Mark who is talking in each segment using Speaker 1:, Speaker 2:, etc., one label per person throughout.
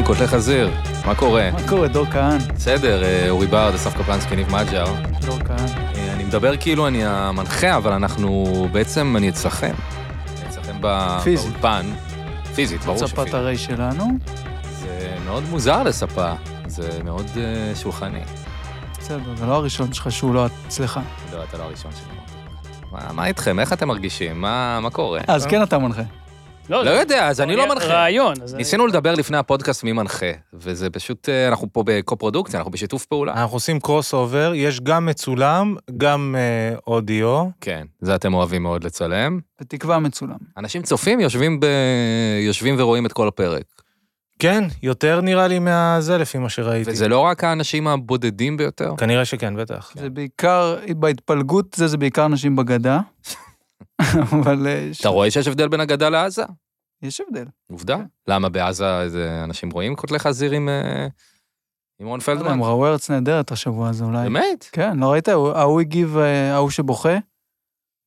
Speaker 1: מכות לחזיר, מה קורה?
Speaker 2: מה קורה, דור כהן?
Speaker 1: בסדר, אה, אורי בר, אסף קפלנסקי, ניב מג'ר.
Speaker 2: דור כהן.
Speaker 1: אה, אני מדבר כאילו אני המנחה, אבל אנחנו, בעצם אני אצלכם. אני אצלכם ב-
Speaker 2: פיזית.
Speaker 1: באולפן. פיזית, ברור
Speaker 2: לא צפת
Speaker 1: שפיזית.
Speaker 2: הרי שלנו.
Speaker 1: זה מאוד מוזר לספה, זה מאוד אה, שולחני.
Speaker 2: בסדר, זה לא הראשון שלך שהוא לא אצלך.
Speaker 1: לא, אתה לא הראשון שלי. מה- מה איתכם? איך אתם מרגישים? מה מה קורה?
Speaker 2: אז כן אתה מנחה.
Speaker 1: לא יודע, אז אני לא מנחה.
Speaker 3: רעיון. אז אני-
Speaker 1: ניסינו לדבר לפני הפודקאסט מי מנחה, וזה פשוט, אה, אנחנו פה בקו-פרודוקציה, אנחנו בשיתוף פעולה.
Speaker 4: אנחנו עושים קרוס אובר, יש גם מצולם, גם אה, אודיו.
Speaker 1: כן, זה אתם אוהבים מאוד לצלם.
Speaker 2: בתקווה מצולם.
Speaker 1: אנשים צופים, יושבים, ב... יושבים ורואים את כל הפרק.
Speaker 4: כן, יותר נראה לי מהזה לפי מה שראיתי.
Speaker 1: וזה לא רק האנשים הבודדים ביותר.
Speaker 4: כנראה שכן, בטח.
Speaker 2: זה בעיקר, בהתפלגות זה, זה בעיקר נשים בגדה. אבל אה, ש-
Speaker 1: אתה רואה שיש הבדל בין הגדה לעזה?
Speaker 2: יש הבדל.
Speaker 1: עובדה. למה בעזה איזה אנשים רואים קוטלי חזיר עם, אה, לא עם רון
Speaker 2: וואלה,
Speaker 1: פלדמן?
Speaker 2: לא הם ראו ארץ נהדרת השבוע הזה אולי.
Speaker 1: באמת?
Speaker 2: כן, לא ראית? ההוא- ההוא הגיב, אה, ההוא שבוכה,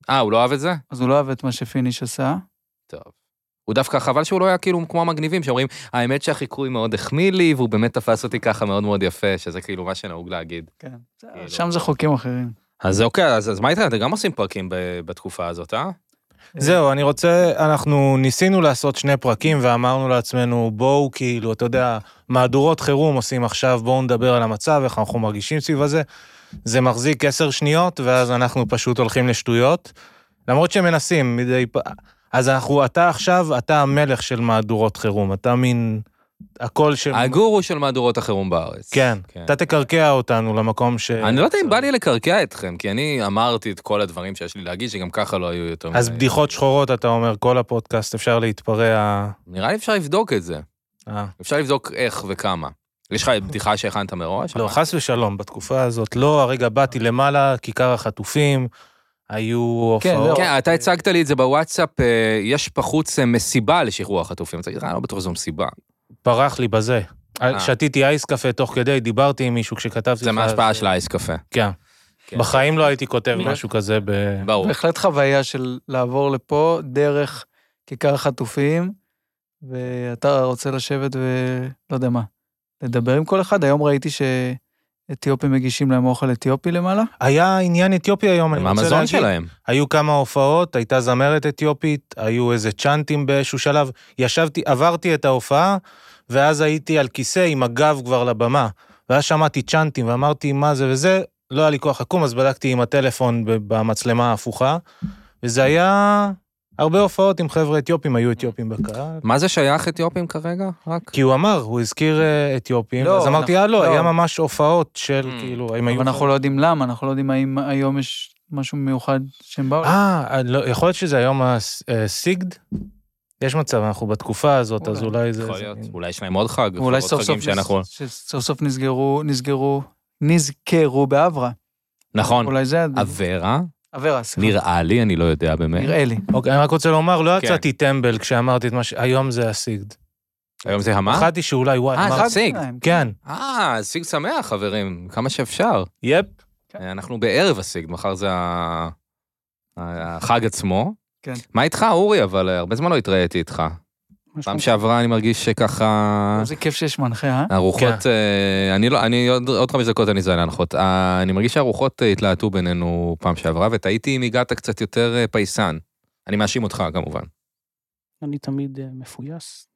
Speaker 1: אה, הוא לא אהב את זה?
Speaker 2: אז הוא לא אהב את מה שפיניש עשה.
Speaker 1: טוב. הוא דווקא, חבל שהוא לא היה כאילו כמו המגניבים, שאומרים, האמת שהחיקוי מאוד החמיא לי, והוא באמת תפס אותי ככה מאוד מאוד יפה, שזה כאילו מה שנהוג להגיד.
Speaker 2: כן. בסדר,
Speaker 1: כאילו.
Speaker 2: שם זה חוקים אחרים.
Speaker 1: אז אוקיי, אז, אז מה איתך? אתם גם עושים פרקים ב- בתקופה הזאת, אה?
Speaker 4: זהו, אני רוצה, אנחנו ניסינו לעשות שני פרקים ואמרנו לעצמנו, בואו כאילו, אתה יודע, מהדורות חירום עושים עכשיו, בואו נדבר על המצב, איך אנחנו מרגישים סביב הזה. זה מחזיק עשר שניות, ואז אנחנו פשוט הולכים לשטויות. למרות שמנסים מדי פעם. אז אנחנו, אתה עכשיו, אתה המלך של מהדורות חירום, אתה מין הקול
Speaker 1: כן.
Speaker 4: של...
Speaker 1: הגורו של מהדורות החירום בארץ.
Speaker 4: כן, אתה תקרקע אותנו למקום ש...
Speaker 1: אני לא יודע אם בא לי לקרקע אתכם, כי אני אמרתי את כל הדברים שיש לי להגיד, שגם ככה לא היו יותר
Speaker 4: אז
Speaker 1: מדי.
Speaker 4: בדיחות שחורות, אתה אומר, כל הפודקאסט, אפשר להתפרע...
Speaker 1: נראה לי אפשר לבדוק את זה.
Speaker 4: אה.
Speaker 1: אפשר לבדוק איך וכמה. יש לך בדיחה שהכנת מראש?
Speaker 4: לא, חס ושלום, בתקופה הזאת לא, הרגע באתי למעלה, כיכר החטופים, היו
Speaker 2: כן,
Speaker 4: הופעות.
Speaker 2: זהו.
Speaker 1: כן, אתה הצגת לי את זה בוואטסאפ, אה, יש בחוץ אה, מסיבה לשחרור החטופים. אז אני לא בטוח שזו מסיבה.
Speaker 4: ברח לי בזה.
Speaker 1: אה.
Speaker 4: שתיתי אייס קפה תוך כדי, דיברתי עם מישהו כשכתבתי
Speaker 1: זה
Speaker 4: לך,
Speaker 1: מההשפעה
Speaker 4: זה-
Speaker 1: של האייס קפה.
Speaker 4: כן.
Speaker 1: כן.
Speaker 4: בחיים לא הייתי כותב
Speaker 2: כן.
Speaker 4: משהו כזה ב...
Speaker 1: ברור.
Speaker 2: בהחלט חוויה של לעבור לפה דרך כיכר החטופים, ואתה רוצה לשבת ולא יודע מה, לדבר עם כל אחד. היום ראיתי שאתיופים מגישים להם אוכל אתיופי למעלה.
Speaker 4: היה עניין אתיופי היום, אני
Speaker 1: הם
Speaker 4: רוצה
Speaker 1: המזון
Speaker 4: להגיד.
Speaker 1: שלהם.
Speaker 4: היו כמה הופעות, הייתה זמרת אתיופית, היו איזה צ'אנטים באיזשהו שלב. ישבתי, עברתי את ההופעה, ואז הייתי על כיסא עם הגב כבר לבמה. ואז שמעתי צ'אנטים ואמרתי, מה זה וזה, לא היה לי כוח לקום, אז בדקתי עם הטלפון ב- במצלמה ההפוכה, וזה היה... הרבה הופעות עם חבר'ה אתיופים, היו אתיופים בקהל.
Speaker 1: מה זה שייך אתיופים כרגע? רק?
Speaker 4: כי הוא אמר, הוא הזכיר אה, אתיופים,
Speaker 2: לא,
Speaker 4: אז אמרתי, אה,
Speaker 2: לא.
Speaker 4: לא, היה ממש הופעות של,
Speaker 1: Mm.
Speaker 4: כאילו, הם היו...
Speaker 2: אבל אנחנו לא יודעים למה, אנחנו לא יודעים האם היום יש משהו מיוחד שהם באו.
Speaker 4: אה, לא, יכול להיות שזה היום הסיגד? יש מצב, אנחנו בתקופה הזאת, אז
Speaker 2: אולי.
Speaker 4: אולי זה...
Speaker 1: יכול
Speaker 4: זה
Speaker 1: להיות.
Speaker 4: מין-
Speaker 1: אולי יש להם עוד חג.
Speaker 2: ואולי
Speaker 1: עוד
Speaker 2: סוף סוף,
Speaker 1: חגים שאנחנו...
Speaker 2: נס- שסוף סוף נסגרו, נסגרו, נזכרו באברה.
Speaker 1: נכון.
Speaker 2: אולי זה הדבר.
Speaker 1: אברה,
Speaker 2: אברה, סליחה.
Speaker 1: נראה לי, אני לא יודע באמת.
Speaker 2: נראה לי.
Speaker 4: אוקיי, אני רק רוצה לומר, לא
Speaker 1: כן.
Speaker 4: יצאתי טמבל כשאמרתי את מה ש... היום זה הסיגד.
Speaker 1: היום זה המה?
Speaker 4: פחדתי שאולי, וואי,
Speaker 1: אה,
Speaker 4: מה-
Speaker 1: זה- הציג.
Speaker 2: שלהם.
Speaker 4: כן.
Speaker 1: אה, השיג שמח, חברים, כמה שאפשר.
Speaker 4: יפ.
Speaker 2: כן.
Speaker 1: אנחנו בערב השיג, מחר זה ה- החג עצמו.
Speaker 2: כן.
Speaker 1: מה איתך, אורי? אבל אה, הרבה זמן לא התראיתי איתך.
Speaker 2: משהו-
Speaker 1: פעם שעברה אני מרגיש שככה...
Speaker 2: איזה כיף שיש מנחה, אה?
Speaker 1: הרוחות, אה, אני לא, אני עוד עוד חמש דקות אני זוהה להנחות. אה, אני מרגיש שהרוחות אה, התלהטו בינינו פעם שעברה, ותהיתי אם הגעת קצת יותר אה, פייסן. אני מאשים אותך כמובן.
Speaker 3: אני תמיד אה, מפויס,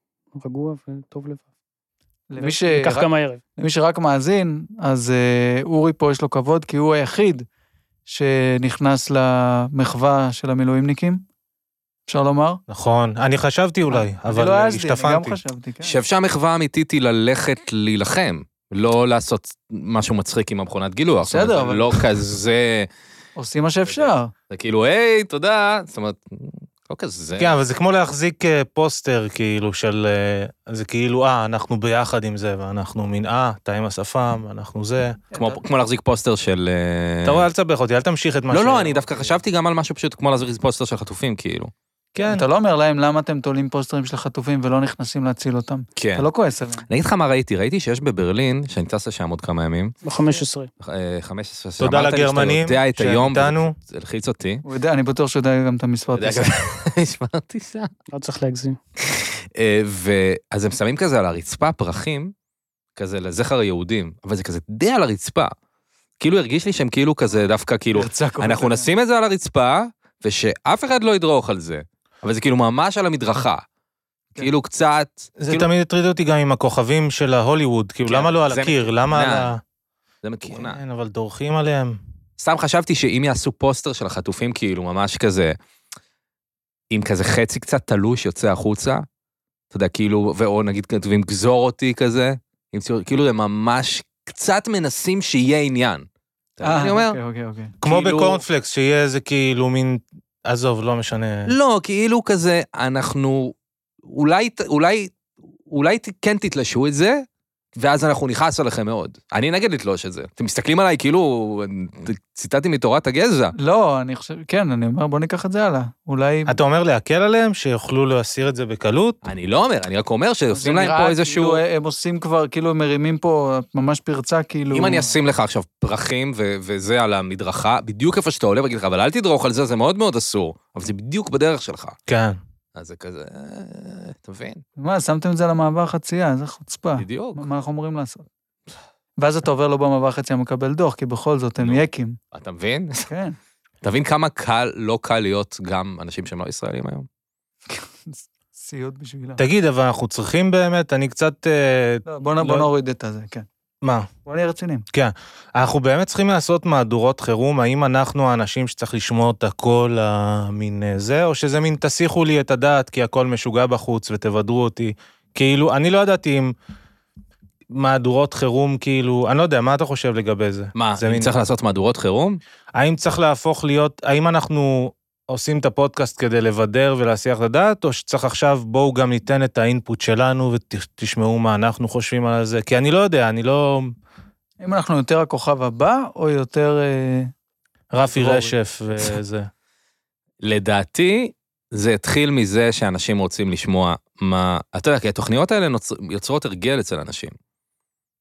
Speaker 3: רגוע וטוב לבד.
Speaker 2: למי ש...
Speaker 3: כך גם הערב.
Speaker 2: למי שרק מאזין, אז אה, אורי פה יש לו כבוד, כי הוא היחיד שנכנס למחווה של המילואימניקים, אפשר לומר.
Speaker 4: נכון. אני חשבתי
Speaker 1: אה,
Speaker 4: אולי,
Speaker 2: אני
Speaker 4: אבל
Speaker 2: לא העזתי, אני גם
Speaker 4: השתפנתי.
Speaker 2: חשבתי, כן.
Speaker 1: שאפשר מחווה אמיתית היא ללכת להילחם, לא לעשות משהו מצחיק עם המכונת גילוח. זאת אומרת,
Speaker 2: בסדר,
Speaker 1: זה
Speaker 2: אבל-
Speaker 1: לא כזה...
Speaker 2: עושים מה שאפשר.
Speaker 1: זה כאילו, היי, תודה. זאת אומרת, לא כזה.
Speaker 4: כן, אבל זה כמו להחזיק אה, פוסטר, כאילו, של... אה, זה כאילו, אה, אנחנו ביחד עם זה, ואנחנו מין, אה, אתה עם השפם, אנחנו זה.
Speaker 1: כמו-
Speaker 4: כן.
Speaker 1: כמו להחזיק פוסטר של... אה,
Speaker 4: אתה רואה, אל תסבך אותי, אל תמשיך את מה
Speaker 1: לא,
Speaker 4: ש-
Speaker 1: לא, אני דווקא חשבתי גם על משהו פשוט כמו להחזיק פוסטר של חטופים, כאילו.
Speaker 4: כן.
Speaker 2: אתה לא אומר להם למה אתם תולים פוסטרים של חטופים ולא נכנסים להציל אותם.
Speaker 1: כן.
Speaker 2: אתה לא כועס עליהם.
Speaker 1: אני אגיד לך מה ראיתי, ראיתי שיש בברלין, שאני טס לשם עוד כמה ימים,
Speaker 3: ב-15.
Speaker 1: אה, 15 שנה.
Speaker 4: תודה לגרמנים
Speaker 1: שאתה יודע את היום,
Speaker 4: שאיתנו.
Speaker 1: זה הלחיץ אותי.
Speaker 4: לא,
Speaker 2: הוא יודע, אני בטוח שהוא יודע גם את המספר.
Speaker 1: אתה יודע,
Speaker 2: טיסה.
Speaker 1: גם- הסברתי שם.
Speaker 3: לא צריך להגזים.
Speaker 1: אה, ו- אז הם שמים כזה על הרצפה פרחים, כזה לזכר יהודים, אבל זה כזה די על הרצפה. כאילו הרגיש לי שהם כאילו כזה דווקא כאילו, אנחנו נשים את זה על הרצפה, ושאף אחד לא ידרוך על זה. אבל זה כאילו ממש על המדרכה.
Speaker 2: כן.
Speaker 1: כאילו קצת...
Speaker 4: זה
Speaker 1: כאילו-
Speaker 4: תמיד הטריד אותי גם עם הכוכבים של ההוליווד, כאילו,
Speaker 1: כן,
Speaker 4: למה לא על
Speaker 1: זה
Speaker 4: הקיר? למה על ה...
Speaker 1: זה מתוכנן.
Speaker 4: כן, אבל דורכים עליהם.
Speaker 1: סתם חשבתי שאם יעשו פוסטר של החטופים, כאילו ממש כזה, עם כזה חצי קצת תלוש יוצא החוצה, אתה יודע, כאילו, ואו נגיד כתובים גזור אותי כזה, עם ציור, כאילו הם ממש קצת מנסים שיהיה עניין. אתה מבין מה אני אומר,
Speaker 2: אוקיי, אוקיי, אוקיי.
Speaker 4: אה, כמו
Speaker 1: כאילו-
Speaker 4: בקורנפלקס, שיהיה איזה כאילו מין... עזוב, לא משנה.
Speaker 2: כן.
Speaker 1: לא, כאילו כזה, אנחנו, אולי, ת- אולי, אולי ת- כן תתלשו את זה, ואז אנחנו נכעס עליכם מאוד. אני נגד לתלוש את זה. אתם מסתכלים עליי כאילו,
Speaker 2: כן.
Speaker 1: ציטטתי מתורת הגזע.
Speaker 2: לא, אני חושב, כן, אני אומר, בוא ניקח את זה הלאה. אולי...
Speaker 4: אתה אומר להקל עליהם, שיוכלו להסיר את זה בקלות?
Speaker 1: אני לא אומר, אני רק אומר
Speaker 2: זה
Speaker 1: שעושים להם
Speaker 2: נראה
Speaker 1: פה איזשהו...
Speaker 2: כאילו הם עושים כבר, כאילו הם מרימים פה ממש פרצה, כאילו...
Speaker 1: אם אני אשים לך עכשיו פרחים ו- וזה על המדרכה, בדיוק איפה שאתה עולה, ואגיד לך, אבל אל תדרוך על זה, זה מאוד מאוד אסור. אבל זה בדיוק בדרך שלך.
Speaker 4: כן.
Speaker 1: אז זה כזה, אה, אתה מבין?
Speaker 2: מה, שמתם את זה על המעבר חצייה, איזה חוצפה.
Speaker 1: בדיוק.
Speaker 2: מה מה אנחנו אמורים לעשות? ואז אתה עובר לו במעבר חצייה, מקבל דוח, כי בכל זאת הם
Speaker 1: נו.
Speaker 2: יקים.
Speaker 1: אתה מבין?
Speaker 2: כן.
Speaker 1: אתה מבין כמה קל, לא קל להיות גם אנשים שהם לא ישראלים היום?
Speaker 2: סיוט בשבילם.
Speaker 4: תגיד, אבל אנחנו צריכים באמת, אני קצת... אה,
Speaker 2: לא, בוא נ- בוא
Speaker 4: לא-
Speaker 2: נוריד את הזה, כן.
Speaker 4: מה?
Speaker 2: בוא נהיה רציניים.
Speaker 4: אנחנו באמת צריכים לעשות מהדורות חירום, האם אנחנו האנשים שצריך לשמור את הכל המין אה, זה, או שזה מין תסיחו לי את הדעת כי הכל משוגע בחוץ ותבדרו אותי. כאילו, אני לא ידעתי אם מהדורות חירום, כאילו, אני לא יודע, מה אתה חושב לגבי זה?
Speaker 1: מה,
Speaker 4: זה
Speaker 1: אם
Speaker 4: מין-
Speaker 1: צריך לעשות מהדורות חירום?
Speaker 4: האם צריך להפוך להיות, האם אנחנו עושים את הפודקאסט כדי לבדר ולהסיח את הדעת, או שצריך עכשיו, בואו גם ניתן את האינפוט שלנו ותשמעו מה אנחנו חושבים על זה? כי אני לא יודע, אני לא
Speaker 2: אם אנחנו יותר הכוכב הבא, או יותר... אה,
Speaker 4: רפי
Speaker 2: דבורי.
Speaker 4: רשף וזה.
Speaker 1: לדעתי, זה התחיל מזה שאנשים רוצים לשמוע מה... אתה יודע, כי התוכניות האלה נוצר... יוצרות הרגל אצל אנשים.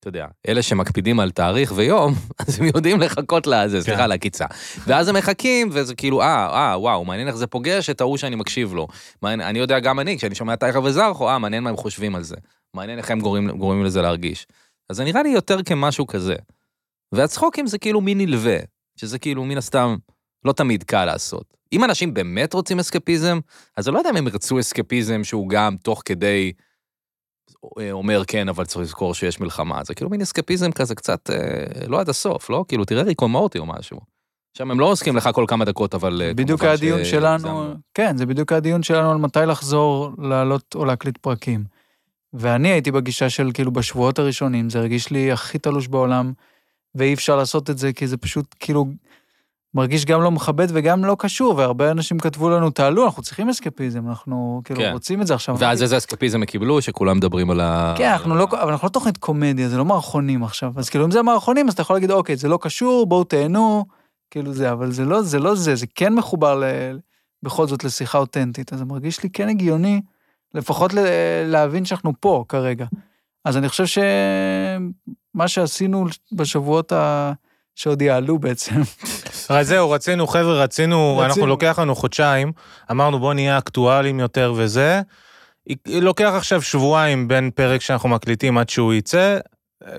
Speaker 1: אתה יודע, אלה שמקפידים על תאריך ויום, אז הם יודעים לחכות לזה,
Speaker 4: כן.
Speaker 1: סליחה, לעקיצה. ואז הם מחכים, וזה כאילו, אה, אה, וואו, מעניין איך זה פוגש את ההוא שאני מקשיב לו. מעניין, אני יודע גם אני, כשאני שומע טייכר וזרחו, אה, מעניין מה הם חושבים על זה. מעניין איך הם גורמים, גורמים לזה להרגיש. אז זה נראה לי יותר כמשהו כזה. והצחוקים זה כאילו מין נלווה, שזה כאילו מן הסתם לא תמיד קל לעשות. אם אנשים באמת רוצים אסקפיזם, אז אני לא יודע אם הם ירצו אסקפיזם שהוא גם תוך כדי אה, אומר כן, אבל צריך לזכור שיש מלחמה. זה כאילו מין אסקפיזם כזה קצת אה, לא עד הסוף, לא? כאילו, תראה ריקו מורטי או משהו. שם הם לא עוסקים לך כל כמה דקות, אבל... אה,
Speaker 2: בדיוק
Speaker 1: כמובן
Speaker 2: הדיון
Speaker 1: ש-
Speaker 2: שלנו,
Speaker 1: הגזמנו.
Speaker 2: כן, זה בדיוק הדיון שלנו על מתי לחזור, לעלות או להקליט פרקים. ואני הייתי בגישה של, כאילו, בשבועות הראשונים, זה הרגיש לי הכי תלוש בעולם, ואי אפשר לעשות את זה, כי זה פשוט, כאילו, מרגיש גם לא מכבד וגם לא קשור, והרבה אנשים כתבו לנו, תעלו, אנחנו צריכים אסקפיזם, אנחנו, כאילו,
Speaker 1: כן.
Speaker 2: רוצים את זה עכשיו.
Speaker 1: ואז איזה אסקפיזם הם קיבלו, שכולם מדברים על ה...
Speaker 4: אה.
Speaker 2: כן, אנחנו לא, אבל אנחנו לא תוכנית קומדיה, זה לא מערכונים עכשיו. אז כאילו, אם זה מערכונים, אז אתה יכול להגיד, אוקיי, זה לא קשור, בואו תהנו, כאילו זה, אבל זה לא זה, לא זה, זה כן מחובר ל, בכל זאת לשיחה אותנטית. אז זה מרגיש לי כן הגיוני, לפחות ל, להבין שאנחנו פה כרגע. אז אני חושב שמה שעשינו בשבועות ה... שעוד יעלו בעצם.
Speaker 4: אז זהו, רצינו, חבר'ה, רצינו,
Speaker 2: רצינו.
Speaker 4: אנחנו לוקח לנו חודשיים, אמרנו בוא נהיה אקטואליים יותר וזה. לוקח עכשיו שבועיים בין פרק שאנחנו מקליטים עד שהוא יצא.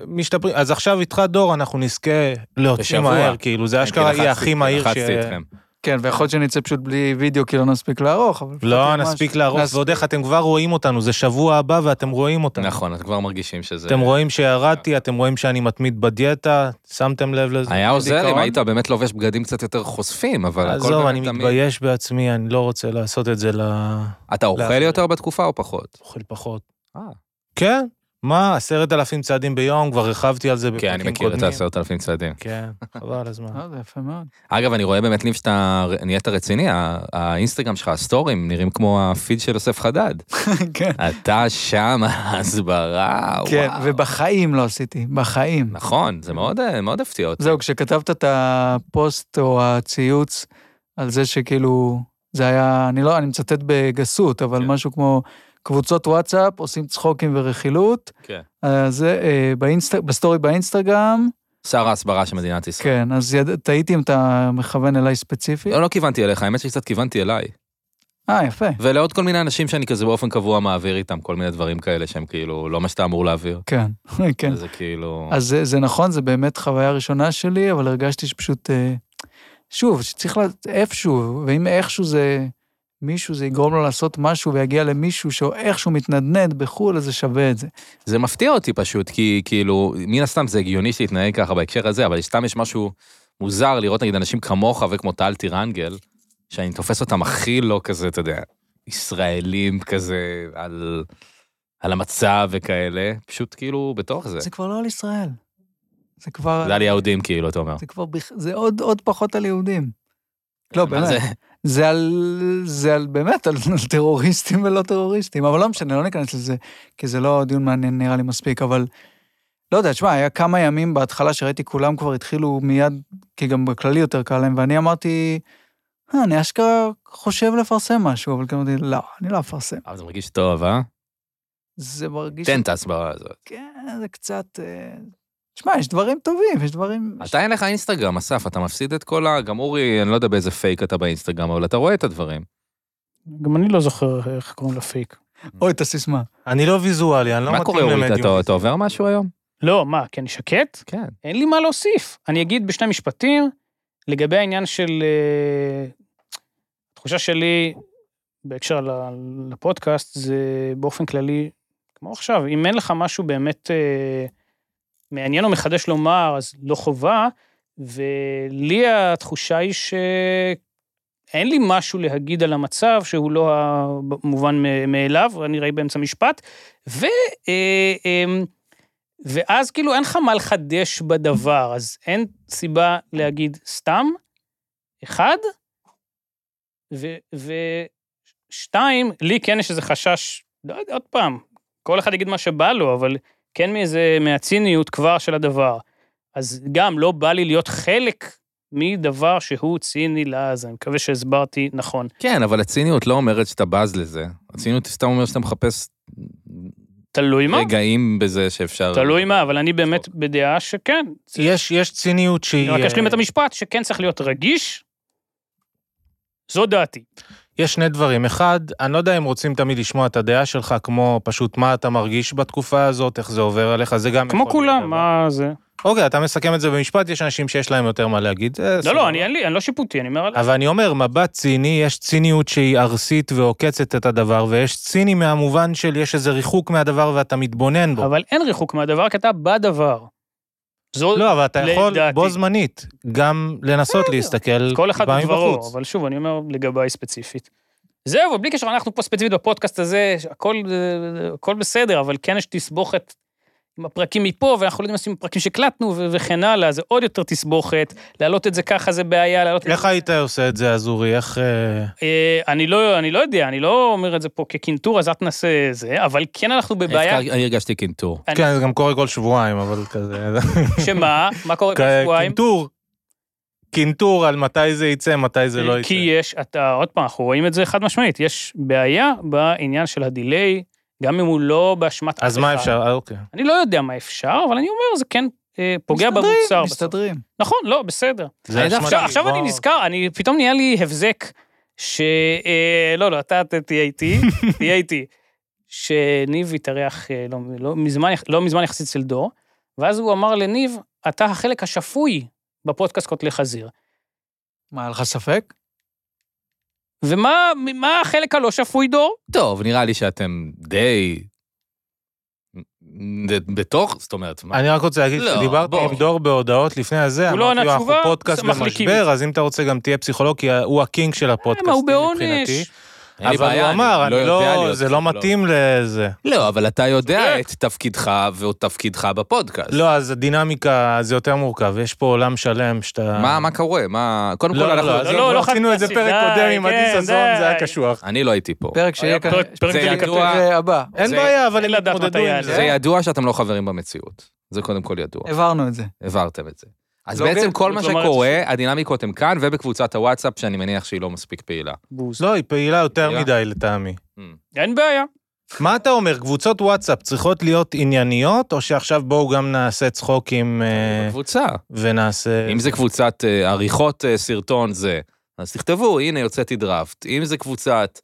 Speaker 4: משתפרים, אז עכשיו איתך דור, אנחנו נזכה להוציא
Speaker 1: בשבוע.
Speaker 4: מהר, כאילו, זה
Speaker 1: כן,
Speaker 4: אשכרה
Speaker 1: כי
Speaker 4: יהיה
Speaker 1: לחצתי-
Speaker 4: הכי מהיר ש...
Speaker 1: לחצתי אתכם.
Speaker 2: כן, ויכול להיות שנצא פשוט בלי וידאו, כי לא נספיק לערוך, אבל... לפחות
Speaker 4: לא,
Speaker 2: ממש-
Speaker 4: נספיק להרוס,
Speaker 2: נס-
Speaker 4: ועוד איך אתם כבר רואים אותנו, זה שבוע הבא ואתם רואים אותנו.
Speaker 1: נכון, אתם כבר מרגישים שזה...
Speaker 4: אתם רואים שירדתי, אתם רואים שאני מתמיד בדיאטה, שמתם לב לזה?
Speaker 1: היה עוזר אם
Speaker 2: דיכאון.
Speaker 1: היית באמת לובש בגדים קצת יותר חושפים, אבל הכל
Speaker 4: עזוב,
Speaker 1: באמת
Speaker 4: אני
Speaker 1: תמיד.
Speaker 4: מתבייש בעצמי, אני לא רוצה לעשות את זה ל...
Speaker 1: אתה אוכל
Speaker 4: לאחרים.
Speaker 1: יותר בתקופה או פחות?
Speaker 4: אוכל פחות.
Speaker 1: אה,
Speaker 4: כן, מה, עשרת אלפים צעדים ביום, כבר הרחבתי על זה בפרקים
Speaker 1: כן,
Speaker 4: קודמים.
Speaker 1: אני מכיר את העשרת אלפים צעדים.
Speaker 4: כן, חבל על הזמן.
Speaker 2: אה, זה יפה מאוד.
Speaker 1: אגב, אני רואה באמת, ניב, שאתה ר- נהיית רציני, ה- האינסטגרם שלך, הסטורים, נראים כמו הפיד של יוסף חדד.
Speaker 2: כן.
Speaker 1: אתה שם, הסברה,
Speaker 2: כן,
Speaker 1: וואו.
Speaker 2: ובחיים לא עשיתי, בחיים.
Speaker 1: נכון, זה מאוד אה, מאוד הפתיע אותי.
Speaker 2: זהו, כשכתבת את הפוסט או הציוץ על זה שכאילו, זה היה, אני לא, אני מצטט בגסות, אבל
Speaker 1: כן.
Speaker 2: משהו כמו קבוצות וואטסאפ, עושים צחוקים ורכילות,
Speaker 1: כן.
Speaker 2: אה, זה אה, באינסט- בסטורי באינסטגרם,
Speaker 1: שר ההסברה של מדינת ישראל.
Speaker 2: כן, אז יד- תהיתי אם אתה מכוון אליי ספציפית.
Speaker 1: לא, לא כיוונתי אליך, האמת שקצת כיוונתי אליי.
Speaker 2: אה, יפה.
Speaker 1: ולעוד כל מיני אנשים שאני כזה באופן קבוע מעביר איתם כל מיני דברים כאלה שהם כאילו לא מה שאתה אמור להעביר.
Speaker 2: כן, כן.
Speaker 1: זה כאילו...
Speaker 2: אז זה, זה נכון, זה באמת חוויה ראשונה שלי, אבל הרגשתי שפשוט... אה, שוב, שצריך לה, איפשהו, ואם איכשהו זה... מישהו, זה יגרום לו לעשות משהו ויגיע למישהו שאיכשהו מתנדנד בחו"ל, אז זה שווה את זה.
Speaker 1: זה מפתיע אותי פשוט, כי כאילו, מן הסתם זה הגיוני שתתנהג ככה בהקשר הזה, אבל סתם יש משהו מוזר לראות נגיד אנשים כמוך וכמו טל טירנגל, שאני תופס אותם הכי לא כזה, אתה יודע, ישראלים כזה על, על המצב וכאלה, פשוט כאילו בתוך זה.
Speaker 2: זה כבר לא על ישראל. זה כבר...
Speaker 1: זה על יהודים כאילו, אתה אומר.
Speaker 2: זה כבר... בכ- זה עוד, עוד פחות על יהודים. לא,
Speaker 1: מה זה?
Speaker 2: באמת. זה על, זה על באמת, על, על טרוריסטים ולא טרוריסטים, אבל לא משנה, לא ניכנס לזה, כי זה לא דיון מעניין נראה לי מספיק, אבל לא יודע, תשמע, היה כמה ימים בהתחלה שראיתי כולם כבר התחילו מיד, כי גם בכללי יותר קל להם, ואני אמרתי, "אה, אני אשכרה חושב לפרסם משהו, אבל כאילו אמרתי, לא, אני לא אפרסם.
Speaker 1: אבל זה מרגיש טוב, אה?
Speaker 2: זה מרגיש...
Speaker 1: תן את ההסברה הזאת.
Speaker 2: כן, זה קצת... אה, תשמע, יש דברים טובים, יש דברים...
Speaker 1: אתה אין לך אינסטגרם, אסף, אתה מפסיד את כל ה... גם אורי, אני לא יודע באיזה פייק אתה באינסטגרם, אבל אתה רואה את הדברים.
Speaker 3: גם אני לא זוכר איך קוראים לה פייק.
Speaker 2: אוי, את הסיסמה.
Speaker 4: אני לא ויזואלי, אני לא
Speaker 1: מה
Speaker 4: מתאים
Speaker 1: קורה, אורי? אתה-
Speaker 4: למדיום.
Speaker 1: אתה עובר משהו היום?
Speaker 3: לא, מה, כי אני שקט?
Speaker 1: כן.
Speaker 3: אין לי מה להוסיף. אני אגיד בשני משפטים לגבי העניין של... אה, התחושה שלי בהקשר ל- לפודקאסט זה באופן כללי, כמו עכשיו, אם אין לך משהו באמת אה, מעניין או מחדש לומר, אז לא חובה, ולי התחושה היא שאין לי משהו להגיד על המצב שהוא לא המובן מ- מאליו, אני ראי באמצע משפט, ו... אה, אה, ואז כאילו אין לך מה לחדש בדבר, אז אין סיבה להגיד סתם, אחד, ו- ושתיים, לי כן יש איזה חשש, לא יודע, עוד פעם, כל אחד יגיד מה שבא לו, אבל כן מאיזה, מהציניות כבר של הדבר. אז גם לא בא לי להיות חלק מדבר שהוא ציני לעז, אני מקווה שהסברתי נכון.
Speaker 1: כן, אבל הציניות לא אומרת שאתה בז לזה. הציניות סתם אומרת שאתה מחפש
Speaker 3: תלוי מה,
Speaker 1: רגעים בזה שאפשר...
Speaker 3: תלוי מה, אבל אני באמת בדעה שכן.
Speaker 4: יש, יש ציניות שהיא...
Speaker 3: אני רק אשלים
Speaker 4: אה,
Speaker 3: את המשפט, שכן צריך להיות רגיש, זו דעתי.
Speaker 4: יש שני דברים. אחד, אני לא יודע אם רוצים תמיד לשמוע את הדעה שלך, כמו פשוט מה אתה מרגיש בתקופה הזאת, איך זה עובר עליך, נכון, זה גם...
Speaker 3: כמו
Speaker 4: יכול להיות
Speaker 3: כולם,
Speaker 4: דבר.
Speaker 3: מה זה?
Speaker 4: אוקיי, אתה מסכם את זה במשפט, יש אנשים שיש להם יותר מה להגיד. זה
Speaker 3: לא,
Speaker 4: סבבה.
Speaker 3: לא, אני אין לי- אני לא שיפוטי, אני אומר על...
Speaker 4: אבל אני אומר, מבט ציני, יש ציניות שהיא ארסית ועוקצת את הדבר, ויש ציני מהמובן של יש איזה ריחוק מהדבר ואתה מתבונן בו.
Speaker 3: אבל אין ריחוק מהדבר, כי אתה בדבר. זו...
Speaker 4: לא, אבל אתה יכול
Speaker 3: לדעתי.
Speaker 4: בו זמנית גם לנסות להסתכל
Speaker 3: כל אחד
Speaker 4: טיפה
Speaker 3: בדברו,
Speaker 4: מבחוץ.
Speaker 3: אבל שוב, אני אומר לגביי ספציפית. זהו, אבל בלי קשר, אנחנו פה ספציפית בפודקאסט הזה, הכל, אה, הכל בסדר, אבל כן יש תסבוכת עם הפרקים מפה, ואנחנו לא יודעים לשים פרקים שהקלטנו ו- וכן הלאה, זה עוד יותר תסבוכת, להעלות את זה ככה זה בעיה, להעלות את זה...
Speaker 4: איך היית עושה את זה, אז אורי? איך... אה,
Speaker 3: אה, אני לא, אני לא יודע, אני לא אומר את זה פה כקינטור, אז את נעשה זה, אבל כן אנחנו בבעיה,
Speaker 1: אני הרגשתי קינטור.
Speaker 3: אני-
Speaker 4: כן, זה גם קורה כל שבועיים, אבל כזה...
Speaker 3: שמה, מה קורה בשבועיים?
Speaker 4: קינטור. קינטור על מתי זה יצא, מתי זה לא יצא.
Speaker 3: אה, כי יש, אתה, עוד פעם, אנחנו רואים את זה חד משמעית, יש בעיה בעניין של הדיליי, גם אם הוא לא באשמת...
Speaker 4: אז
Speaker 3: אף
Speaker 4: מה
Speaker 3: אחד.
Speaker 4: אפשר? אה, אוקיי.
Speaker 3: אני לא יודע מה אפשר, אבל אני אומר, זה כן אה, פוגע
Speaker 2: מסתדרים,
Speaker 3: במוצר. בסוף.
Speaker 2: מסתדרים.
Speaker 3: נכון, לא, בסדר.
Speaker 4: זה
Speaker 1: אני
Speaker 4: אשמת-
Speaker 3: עכשיו, עכשיו אני
Speaker 4: וואו.
Speaker 3: נזכר, אני, פתאום נהיה לי הבזק, ש... אה, לא, לא, אתה ת- תהיה איתי, תהיה איתי. שניב התארח אה, לא, לא, מזמן, יח- לא מזמן יחסית אצל דור, ואז הוא אמר לניב, אתה החלק השפוי בפודקאסט קוטלי חזיר.
Speaker 2: מה, היה לך ספק?
Speaker 3: ומה מה החלק הלא שפוי, דור?
Speaker 1: טוב, נראה לי שאתם די... ד- בתוך, זאת אומרת, מה?
Speaker 4: אני רק רוצה להגיד
Speaker 1: לא,
Speaker 4: שדיברתי
Speaker 1: בוא.
Speaker 4: עם דור בהודעות לפני הזה,
Speaker 3: הוא לא
Speaker 4: אמרתי
Speaker 3: ענה
Speaker 4: לו, אנחנו
Speaker 3: תשובה,
Speaker 4: פודקאסט
Speaker 3: מחליקים. אה,
Speaker 4: במשבר, אז אם אתה רוצה גם תהיה פסיכולוג, כי הוא הקינג של
Speaker 3: מה,
Speaker 4: הפודקאסטים
Speaker 3: הוא
Speaker 4: מבחינתי.
Speaker 3: בעונש.
Speaker 1: אין לי
Speaker 4: אבל
Speaker 1: בעיה,
Speaker 4: הוא אמר,
Speaker 1: אני לא
Speaker 4: אני
Speaker 1: יודע
Speaker 4: לא,
Speaker 1: להיות
Speaker 4: זה לא
Speaker 1: פסיכולוג.
Speaker 4: מתאים לזה.
Speaker 1: לא, אבל אתה יודע
Speaker 3: צודק.
Speaker 1: את תפקידך ואת תפקידך בפודקאסט.
Speaker 4: לא, אז הדינמיקה זה יותר מורכב, יש פה עולם שלם שאתה...
Speaker 1: מה מה קורה? מה... קודם כל,
Speaker 4: לא, לא,
Speaker 1: אנחנו...
Speaker 4: לא,
Speaker 3: לא,
Speaker 4: עזוב,
Speaker 3: לא
Speaker 4: כבר עשינו את זה
Speaker 3: חד-פעמי,
Speaker 4: פרק
Speaker 3: די,
Speaker 4: קודם עם עדי
Speaker 3: כן,
Speaker 4: סזון, זה היה
Speaker 3: די.
Speaker 4: קשוח.
Speaker 1: אני לא הייתי פה.
Speaker 2: פרק שיהיה
Speaker 3: היה
Speaker 2: כאן...
Speaker 3: פרק- פרק
Speaker 1: זה
Speaker 3: של-
Speaker 1: ידוע.
Speaker 2: פרק הבא.
Speaker 4: אין
Speaker 1: זה-
Speaker 4: בעיה, אבל
Speaker 3: אין
Speaker 4: הם
Speaker 3: לדעת
Speaker 4: התמודדו
Speaker 3: מתי
Speaker 4: עם
Speaker 3: יעלה.
Speaker 1: זה
Speaker 4: זה.
Speaker 1: ידוע שאתם לא חברים במציאות. זה קודם כל ידוע.
Speaker 2: הבהרנו את זה.
Speaker 1: העברתם את זה. אז
Speaker 2: לא,
Speaker 1: בעצם
Speaker 2: כן,
Speaker 1: כל מה
Speaker 3: זאת אומרת
Speaker 1: שקורה, הדינמיקות הן כאן ובקבוצת הוואטסאפ, שאני מניח שהיא לא מספיק פעילה.
Speaker 3: בוז.
Speaker 4: לא, היא פעילה יותר
Speaker 1: פעילה.
Speaker 4: מדי לטעמי.
Speaker 3: אין בעיה.
Speaker 4: מה אתה אומר, קבוצות וואטסאפ צריכות להיות ענייניות, או שעכשיו בואו גם נעשה צחוקים אה,
Speaker 1: בקבוצה.
Speaker 4: ונעשה...
Speaker 1: אם זה קבוצת אה, עריכות אה, סרטון זה אז תכתבו, הנה יוצאתי דראפט. אם זה קבוצת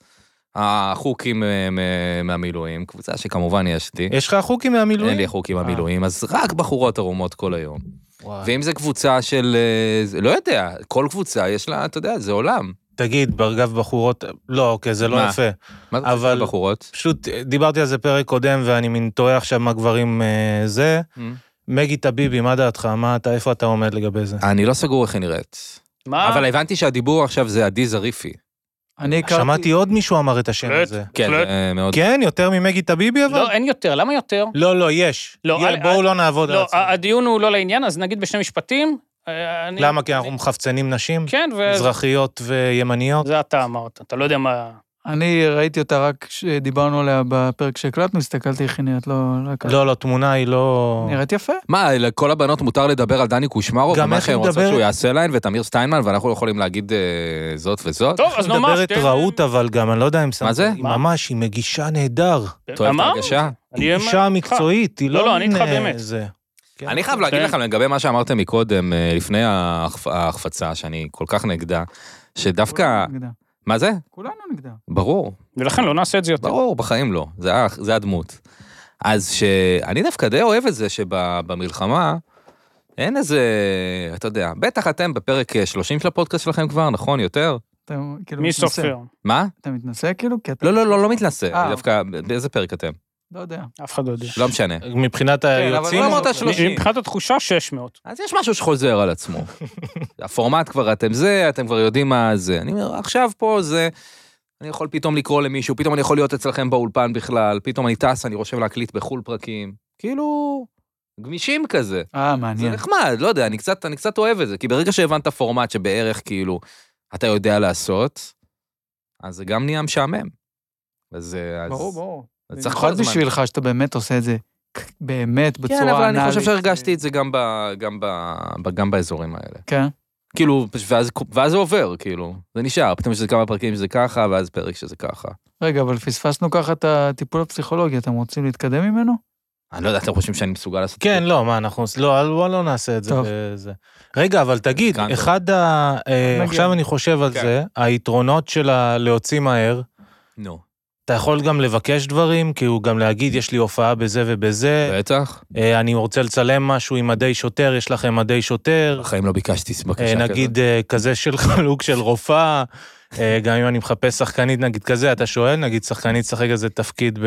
Speaker 1: החוקים אה, מ- מהמילואים, קבוצה שכמובן יש לי,
Speaker 4: יש לך חוקים מהמילואים?
Speaker 1: אין לי חוקים
Speaker 4: אה.
Speaker 1: מהמילואים, אז רק בחורות ערומות כל היום.
Speaker 4: וואי.
Speaker 1: ואם זה קבוצה של, אה, זה- לא יודע, כל קבוצה יש לה, אתה יודע, זה עולם.
Speaker 4: תגיד, ברגב בחורות, לא, אוקיי, זה לא
Speaker 1: מה?
Speaker 4: יפה.
Speaker 1: מה זה קבוצה
Speaker 4: אבל-
Speaker 1: של בחורות?
Speaker 4: פשוט אה, דיברתי על זה פרק קודם, ואני מין תוהה עכשיו מה גברים אה, זה. מגי טביבי, מה דעתך? מה אתה, איפה אתה עומד לגבי זה?
Speaker 1: אני לא סגור איך היא נראית.
Speaker 4: אה.
Speaker 3: מה?
Speaker 1: אבל הבנתי שהדיבור עכשיו זה עדי זריפי.
Speaker 2: אני הכרתי...
Speaker 4: שמעתי עוד מישהו אמר את השם
Speaker 3: באמת?
Speaker 4: הזה.
Speaker 1: כן,
Speaker 3: בהחלט.
Speaker 1: זה מאוד...
Speaker 4: כן, יותר ממגי טביבי אבל?
Speaker 3: לא, אין יותר, למה יותר?
Speaker 4: לא, לא, יש.
Speaker 3: לא,
Speaker 4: יא,
Speaker 3: אל-
Speaker 4: בואו לא נעבוד על
Speaker 3: לא,
Speaker 4: עצמנו.
Speaker 3: הדיון הוא לא לעניין, אז נגיד בשני משפטים. אה, אני-
Speaker 4: למה? כי אנחנו
Speaker 3: אני-
Speaker 4: מחפצנים נשים?
Speaker 3: כן,
Speaker 4: מזרחיות וימניות?
Speaker 3: וזה אתה אמרת, אתה לא יודע מה...
Speaker 2: אני ראיתי אותה רק כשדיברנו עליה בפרק שהקלטנו, הסתכלתי איך היא נראית, לא... לא הכרתי.
Speaker 4: לא, לא, תמונה היא לא...
Speaker 2: נראית יפה.
Speaker 1: מה, לכל הבנות מותר לדבר על דני קושמרו?
Speaker 4: גם
Speaker 1: ומה
Speaker 4: איך
Speaker 1: שהן
Speaker 4: הוא
Speaker 1: רוצות
Speaker 4: מדבר-
Speaker 1: שהוא יעשה להן, ותמיר סטיינמן, ואנחנו לא יכולים להגיד אה, זאת וזאת?
Speaker 3: טוב, אז נאמר... כן.
Speaker 4: מדברת
Speaker 3: שתי-
Speaker 4: רהוט אבל גם, אני לא יודע אם שמת...
Speaker 1: זה?
Speaker 4: היא ממש, היא מגישה נהדר.
Speaker 1: אתה אוהב את
Speaker 3: אמרנו,
Speaker 1: ההרגשה?
Speaker 3: כן. אני-
Speaker 4: היא אישה מקצועית, היא
Speaker 3: אמ- לא,
Speaker 4: לא...
Speaker 3: לא, אני איתך
Speaker 4: מין, אה,
Speaker 3: באמת.
Speaker 4: זה. כן.
Speaker 1: אני חייב להגיד
Speaker 3: כן.
Speaker 1: לכם לגבי מה שאמרתם מקודם, אה, לפני ההחפ- ההחפצה, שאני כל כך נגדה, שדווקא...
Speaker 2: כולנו נגדה.
Speaker 1: מה זה?
Speaker 2: כולנו נגדה.
Speaker 1: ברור,
Speaker 3: ולכן לא נעשה את זה יותר.
Speaker 1: ברור, בחיים לא. זה ה- זה הדמות. אז שאני דווקא די אוהב את זה שבמלחמה... אין איזה, אתה יודע, בטח אתם בפרק אה, 30 של הפודקאסט שלכם כבר, נכון? יותר?
Speaker 2: אתה כאילו
Speaker 3: מי
Speaker 2: מתנשא.
Speaker 3: סופר?
Speaker 1: מה?
Speaker 2: אתה מתנשא כאילו? כי אתה...
Speaker 1: לא, לא, לא, לא מתנשא,
Speaker 2: אה.
Speaker 1: אני דווקא, באיזה פרק אתם?
Speaker 2: לא יודע.
Speaker 3: אף אחד לא יודע.
Speaker 1: לא משנה.
Speaker 4: מבחינת
Speaker 2: אבל
Speaker 4: היוצאים...
Speaker 1: לא אמרת
Speaker 2: לא,
Speaker 1: 30.
Speaker 3: מבחינת התחושה 600.
Speaker 1: אז יש משהו שחוזר על עצמו. הפורמט כבר אתם זה, אתם כבר יודעים מה זה. אני אומר, עכשיו פה זה, אני יכול פתאום לקרוא למישהו, פתאום אני יכול להיות אצלכם באולפן בכלל, פתאום אני טס, אני רושם להקליט בחו"ל פרקים. כאילו, גמישים כזה.
Speaker 2: אה,
Speaker 1: זה
Speaker 2: מעניין.
Speaker 1: נחמד, לא יודע, אני קצת, אני קצת אוהב את זה, כי ברגע שהבנת פורמט שבערך כאילו אתה יודע לעשות, אז זה גם נהיה משעמם. אז... אה, אז-
Speaker 2: ברור, ברור.
Speaker 1: אז צריך כל
Speaker 2: במיוחד
Speaker 1: הזמן.
Speaker 2: בשבילך שאתה באמת עושה את זה, כ- באמת, בצורה
Speaker 1: כן,
Speaker 2: אנאלית. אה,
Speaker 1: אבל אני חושב שהרגשתי את זה גם, ב, גם, ב, ב, גם באזורים האלה.
Speaker 2: כן.
Speaker 1: כאילו, פש- ואז, ואז זה עובר, כאילו, זה נשאר, פתאום יש איזה כמה פרקים שזה ככה, ואז פרק שזה ככה.
Speaker 2: רגע, אבל פספסנו ככה את הטיפול הפסיכולוגי, אתם רוצים להתקדם ממנו?
Speaker 1: אני לא יודע, אתם חושבים שאני מסוגל לעשות
Speaker 4: כן, לא, מה, אנחנו... לא, אל- בוא לא נעשה את זה.
Speaker 2: טוב.
Speaker 4: בזה. רגע, אבל תגיד,
Speaker 1: כאן.
Speaker 4: אחד ה... אה,
Speaker 2: מגיע.
Speaker 4: עכשיו אני חושב על
Speaker 1: כן.
Speaker 4: זה, היתרונות של ה- להוציא מהר,
Speaker 1: נו,
Speaker 4: אתה יכול גם לבקש דברים, כאילו גם להגיד, יש לי הופעה בזה ובזה,
Speaker 1: בטח.
Speaker 4: אה, אני רוצה לצלם משהו עם מדי שוטר, יש לכם מדי שוטר,
Speaker 1: בחיים לא ביקשתי
Speaker 4: אה,
Speaker 1: בקשה כזאת.
Speaker 4: נגיד אה, כזה של חלוק של רופאה, אה, גם אם אני מחפש שחקנית, נגיד כזה, אתה שואל, נגיד שחקנית תשחק איזה תפקיד ב...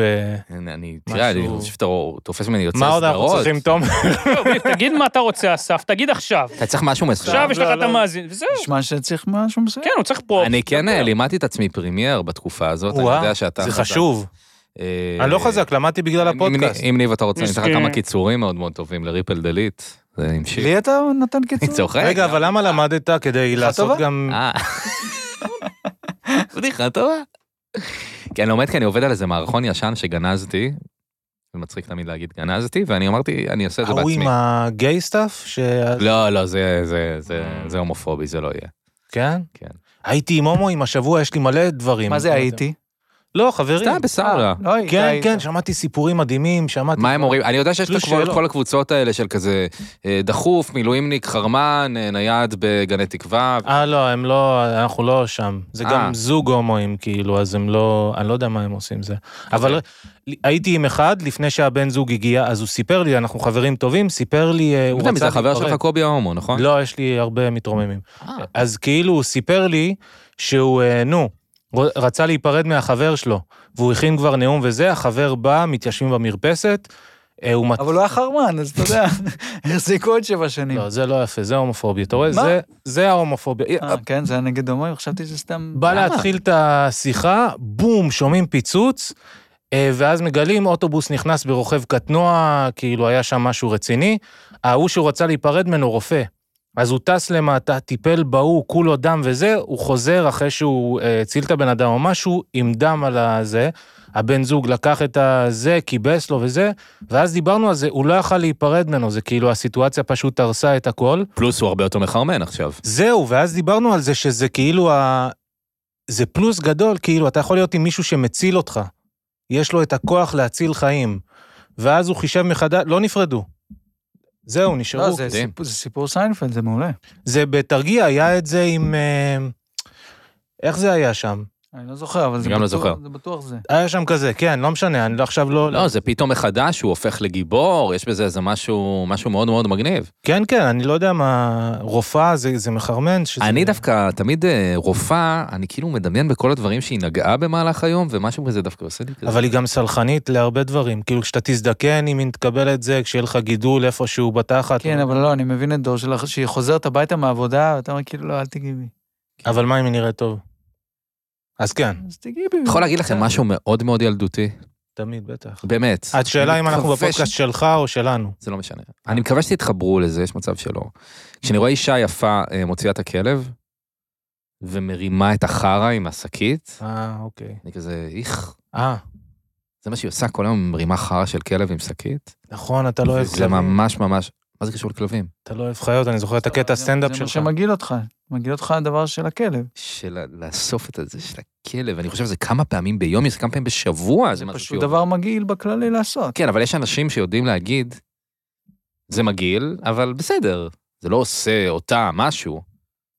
Speaker 1: אני- אני, תראה, אני
Speaker 4: אה, משהו-
Speaker 1: חושב שאתה רוא- תופס ממני יוצא
Speaker 4: מה עוד אנחנו
Speaker 1: סדרות.
Speaker 4: צריכים, תום?
Speaker 3: תגיד מה אתה רוצה, אסף, תגיד עכשיו.
Speaker 1: אתה צריך משהו מסוים.
Speaker 3: עכשיו יש
Speaker 4: לא,
Speaker 3: לך את
Speaker 4: לא.
Speaker 3: המאזין, וזהו.
Speaker 2: נשמע שצריך משהו מסוים.
Speaker 3: כן, הוא צריך פרופ.
Speaker 1: אני כן
Speaker 3: דבר.
Speaker 1: אה, לימדתי את עצמי פרימייר בתקופה הזאת, אני
Speaker 4: וואו,
Speaker 1: יודע שאתה...
Speaker 4: זה
Speaker 1: חזק.
Speaker 4: חשוב.
Speaker 1: אה,
Speaker 4: אני לא חזק, למדתי
Speaker 1: אם-
Speaker 4: בגלל
Speaker 1: אם-
Speaker 4: הפודקאסט.
Speaker 1: אם ניב אתה רוצה, אני אתן לך
Speaker 3: מסכים.
Speaker 1: כמה קיצורים מאוד מאוד טובים לריפל דליט. זה המשיך.
Speaker 2: לי אתה נותן
Speaker 1: כן. אני
Speaker 2: קיצור?
Speaker 1: צוחק.
Speaker 4: רגע, אבל למה למדת כדי לעשות
Speaker 2: טובה?
Speaker 4: גם...
Speaker 1: אה. בדיחה טובה. כי אני לומד כי אני עובד על איזה מערכון ישן שגנזתי. זה מצחיק תמיד להגיד גנזתי, ואני אמרתי, אני עושה את זה
Speaker 4: ההוא
Speaker 1: בעצמי.
Speaker 4: עם הגיי סטאף? ש...
Speaker 1: לא, לא, זה- זה- זה- זה הומופובי, זה לא יהיה.
Speaker 4: כן?
Speaker 1: כן.
Speaker 4: הייתי עם הומואים השבוע, יש לי מלא דברים.
Speaker 2: מה זה הייתי?
Speaker 4: לא, חברים.
Speaker 1: סתם בסאולה.
Speaker 2: לא הייתי.
Speaker 4: כן,
Speaker 2: היית.
Speaker 4: כן, שמעתי סיפורים מדהימים, שמעתי...
Speaker 1: מה הם אומרים? אני יודע שיש את
Speaker 4: תלוש
Speaker 1: כבר את
Speaker 4: שאלות.
Speaker 1: כל הקבוצות האלה של כזה אה, דחוף, מילואימניק, חרמן, אה, נייד בגני תקווה.
Speaker 4: אה, לא, הם לא, אנחנו לא שם. זה
Speaker 1: אה.
Speaker 4: גם זוג הומואים, כאילו, אז הם לא, אני לא יודע מה הם עושים זה.
Speaker 1: אוקיי.
Speaker 4: אבל הייתי עם אחד לפני שהבן זוג הגיע, אז הוא סיפר לי, אנחנו חברים טובים, סיפר לי, אה, הוא
Speaker 1: אתה יודע מי זה
Speaker 4: רצה
Speaker 1: החבר שלך
Speaker 4: להיפרד.
Speaker 1: קובי ההומו, נכון?
Speaker 4: לא, יש לי הרבה מתרוממים.
Speaker 1: אה,
Speaker 4: אז כאילו, הוא סיפר לי שהוא, אה, נו, ר- רצה להיפרד מהחבר שלו, והוא הכין כבר נאום וזה, החבר בא, מתיישבים במרפסת, אה, הוא מת...
Speaker 2: אבל לא- הוא היה חרמן, אז אתה יודע, החזיקו עוד שבע שנים.
Speaker 4: לא, זה לא יפה, זה הומופוביה, אתה רואה?
Speaker 2: מה?
Speaker 4: זה- זה ההומופוביה.
Speaker 2: אה, כן, זה היה נגד הומואים, חשבתי שזה סתם...
Speaker 4: בא
Speaker 1: למה?
Speaker 4: להתחיל את השיחה, בום, שומעים פיצוץ, אה, ואז מגלים אוטובוס נכנס ברוכב קטנוע, כאילו היה שם משהו רציני. ההוא שהוא רצה להיפרד ממנו רופא. אז הוא טס למטה, טיפל בהוא, כולו דם וזה, הוא חוזר אחרי שהוא אה, הציל את הבן אדם או משהו, עם דם על הזה. הבן זוג לקח את הזה, כיבס לו וזה, ואז דיברנו על זה, הוא לא יכל להיפרד ממנו, זה כאילו הסיטואציה פשוט הרסה את הכל.
Speaker 1: פלוס הוא הרבה יותר מחרמן עכשיו.
Speaker 4: זהו, ואז דיברנו על זה שזה כאילו ה... זה פלוס גדול, כאילו, אתה יכול להיות עם מישהו שמציל אותך. יש לו את הכוח להציל חיים. ואז הוא חישב מחדש, לא נפרדו. זהו, נשארו.
Speaker 2: לא,
Speaker 4: זה...
Speaker 2: זה
Speaker 1: אוקיי.
Speaker 2: סיפור- זה סיפור סיינפלד, זה מעולה.
Speaker 4: זה בתרגיע, היה את זה עם... אה, איך זה היה שם?
Speaker 2: אני לא זוכר, אבל זה
Speaker 1: גם לא
Speaker 2: בטוח-
Speaker 1: זוכר.
Speaker 2: זה בטוח זה.
Speaker 4: היה שם כזה, כן, לא משנה, אני לא- עכשיו לא...
Speaker 1: לא, זה פתאום מחדש, הוא הופך לגיבור, יש בזה איזה משהו, משהו מאוד מאוד מגניב.
Speaker 4: כן, כן, אני לא יודע מה... רופאה זה, זה מחרמן? שזה...
Speaker 1: אני דווקא, תמיד אה, רופאה, אני כאילו מדמיין בכל הדברים שהיא נגעה במהלך היום, ומשהו כזה דווקא עושה לי כזה.
Speaker 4: אבל היא גם סלחנית להרבה דברים. כאילו, כשאתה תזדקן, אם היא תקבל את זה, כשיהיה לך גידול איפשהו בתחת.
Speaker 2: כן, אבל לא, אני מבין את דור שלך, שהיא חוזרת הביתה מהעבודה, ואתה אומר, כאילו, לא, אל תיגעי בי.
Speaker 4: אבל מה אם היא נראית טוב? אז כן,
Speaker 2: אז תיגעי בי.
Speaker 1: אני יכול להגיד לכם משהו מאוד מאוד ילדותי,
Speaker 4: תמיד, בטח.
Speaker 1: באמת.
Speaker 4: השאלה
Speaker 1: אני
Speaker 4: אם אנחנו
Speaker 1: מקווה
Speaker 4: בפודקאסט
Speaker 1: ש-
Speaker 4: שלך או שלנו.
Speaker 1: זה לא משנה. אני מקווה שתתחברו לזה, יש מצב שלא. כשאני רואה אישה יפה אה, מוציאה את הכלב, ומרימה את החרא עם השקית,
Speaker 4: אה, אוקיי.
Speaker 1: אני כזה, איך,
Speaker 4: אה,
Speaker 1: זה מה שהיא עושה כל היום, מרימה חרא של כלב עם שקית?
Speaker 4: נכון, אתה לא אוהב
Speaker 1: זה
Speaker 4: כלבים.
Speaker 1: ממש ממש, מה זה קשור לכלבים?
Speaker 4: אתה לא אוהב חיות, אני זוכר את הקטע הסטנדאפ
Speaker 2: זה מה
Speaker 4: שלך.
Speaker 2: שמגעיל אותך. מגעיל אותך הדבר של הכלב.
Speaker 1: של לאסוף את הזה של הכלב, אני חושב שזה כמה פעמים ביום, זה כמה פעמים בשבוע,
Speaker 2: זה
Speaker 1: זה משהו
Speaker 2: פשוט
Speaker 1: שיורד.
Speaker 2: דבר מגעיל בכללי לעשות.
Speaker 1: כן, אבל יש אנשים שיודעים להגיד, זה מגעיל, אבל בסדר, זה לא עושה אותה משהו.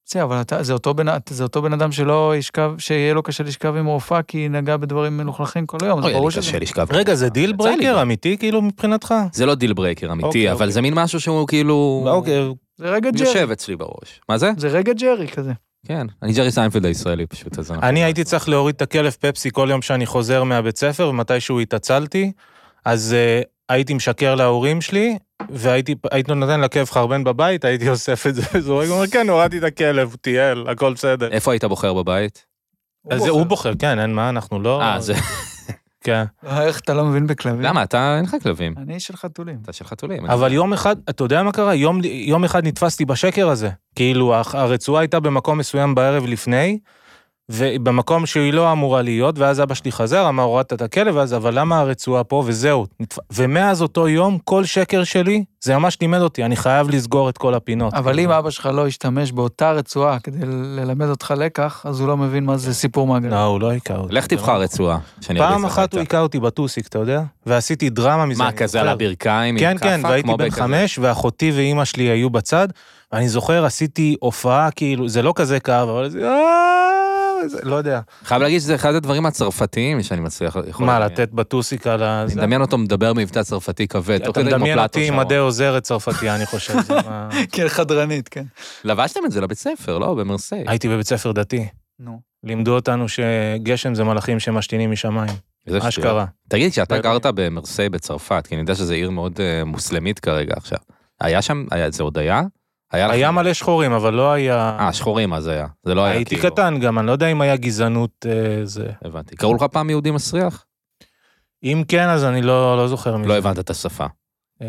Speaker 2: בסדר, אבל אתה- זה אותו בן- זה אותו בן אדם שלא ישכב, שיהיה לו קשה לשכב עם רופאה, כי היא נגעה בדברים מלוכלכים כל היום, אז
Speaker 1: אוי,
Speaker 2: ברור
Speaker 1: אני
Speaker 2: שזה...
Speaker 1: קשה לשכב.
Speaker 4: רגע, זה דיל
Speaker 1: יצא לי
Speaker 4: ברייקר
Speaker 1: גם.
Speaker 4: אמיתי, כאילו, מבחינתך?
Speaker 1: זה לא דיל ברייקר אמיתי,
Speaker 4: אוקיי,
Speaker 1: אבל
Speaker 4: אוקיי.
Speaker 1: זה מין משהו שהוא כאילו...
Speaker 4: אוקיי,
Speaker 2: זה רגע ג'רי.
Speaker 1: יושב אצלי בראש. מה זה?
Speaker 2: זה רגע ג'רי כזה.
Speaker 1: כן, אני ג'רי סיינפלד הישראלי פשוט, אז אנחנו-
Speaker 4: אני הייתי צריך להוריד את הכלב פפסי כל יום שאני חוזר מהבית ספר, ומתישהו התעצלתי, אז uh, הייתי משקר להורים שלי, והייתי הייתי נותן לכלב חרבן בבית, הייתי אוסף את זה וזורק, הוא אומר, כן, הורדתי את הכלב, הוא טייל, הכל בסדר.
Speaker 1: איפה היית בוחר בבית?
Speaker 4: אז זה הוא בוחר, כן, אין מה, אנחנו לא...
Speaker 1: אה, זה...
Speaker 4: כן.
Speaker 2: איך אתה לא מבין בכלבים?
Speaker 1: למה? אתה, אין לך כלבים.
Speaker 2: אני איש של חתולים.
Speaker 1: אתה של חתולים.
Speaker 4: אבל יום אחד, אתה יודע מה קרה? יום, יום אחד נתפסתי בשקר הזה. כאילו, הח- הרצועה הייתה במקום מסוים בערב לפני, ובמקום שהיא לא אמורה להיות, ואז אבא שלי חזר, אמר, הורדת את הכלב, ואז, אבל למה הרצועה פה? וזהו. נתפ... ומאז אותו יום, כל שקר שלי, זה ממש לימד אותי, אני חייב לסגור את כל הפינות.
Speaker 2: אבל אם אבא שלך לא ישתמש באותה רצועה כדי ללמד אותך לקח, אז הוא לא מבין מה זה סיפור מעגל.
Speaker 4: לא, הוא לא היכה אותי.
Speaker 1: לך תבחר רצועה. שאני אריץ
Speaker 4: פעם
Speaker 1: לך
Speaker 4: אחת
Speaker 1: איתה.
Speaker 4: הוא היכה אותי בטוסיק, אתה יודע? ועשיתי דרמה מזה.
Speaker 1: מה,
Speaker 4: אני
Speaker 1: כזה על
Speaker 4: זוכר.
Speaker 1: הברכיים עם
Speaker 4: כן,
Speaker 1: כאפה?
Speaker 4: כן, והייתי
Speaker 1: כמו
Speaker 4: בן
Speaker 1: בכזה?
Speaker 4: חמש, ואחותי ואימא שלי היו בצד, ואני זוכר, עשיתי הופעה, כאילו, זה לא כזה כאב, אבל זה... "אה", זה- לא יודע.
Speaker 1: חייב להגיד שזה אחד הדברים הצרפתיים שאני מצליח... יכול
Speaker 4: מה,
Speaker 1: לדמיין.
Speaker 4: לתת בטוסיק על ה...
Speaker 1: אני
Speaker 4: זה?
Speaker 1: מדמיין אותו מדבר מבטא צרפתי כבד. תוך
Speaker 4: אתה
Speaker 1: כדי כמו
Speaker 4: מדמיין
Speaker 1: פלטו
Speaker 4: אותי עם
Speaker 1: שם.
Speaker 4: מדי עוזרת צרפתייה, אני חושב. זה מה-
Speaker 2: כן, חדרנית, כן.
Speaker 1: לבשתם את זה לבית ספר, לא? במרסיי.
Speaker 4: הייתי בבית ספר דתי.
Speaker 2: נו.
Speaker 4: לימדו אותנו שגשם זה מלאכים שמשתינים משמיים.
Speaker 1: איזה שטויות.
Speaker 4: אשכרה.
Speaker 1: תגיד, כשאתה
Speaker 4: לא
Speaker 1: גרת במרסיי בצרפת, כי אני יודע שזו עיר מאוד אה, מוסלמית כרגע עכשיו, היה שם, היה- זה עוד היה? היה לך-
Speaker 4: היה מלא שחורים, אבל לא היה...
Speaker 1: אה, שחורים אז היה. זה לא היה
Speaker 4: הייתי
Speaker 1: כאילו-
Speaker 4: קטן גם, אני לא יודע אם היה גזענות אה, זה.
Speaker 1: הבנתי. קראו לך פעם יהודי מסריח?
Speaker 4: אם כן, אז אני לא לא זוכר מזה.
Speaker 1: לא הבנת את השפה.
Speaker 4: אה,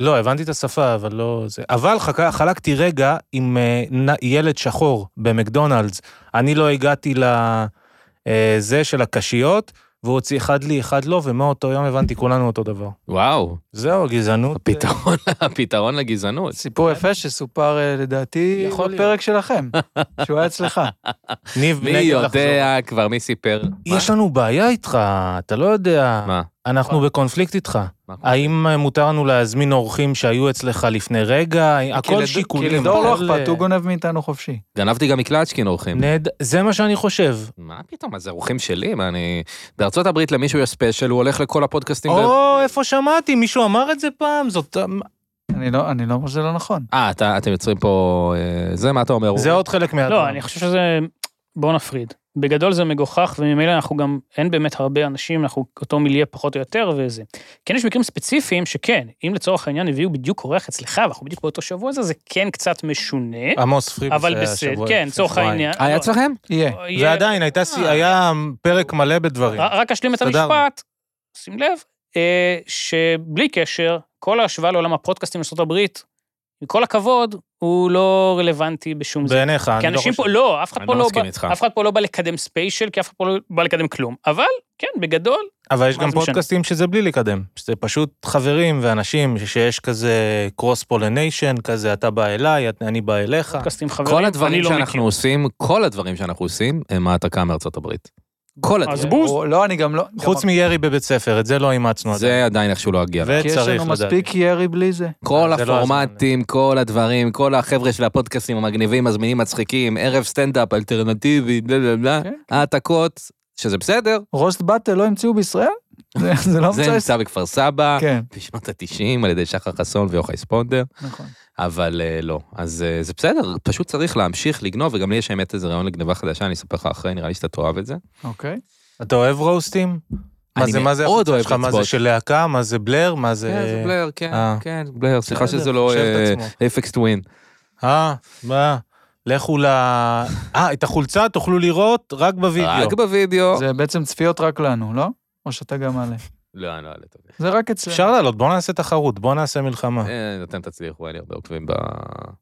Speaker 4: לא, הבנתי את השפה, אבל לא זה. אבל חק- חלקתי רגע עם אה, נ- ילד שחור במקדונלדס. אני לא הגעתי לזה של הקשיות, והוא הוציא אחד לי, אחד לא, ומאותו יום הבנתי כולנו אותו דבר. אוקיי.
Speaker 1: וואו,
Speaker 4: זהו, גזענות.
Speaker 1: הפתרון, הפתרון לגזענות.
Speaker 2: סיפור יפה שסופר אה, לדעתי
Speaker 4: יכול להיות.
Speaker 2: בפרק שלכם, שהוא היה אצלך.
Speaker 4: אה, ניב
Speaker 1: מי
Speaker 4: נגד לחזור.
Speaker 1: יודע כבר, מי סיפר?
Speaker 4: יש
Speaker 1: מה?
Speaker 4: לנו בעיה איתך, אתה לא יודע.
Speaker 1: מה?
Speaker 4: אנחנו בקונפליקט איתך.
Speaker 1: מה קורה?
Speaker 4: האם אה, מותר לנו להזמין אורחים שהיו אצלך לפני רגע?
Speaker 2: כי
Speaker 4: הכל
Speaker 2: לד-
Speaker 4: שיקולים.
Speaker 2: כי לדור לא
Speaker 4: הכל,
Speaker 2: אכפת, הוא
Speaker 4: אה,
Speaker 2: גונב מאיתנו חופשי.
Speaker 1: גנבתי גם מקלצ'קין אורחים.
Speaker 4: נהד- זה מה שאני חושב.
Speaker 1: מה פתאום, אז זה אורחים שלי? מה, אני... בארצות הברית למישהו יש ספיישל, הוא הולך לכל הפודקאסטים. ב-
Speaker 4: או, איפה שמעתי? מישהו אמר את זה פעם? זאת...
Speaker 2: אני לא אני לא אומר שזה לא נכון.
Speaker 1: אה, אתה- אתם יוצרים פה... אה, זה, מה אתה אומר?
Speaker 4: זה עוד חלק מה...
Speaker 3: לא, אני חושב שזה... בואו נפריד. בגדול זה מגוחך, וממילא אנחנו גם, אין באמת הרבה אנשים, אנחנו אותו מיליה פחות או יותר וזה. כן, יש מקרים ספציפיים שכן, אם לצורך העניין הביאו בדיוק אורח אצלך, ואנחנו בדיוק באותו שבוע הזה, זה כן קצת משונה,
Speaker 4: עמוס פריבוס
Speaker 3: אבל
Speaker 4: היה
Speaker 3: בסדר,
Speaker 4: שבוע
Speaker 3: כן,
Speaker 4: לפני
Speaker 3: לצורך
Speaker 4: שבועיים.
Speaker 3: העניין.
Speaker 1: היה
Speaker 3: לא,
Speaker 1: אצלכם?
Speaker 2: יהיה.
Speaker 3: יהיה-
Speaker 4: ועדיין, הייתה סי-
Speaker 3: אה.
Speaker 4: היה פרק מלא בדברים.
Speaker 3: ר- רק אשלים את
Speaker 4: הסתדרנו.
Speaker 3: המשפט, שים לב, אה, שבלי קשר, כל ההשוואה לעולם הפודקאסטים בארה"ב, עם כל הכבוד, הוא לא רלוונטי בשום זה.
Speaker 4: בעיניך,
Speaker 3: כי
Speaker 4: אני לא
Speaker 3: אנשים
Speaker 4: חושב.
Speaker 3: פה, לא, אף אחד
Speaker 1: אני
Speaker 3: פה
Speaker 1: לא
Speaker 3: לא
Speaker 1: מסכים
Speaker 3: בא-
Speaker 1: איתך.
Speaker 3: אף אחד פה לא בא לקדם ספיישל, כי אף אחד פה לא בא לקדם כלום. אבל, כן, בגדול,
Speaker 4: אבל יש
Speaker 3: מה
Speaker 4: גם
Speaker 3: זה משנה?
Speaker 4: פודקאסטים שזה בלי לקדם. שזה פשוט חברים ואנשים שיש כזה קרוס פולניישן, כזה אתה בא אליי, את- אני בא אליך.
Speaker 3: אוקיי. פודקאסטים חברים,
Speaker 1: כל
Speaker 3: אני
Speaker 1: הדברים
Speaker 3: לא
Speaker 1: שאנחנו
Speaker 3: מכיר.
Speaker 1: עושים, כל הדברים שאנחנו עושים, הם העתקה מארצות הברית. כל הדרך.
Speaker 3: אז בוז.
Speaker 2: או- לא, אני גם לא...
Speaker 4: חוץ
Speaker 2: גם-
Speaker 4: מירי בבית ספר, את זה לא אימצנו עדיין.
Speaker 1: זה עדיין איכשהו לא הגיע.
Speaker 2: כי יש
Speaker 4: וצריך
Speaker 2: לנו
Speaker 4: לדעת.
Speaker 2: מספיק ירי בלי זה.
Speaker 1: כל
Speaker 4: זה לא
Speaker 1: הפורמטים, כל הדברים, כל החבר'ה של הפודקאסטים המגניבים, מזמינים, מצחיקים, ערב סטנדאפ, אלטרנטיבי, בלה בלה בלה,
Speaker 2: כן,
Speaker 1: העתקות, שזה בסדר,
Speaker 2: רוסט באטל לא המציאו בישראל? זה- זה לא
Speaker 1: זה
Speaker 2: המצאה
Speaker 1: נמצא בכפר סבא,
Speaker 2: כן,
Speaker 1: בשנות ה-90 על ידי שחר חסון ויוחאי ספונדר,
Speaker 2: נכון.
Speaker 1: אבל אה, לא. אז אה, זה בסדר, פשוט צריך להמשיך לגנוב, וגם לי יש האמת איזה רעיון לגניבה חדשה, אני אספר לך אחרי, נראה לי שאתה תאהב את זה.
Speaker 2: אוקיי.
Speaker 4: אתה אוהב רוסטים? מה
Speaker 1: אני
Speaker 4: זה, מה זה
Speaker 1: מאוד
Speaker 4: החוצה
Speaker 1: אוהב
Speaker 4: שלך? מה זה
Speaker 1: לצפות.
Speaker 4: של להקה? מה זה בלר? מה זה...
Speaker 1: כן, זה בלר, כן,
Speaker 4: אה.
Speaker 1: כן, בלר, סליחה
Speaker 4: בסדר,
Speaker 1: שזה לא
Speaker 4: חושב את עצמו.
Speaker 1: אפקס טווין.
Speaker 4: אה, מה? לכו ל... אה, את החולצה תוכלו לראות רק בווידאו.
Speaker 1: רק
Speaker 3: לא.
Speaker 1: בווידאו.
Speaker 2: זה בעצם צפיות רק לנו, לא? או שאתה גם מעלה.
Speaker 1: לא, אני לא אעלה את זה.
Speaker 2: זה רק אצלנו.
Speaker 4: אפשר לעלות, בואו נעשה תחרות, בואו נעשה מלחמה.
Speaker 1: אה, אתם תצליחו, אין לי הרבה עוקבים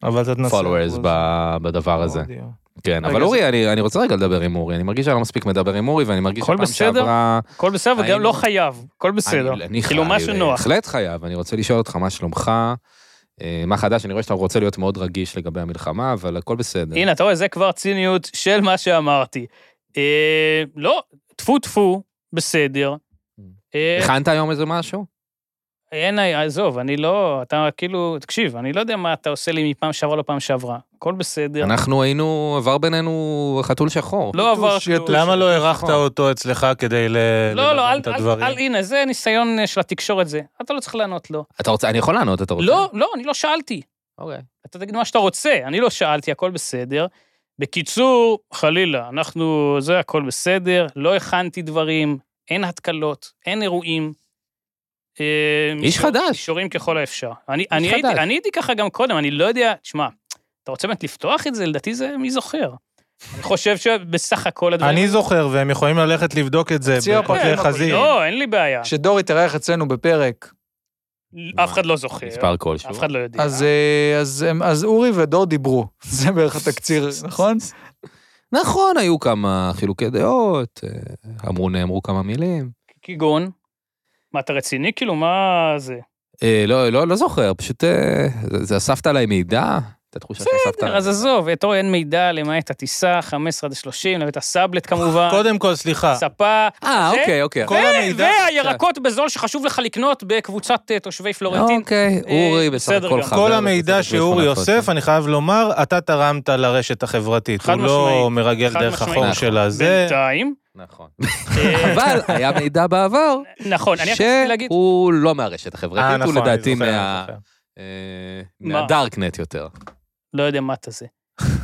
Speaker 4: אבל אתה תנסה.
Speaker 1: ב-followers ב- בדבר הזה.
Speaker 4: אודיו.
Speaker 1: כן, אבל
Speaker 4: אוקיי. רגע,
Speaker 1: אורי, אני- אני רוצה רגע לדבר עם אורי, אני מרגיש שאני לא מספיק מדבר עם אורי, ואני מרגיש
Speaker 3: הכל
Speaker 1: שפעם
Speaker 3: בסדר?
Speaker 1: שעברה...
Speaker 3: הכל בסדר, וגם
Speaker 1: היינו-
Speaker 3: לא חייב, הכל בסדר.
Speaker 1: אני- לא- אני
Speaker 3: כאילו,
Speaker 1: חי-
Speaker 3: מה שנוח.
Speaker 1: בהחלט חייב, אני רוצה לשאול אותך מה שלומך, אה, מה חדש, אני רואה שאתה רוצה להיות מאוד רגיש לגבי המלחמה, אבל הכל בסדר.
Speaker 3: הנה, אתה רואה, זה כבר ציניות של מה שאמרתי. אה, לא, טפו טפו, בסדר.
Speaker 1: Mm.
Speaker 3: אה,
Speaker 1: הכנת היום איזה משהו?
Speaker 3: אין, עזוב, אני לא, אתה כאילו, תקשיב, אני לא יודע מה אתה עושה לי מפעם שעברה לפעם שעברה. הכל בסדר.
Speaker 1: אנחנו היינו, עבר בינינו חתול שחור.
Speaker 3: אה, לא עבר
Speaker 2: יתוש,
Speaker 3: כלום.
Speaker 2: יתוש.
Speaker 4: למה לא אירחת אותו אצלך כדי ל...
Speaker 3: לא, לא,
Speaker 4: ללבן
Speaker 3: אל,
Speaker 4: את
Speaker 3: אל,
Speaker 4: הדברים?
Speaker 3: אל, הנה, זה ניסיון אה, של התקשורת זה. אתה לא צריך לענות לו.
Speaker 1: אתה רוצה, אני יכול לענות,
Speaker 4: אוקיי.
Speaker 1: אתה רוצה?
Speaker 3: לא, לא, אני לא שאלתי.
Speaker 1: אוקיי.
Speaker 3: אתה תגיד מה שאתה רוצה, אני לא שאלתי, הכל בסדר. בקיצור, חלילה, אנחנו, זה הכל בסדר, לא הכנתי דברים, אין התקלות, אין אירועים. אה,
Speaker 1: איש
Speaker 3: מישור-
Speaker 1: חדש.
Speaker 3: מישורים ככל האפשר. אני, אני,
Speaker 1: חדש.
Speaker 3: הייתי, אני הייתי ככה גם קודם, אני לא יודע, תשמע, אתה רוצה באמת לפתוח את זה? לדעתי זה מי זוכר. אני חושב שבסך הכל הדברים... כן,
Speaker 4: אני זוכר, והם יכולים ללכת לבדוק את זה
Speaker 2: ציור
Speaker 4: בפרקי
Speaker 2: פרקים,
Speaker 4: חזיר.
Speaker 3: לא, אין לי בעיה.
Speaker 2: כשדור התארח אצלנו בפרק,
Speaker 3: אף אחד לא זוכר,
Speaker 1: מספר כלשהו.
Speaker 3: אף אחד לא יודע.
Speaker 2: אז, אה, אז, הם- אז אורי ודור דיברו. זה בערך התקציר, נכון?
Speaker 1: נכון, היו כמה חילוקי דעות, אה, אמרו, נאמרו כמה מילים.
Speaker 3: כגון, מה, אתה רציני? כאילו, מה זה?
Speaker 1: אה, לא, לא, לא זוכר, פשוט אה, זה זה אספת עליי מידע, את התחושה שאספת
Speaker 3: בסדר,
Speaker 1: עליי.
Speaker 3: אז עזוב, את אורי אין מידע למעט הטיסה, 15 עד 30, למעט הסאבלט כמובן,
Speaker 4: קודם כל, סליחה,
Speaker 3: ספה,
Speaker 1: אה,
Speaker 3: זה-
Speaker 1: אוקיי, אוקיי.
Speaker 4: כל המידע...
Speaker 3: והירקות בזול שחשוב לך לקנות בקבוצת אה, תושבי פלורנטין.
Speaker 1: אוקיי,
Speaker 3: אה,
Speaker 1: אורי בסך
Speaker 3: בסדר
Speaker 1: הכל
Speaker 3: גם.
Speaker 1: חבר.
Speaker 4: כל
Speaker 1: בקבוצת
Speaker 4: המידע
Speaker 1: הפלאפון
Speaker 4: שאורי
Speaker 1: הפרטית.
Speaker 4: אוסף, אני חייב לומר, אתה תרמת לרשת החברתית.
Speaker 3: חד
Speaker 4: הוא לא
Speaker 3: משמעית.
Speaker 4: מרגל
Speaker 3: חד
Speaker 4: דרך
Speaker 3: משמעית.
Speaker 4: החור
Speaker 1: נכון.
Speaker 4: שלה. זה...
Speaker 3: בינתיים.
Speaker 1: נכון.
Speaker 3: אה,
Speaker 1: אבל היה מידע בעבר,
Speaker 3: נכון, אני רק רציתי להגיד,
Speaker 1: שהוא לא מהרשת
Speaker 4: אה,
Speaker 1: החברתית,
Speaker 4: נכון,
Speaker 1: הוא
Speaker 4: אני
Speaker 1: לדעתי
Speaker 4: זוכר, אני
Speaker 1: מה-
Speaker 4: זוכר.
Speaker 1: אה,
Speaker 3: מה?
Speaker 1: מהדארקנט יותר.
Speaker 3: לא יודע מה אתה זה.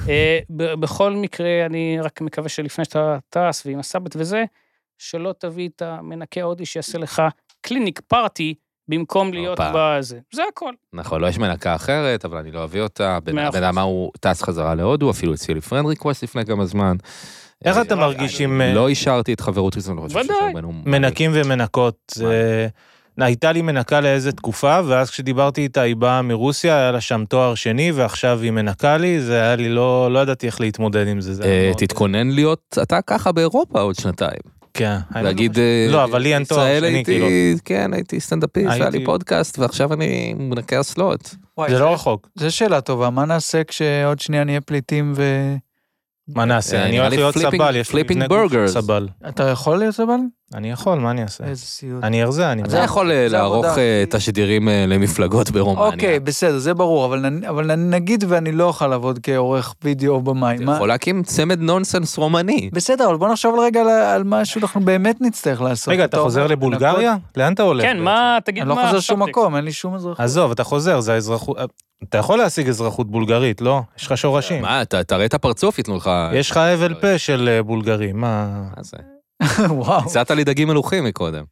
Speaker 3: אה, ב- בכל מקרה, אני רק מקווה שלפני שאתה טס ועם הסאבלט וזה, שלא תביא את המנקה ההודי שיעשה לך קליניק פארטי במקום להיות
Speaker 1: הופה.
Speaker 3: בזה. זה הכל.
Speaker 1: נכון, לא, יש מנקה אחרת, אבל אני לא אביא אותה. בן
Speaker 3: מאה
Speaker 1: בן
Speaker 3: אחוז.
Speaker 1: אדם הוא טס חזרה להודו, אפילו הציע לי פרנד ריקווסט לפני כמה זמן.
Speaker 4: איך
Speaker 1: אה,
Speaker 4: אתה מרגיש עם אה,
Speaker 1: לא אישרתי את חברות חיסון, אני חושב שיש
Speaker 3: ודאי.
Speaker 1: בינינו-
Speaker 4: מנקים ומנקות?
Speaker 1: אוקיי. מה?
Speaker 4: אה, הייתה לי מנקה לאיזה תקופה, ואז כשדיברתי איתה, היא באה מרוסיה, היה לה שם תואר שני, ועכשיו היא מנקה לי, זה היה לי לא... לא ידעתי איך להתמודד עם זה. זה היה
Speaker 1: אה,
Speaker 4: מאוד-
Speaker 1: תתכונן להיות אתה ככה באירופה עוד שנתיים.
Speaker 4: כן. האמת,
Speaker 1: להגיד...
Speaker 4: לא, אבל לי אין תואר
Speaker 1: ישראל
Speaker 4: שני,
Speaker 1: הייתי-
Speaker 4: כאילו.
Speaker 1: כן, הייתי סטנדאפיסט, היה לי
Speaker 4: הייתי-
Speaker 1: פודקאסט, ועכשיו אני מנקה אסלות.
Speaker 2: וואי,
Speaker 4: זה לא רחוק.
Speaker 2: זו שאלה טובה, מה נעשה כשעוד שנייה נהיה פליטים ו...
Speaker 4: מה נעשה?
Speaker 1: אה,
Speaker 4: אני
Speaker 1: נראה
Speaker 4: הולך
Speaker 1: לי
Speaker 4: להיות
Speaker 1: flipping-
Speaker 4: סבל, יש לי
Speaker 1: flipping
Speaker 4: מבנה גוף של
Speaker 1: burgers.
Speaker 4: סבל.
Speaker 2: אתה יכול להיות אבל?
Speaker 4: אני יכול, מה אני אעשה?
Speaker 2: איזה סיוט.
Speaker 4: כן. אני ארזה, אני...
Speaker 1: אתה יכול אה,
Speaker 2: זה
Speaker 1: לערוך
Speaker 2: עבודה.
Speaker 1: אה, תשדירים אה, למפלגות ברומניה.
Speaker 2: אוקיי, בסדר, זה ברור, אבל נ- אבל נ- נגיד ואני לא אוכל לעבוד כעורך וידאו או במאי,
Speaker 1: אתה
Speaker 2: מה?
Speaker 1: יכול להקים צמד נונסנס רומני.
Speaker 2: בסדר, אבל בוא נחשוב רגע על- על מה שאנחנו באמת נצטרך לעשות.
Speaker 4: רגע, אתה חוזר
Speaker 2: אומר,
Speaker 4: לבולגריה? לאן אתה הולך?
Speaker 3: כן,
Speaker 4: בעצם?
Speaker 3: מה, תגיד
Speaker 2: אני
Speaker 3: מה...
Speaker 2: לא חוזר לשום
Speaker 3: הסאבטקסט.
Speaker 2: מקום, אין לי שום אזרחות.
Speaker 4: עזוב, אתה חוזר, זה האזרחות... אה, אתה יכול להשיג אזרחות בולגרית, לא? יש לך שורשים.
Speaker 1: מה, אתה תראה את הפרצוף, ייתנו לך...
Speaker 4: יש לך הבל פה של אה, בולגרים, מה...
Speaker 1: מה זה?
Speaker 2: וואו,
Speaker 1: הצעת לי דגים מלוכים מקודם.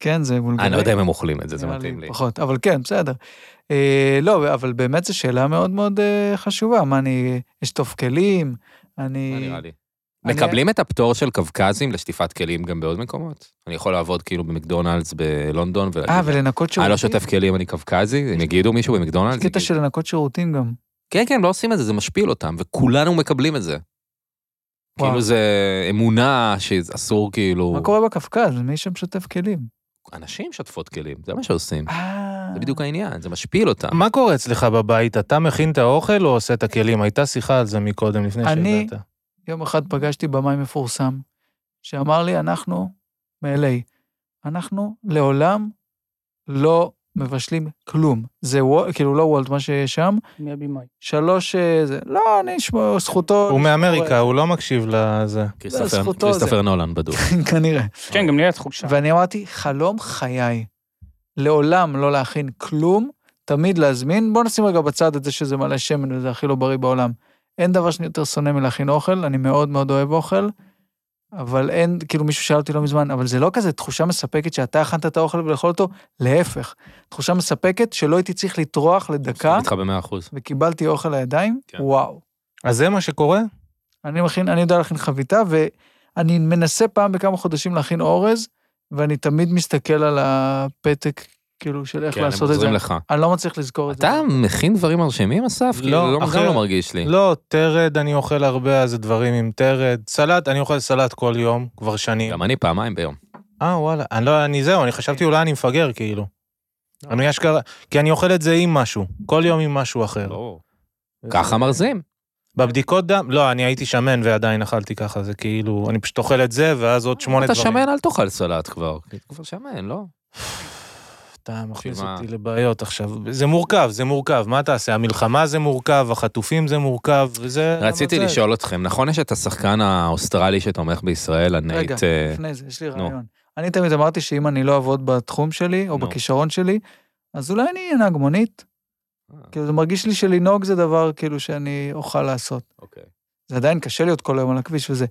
Speaker 2: כן, זה בולגריה.
Speaker 1: אני לא יודע אם הם אוכלים את זה, זה
Speaker 2: נראה
Speaker 1: מתאים לי.
Speaker 2: פחות, אבל כן, בסדר. אה, לא, אבל באמת זו שאלה מאוד מאוד אה, חשובה. מה, אני אשטוף כלים?
Speaker 1: מה
Speaker 2: אני...
Speaker 1: נראה לי?
Speaker 2: אני-
Speaker 1: מקבלים את הפטור של קווקזים לשטיפת כלים גם בעוד מקומות? אני יכול לעבוד כאילו במקדונלדס בלונדון
Speaker 2: אה,
Speaker 1: ולהגיד,
Speaker 2: ולנקות שירותים?
Speaker 1: אני לא שוטף כאילו. כלים, אני קווקזי, אם יגידו מישהו
Speaker 2: יש
Speaker 1: במקדונלדס,
Speaker 2: קטע
Speaker 1: יגידו.
Speaker 2: של לנקות שירותים גם.
Speaker 1: כן, כן, לא עושים את זה, זה משפיל אותם, וכולנו מקבלים את זה.
Speaker 2: וואו.
Speaker 1: כאילו זה אמונה שאסור כאילו...
Speaker 2: מה קורה בקפקז? מי שם שוטף כלים?
Speaker 1: אנשים שוטפות כלים, זה מה שעושים.
Speaker 2: אה...
Speaker 1: זה בדיוק העניין, זה משפיל אותם.
Speaker 4: מה קורה אצלך בבית? אתה מכין את האוכל או עושה את הכלים? הייתה שיחה על זה מקודם, לפני
Speaker 2: אני-
Speaker 4: שהגעת.
Speaker 2: יום אחד פגשתי במאי מפורסם, שאמר לי, אנחנו מ-LA, אנחנו לעולם לא מבשלים כלום. זה וול, כאילו לא וולט, מה שיש שם,
Speaker 3: מהבימאי.
Speaker 2: שלוש... אה, זה, לא, אני אשמור, זכותו...
Speaker 4: הוא מאמריקה, הוא לא מקשיב לזה.
Speaker 1: כריסטופר-
Speaker 2: זכותו
Speaker 1: כריסטופר נולן בדוק.
Speaker 2: כנראה.
Speaker 3: כן, גם לי הייתה תחושה.
Speaker 2: ואני אמרתי, חלום חיי. לעולם לא להכין כלום, תמיד להזמין. בוא נשים רגע בצד את זה שזה מלא שמן וזה הכי לא בריא בעולם. אין דבר שאני יותר שונא מלהכין אוכל, אני מאוד מאוד אוהב אוכל, אבל אין, כאילו מישהו שאל אותי לא מזמן, אבל זה לא כזה תחושה מספקת שאתה הכנת את האוכל ולאכול אותו, להפך. תחושה מספקת שלא הייתי צריך לטרוח לדקה,
Speaker 1: איתך במאה אחוז.
Speaker 2: וקיבלתי אוכל לידיים,
Speaker 1: כן.
Speaker 2: וואו.
Speaker 4: אז זה מה שקורה?
Speaker 2: אני מכין, אני יודע להכין חביתה, ואני מנסה פעם בכמה חודשים להכין אורז, ואני תמיד מסתכל על הפתק, כאילו, של איך
Speaker 1: כן,
Speaker 2: כן,
Speaker 1: הם
Speaker 2: לעשות את זה.
Speaker 1: עוזרים לך.
Speaker 2: אני לא מצליח לזכור את זה.
Speaker 1: אתה מכין דברים מרשימים, אסף?
Speaker 4: לא,
Speaker 1: כאילו, לא,
Speaker 4: אחרת-
Speaker 1: גם לא מרגיש לי.
Speaker 4: לא, טרד אני אוכל הרבה, אז זה דברים עם טרד. סלט, אני אוכל סלט כל יום, כבר שנים.
Speaker 1: גם אני פעמיים ביום.
Speaker 4: אה, וואלה. אני לא, אני זהו, אני חשבתי אולי אני מפגר, כאילו. אני אשכרה, כי אני אוכל את זה עם משהו. כל יום עם משהו
Speaker 2: לא.
Speaker 4: אחר.
Speaker 1: לא, ככה מרזים.
Speaker 4: בבדיקות דם, לא, אני הייתי שמן ועדיין אכלתי ככה, זה כאילו, אני פשוט אוכל את זה, ואז עוד שמונה
Speaker 1: אתה
Speaker 4: דברים.
Speaker 1: שמן, אל תאכל סלט כבר. כבר שמן, לא?
Speaker 4: אתה מכניס
Speaker 1: בשביל מה?
Speaker 4: אותי לבעיות עכשיו. זה מורכב, זה מורכב, מה תעשה? המלחמה זה מורכב, החטופים זה מורכב, וזה...
Speaker 1: רציתי
Speaker 4: המצב.
Speaker 1: לשאול אתכם, נכון יש את השחקן האוסטרלי שתומך בישראל, הנייט...
Speaker 2: רגע,
Speaker 1: אה,
Speaker 2: לפני זה, יש לי
Speaker 1: נו.
Speaker 2: רעיון. אני תמיד אמרתי שאם אני לא אעבוד בתחום שלי, או
Speaker 1: נו.
Speaker 2: בכישרון שלי, אז אולי אני אהיה נהג מונית.
Speaker 1: אה.
Speaker 2: כאילו, זה מרגיש לי שלנהוג זה דבר, כאילו, שאני אוכל לעשות.
Speaker 1: אוקיי.
Speaker 2: זה עדיין קשה להיות כל היום על הכביש וזה.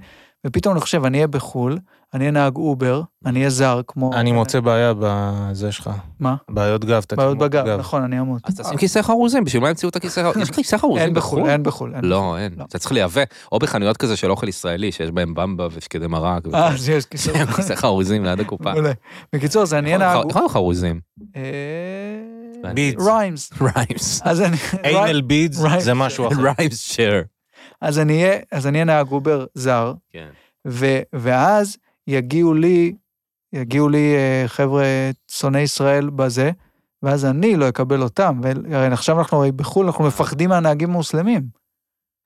Speaker 2: ופתאום אני חושב, אני אהיה בחו"ל, אני אהיה נהג אובר, אני אהיה זר, כמו...
Speaker 4: אני מוצא בעיה בזה שלך.
Speaker 2: מה?
Speaker 4: בעיות גב, אתה
Speaker 2: בעיות
Speaker 4: תתמוך
Speaker 2: בגב, נכון, אני אמות.
Speaker 1: אז תשים כיסא חרוזים, בשביל מה המציאו את הכיסא חרוזים? יש לך כיסא חרוזים
Speaker 2: אין
Speaker 1: בחו"ל?
Speaker 2: בחו"ל, אין בחו"ל. אין
Speaker 1: לא, אין.
Speaker 2: לא.
Speaker 1: אתה צריך לייבא, או בחנויות כזה של אוכל ישראלי, שיש בהם במבה ושקדי מרק.
Speaker 2: אה, אז יש כיסא.
Speaker 1: וכל- כיסא חרוזים ליד הקופה.
Speaker 2: מעולה. בקיצור, זה אני נהג...
Speaker 1: נכון חרוזים.
Speaker 2: אה,
Speaker 4: ביט.
Speaker 2: ריימס.
Speaker 1: ריימס.
Speaker 2: אז אני...
Speaker 4: איינל בידס
Speaker 2: right.
Speaker 4: זה משהו אחר.
Speaker 1: ריימס שייר.
Speaker 2: אז אני אהיה- אז אני אהיה נהג אובר זר,
Speaker 1: כן.
Speaker 2: ו- ואז יגיעו לי, יגיעו לי אה, חבר'ה שונאי ישראל בזה, ואז אני לא אקבל אותם. והרי עכשיו אנחנו הרי בחו"ל, אנחנו מפחדים מהנהגים המוסלמים.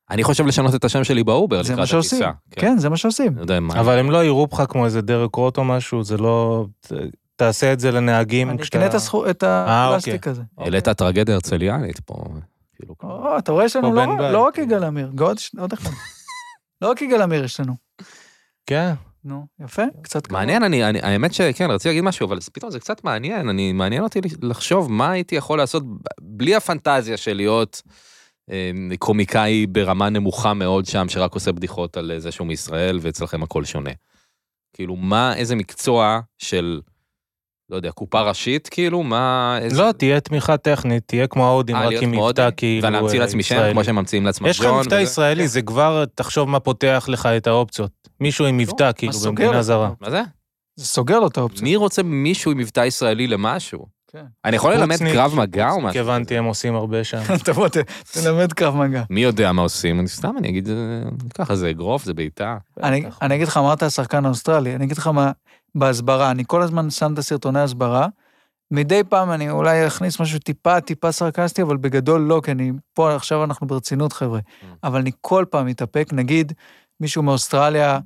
Speaker 1: אני חושב לשנות את השם שלי באובר
Speaker 2: זה
Speaker 1: לקראת
Speaker 2: מה
Speaker 1: הטיסה.
Speaker 2: שעושים. כן, זה מה שעושים.
Speaker 1: אני יודע מה.
Speaker 4: אבל הם לא יראו בך כמו איזה דרק רוט או משהו, זה לא... ת- תעשה את זה
Speaker 1: כן.
Speaker 4: לנהגים
Speaker 2: אני
Speaker 4: כשאתה...
Speaker 2: אקנה את הסכו- את
Speaker 1: אוקיי.
Speaker 4: אה,
Speaker 2: הפלסטיק הזה.
Speaker 1: העלית טרגדיה הרצליאנית פה. כאילו,
Speaker 2: או, אתה רואה, יש לנו
Speaker 4: כמו
Speaker 2: לא,
Speaker 4: בן
Speaker 2: רק-
Speaker 4: בית.
Speaker 2: לא רק יגאל עמיר, עוד, ש- עוד אחד. לא רק יגאל עמיר יש לנו.
Speaker 4: כן.
Speaker 2: נו, יפה, קצת כבוד.
Speaker 1: מעניין, אני, אני, האמת שכן, רציתי להגיד משהו, אבל פתאום זה קצת מעניין, אני, מעניין אותי לחשוב מה הייתי יכול לעשות ב- בלי הפנטזיה של להיות אה, קומיקאי ברמה נמוכה מאוד שם, שרק עושה בדיחות על אה, זה שהוא מישראל, ואצלכם הכל שונה. כאילו, מה, איזה מקצוע של, לא יודע, קופה ראשית, כאילו, מה... איזה...
Speaker 4: לא, תהיה תמיכה טכנית, תהיה כמו ההודים,
Speaker 1: אה,
Speaker 4: רק
Speaker 1: להיות
Speaker 4: עם
Speaker 1: כמו
Speaker 4: מבטא
Speaker 1: הודי?
Speaker 4: כאילו
Speaker 1: ואני אמציא
Speaker 4: אה,
Speaker 1: לעצמי שם,
Speaker 4: ישראלי.
Speaker 1: כמו שהם ממציאים לעצמם כן.
Speaker 4: יש לך מבטא
Speaker 2: כן.
Speaker 4: ישראלי, זה כבר, תחשוב מה פותח לך את האופציות. מישהו עם מבטא כאילו
Speaker 2: לא, מה סוגר
Speaker 4: במדינה
Speaker 2: אותו?
Speaker 4: זרה.
Speaker 1: מה זה?
Speaker 2: זה סוגר לו את האופציה.
Speaker 1: מי רוצה מישהו עם מבטא ישראלי למשהו?
Speaker 2: כן.
Speaker 1: אני יכול ללמד
Speaker 4: פוצניק,
Speaker 1: קרב מגע או
Speaker 4: פוצניק,
Speaker 1: משהו? כזה?
Speaker 4: הבנתי, הם עושים הרבה שם.
Speaker 2: תבוא, ת- תלמד קרב מגע.
Speaker 1: מי יודע מה עושים? אני סתם, אני אגיד, אה, ככה זה אגרוף, זה בעיטה.
Speaker 2: אני
Speaker 4: בטח.
Speaker 2: אני אגיד לך, אמרת השחקן האוסטרלי, אני אגיד לך מה, בהסברה, אני כל הזמן שם את הסרטוני הסברה. מדי פעם אני אולי אכניס משהו טיפה, טיפה סרקסטי, אבל בגדול לא, כי אני, פה עכשיו אנחנו ברצינות, חבר'ה.
Speaker 4: אה.
Speaker 2: אבל אני כל פעם מתאפק, נגיד, מישהו מאוסטרליה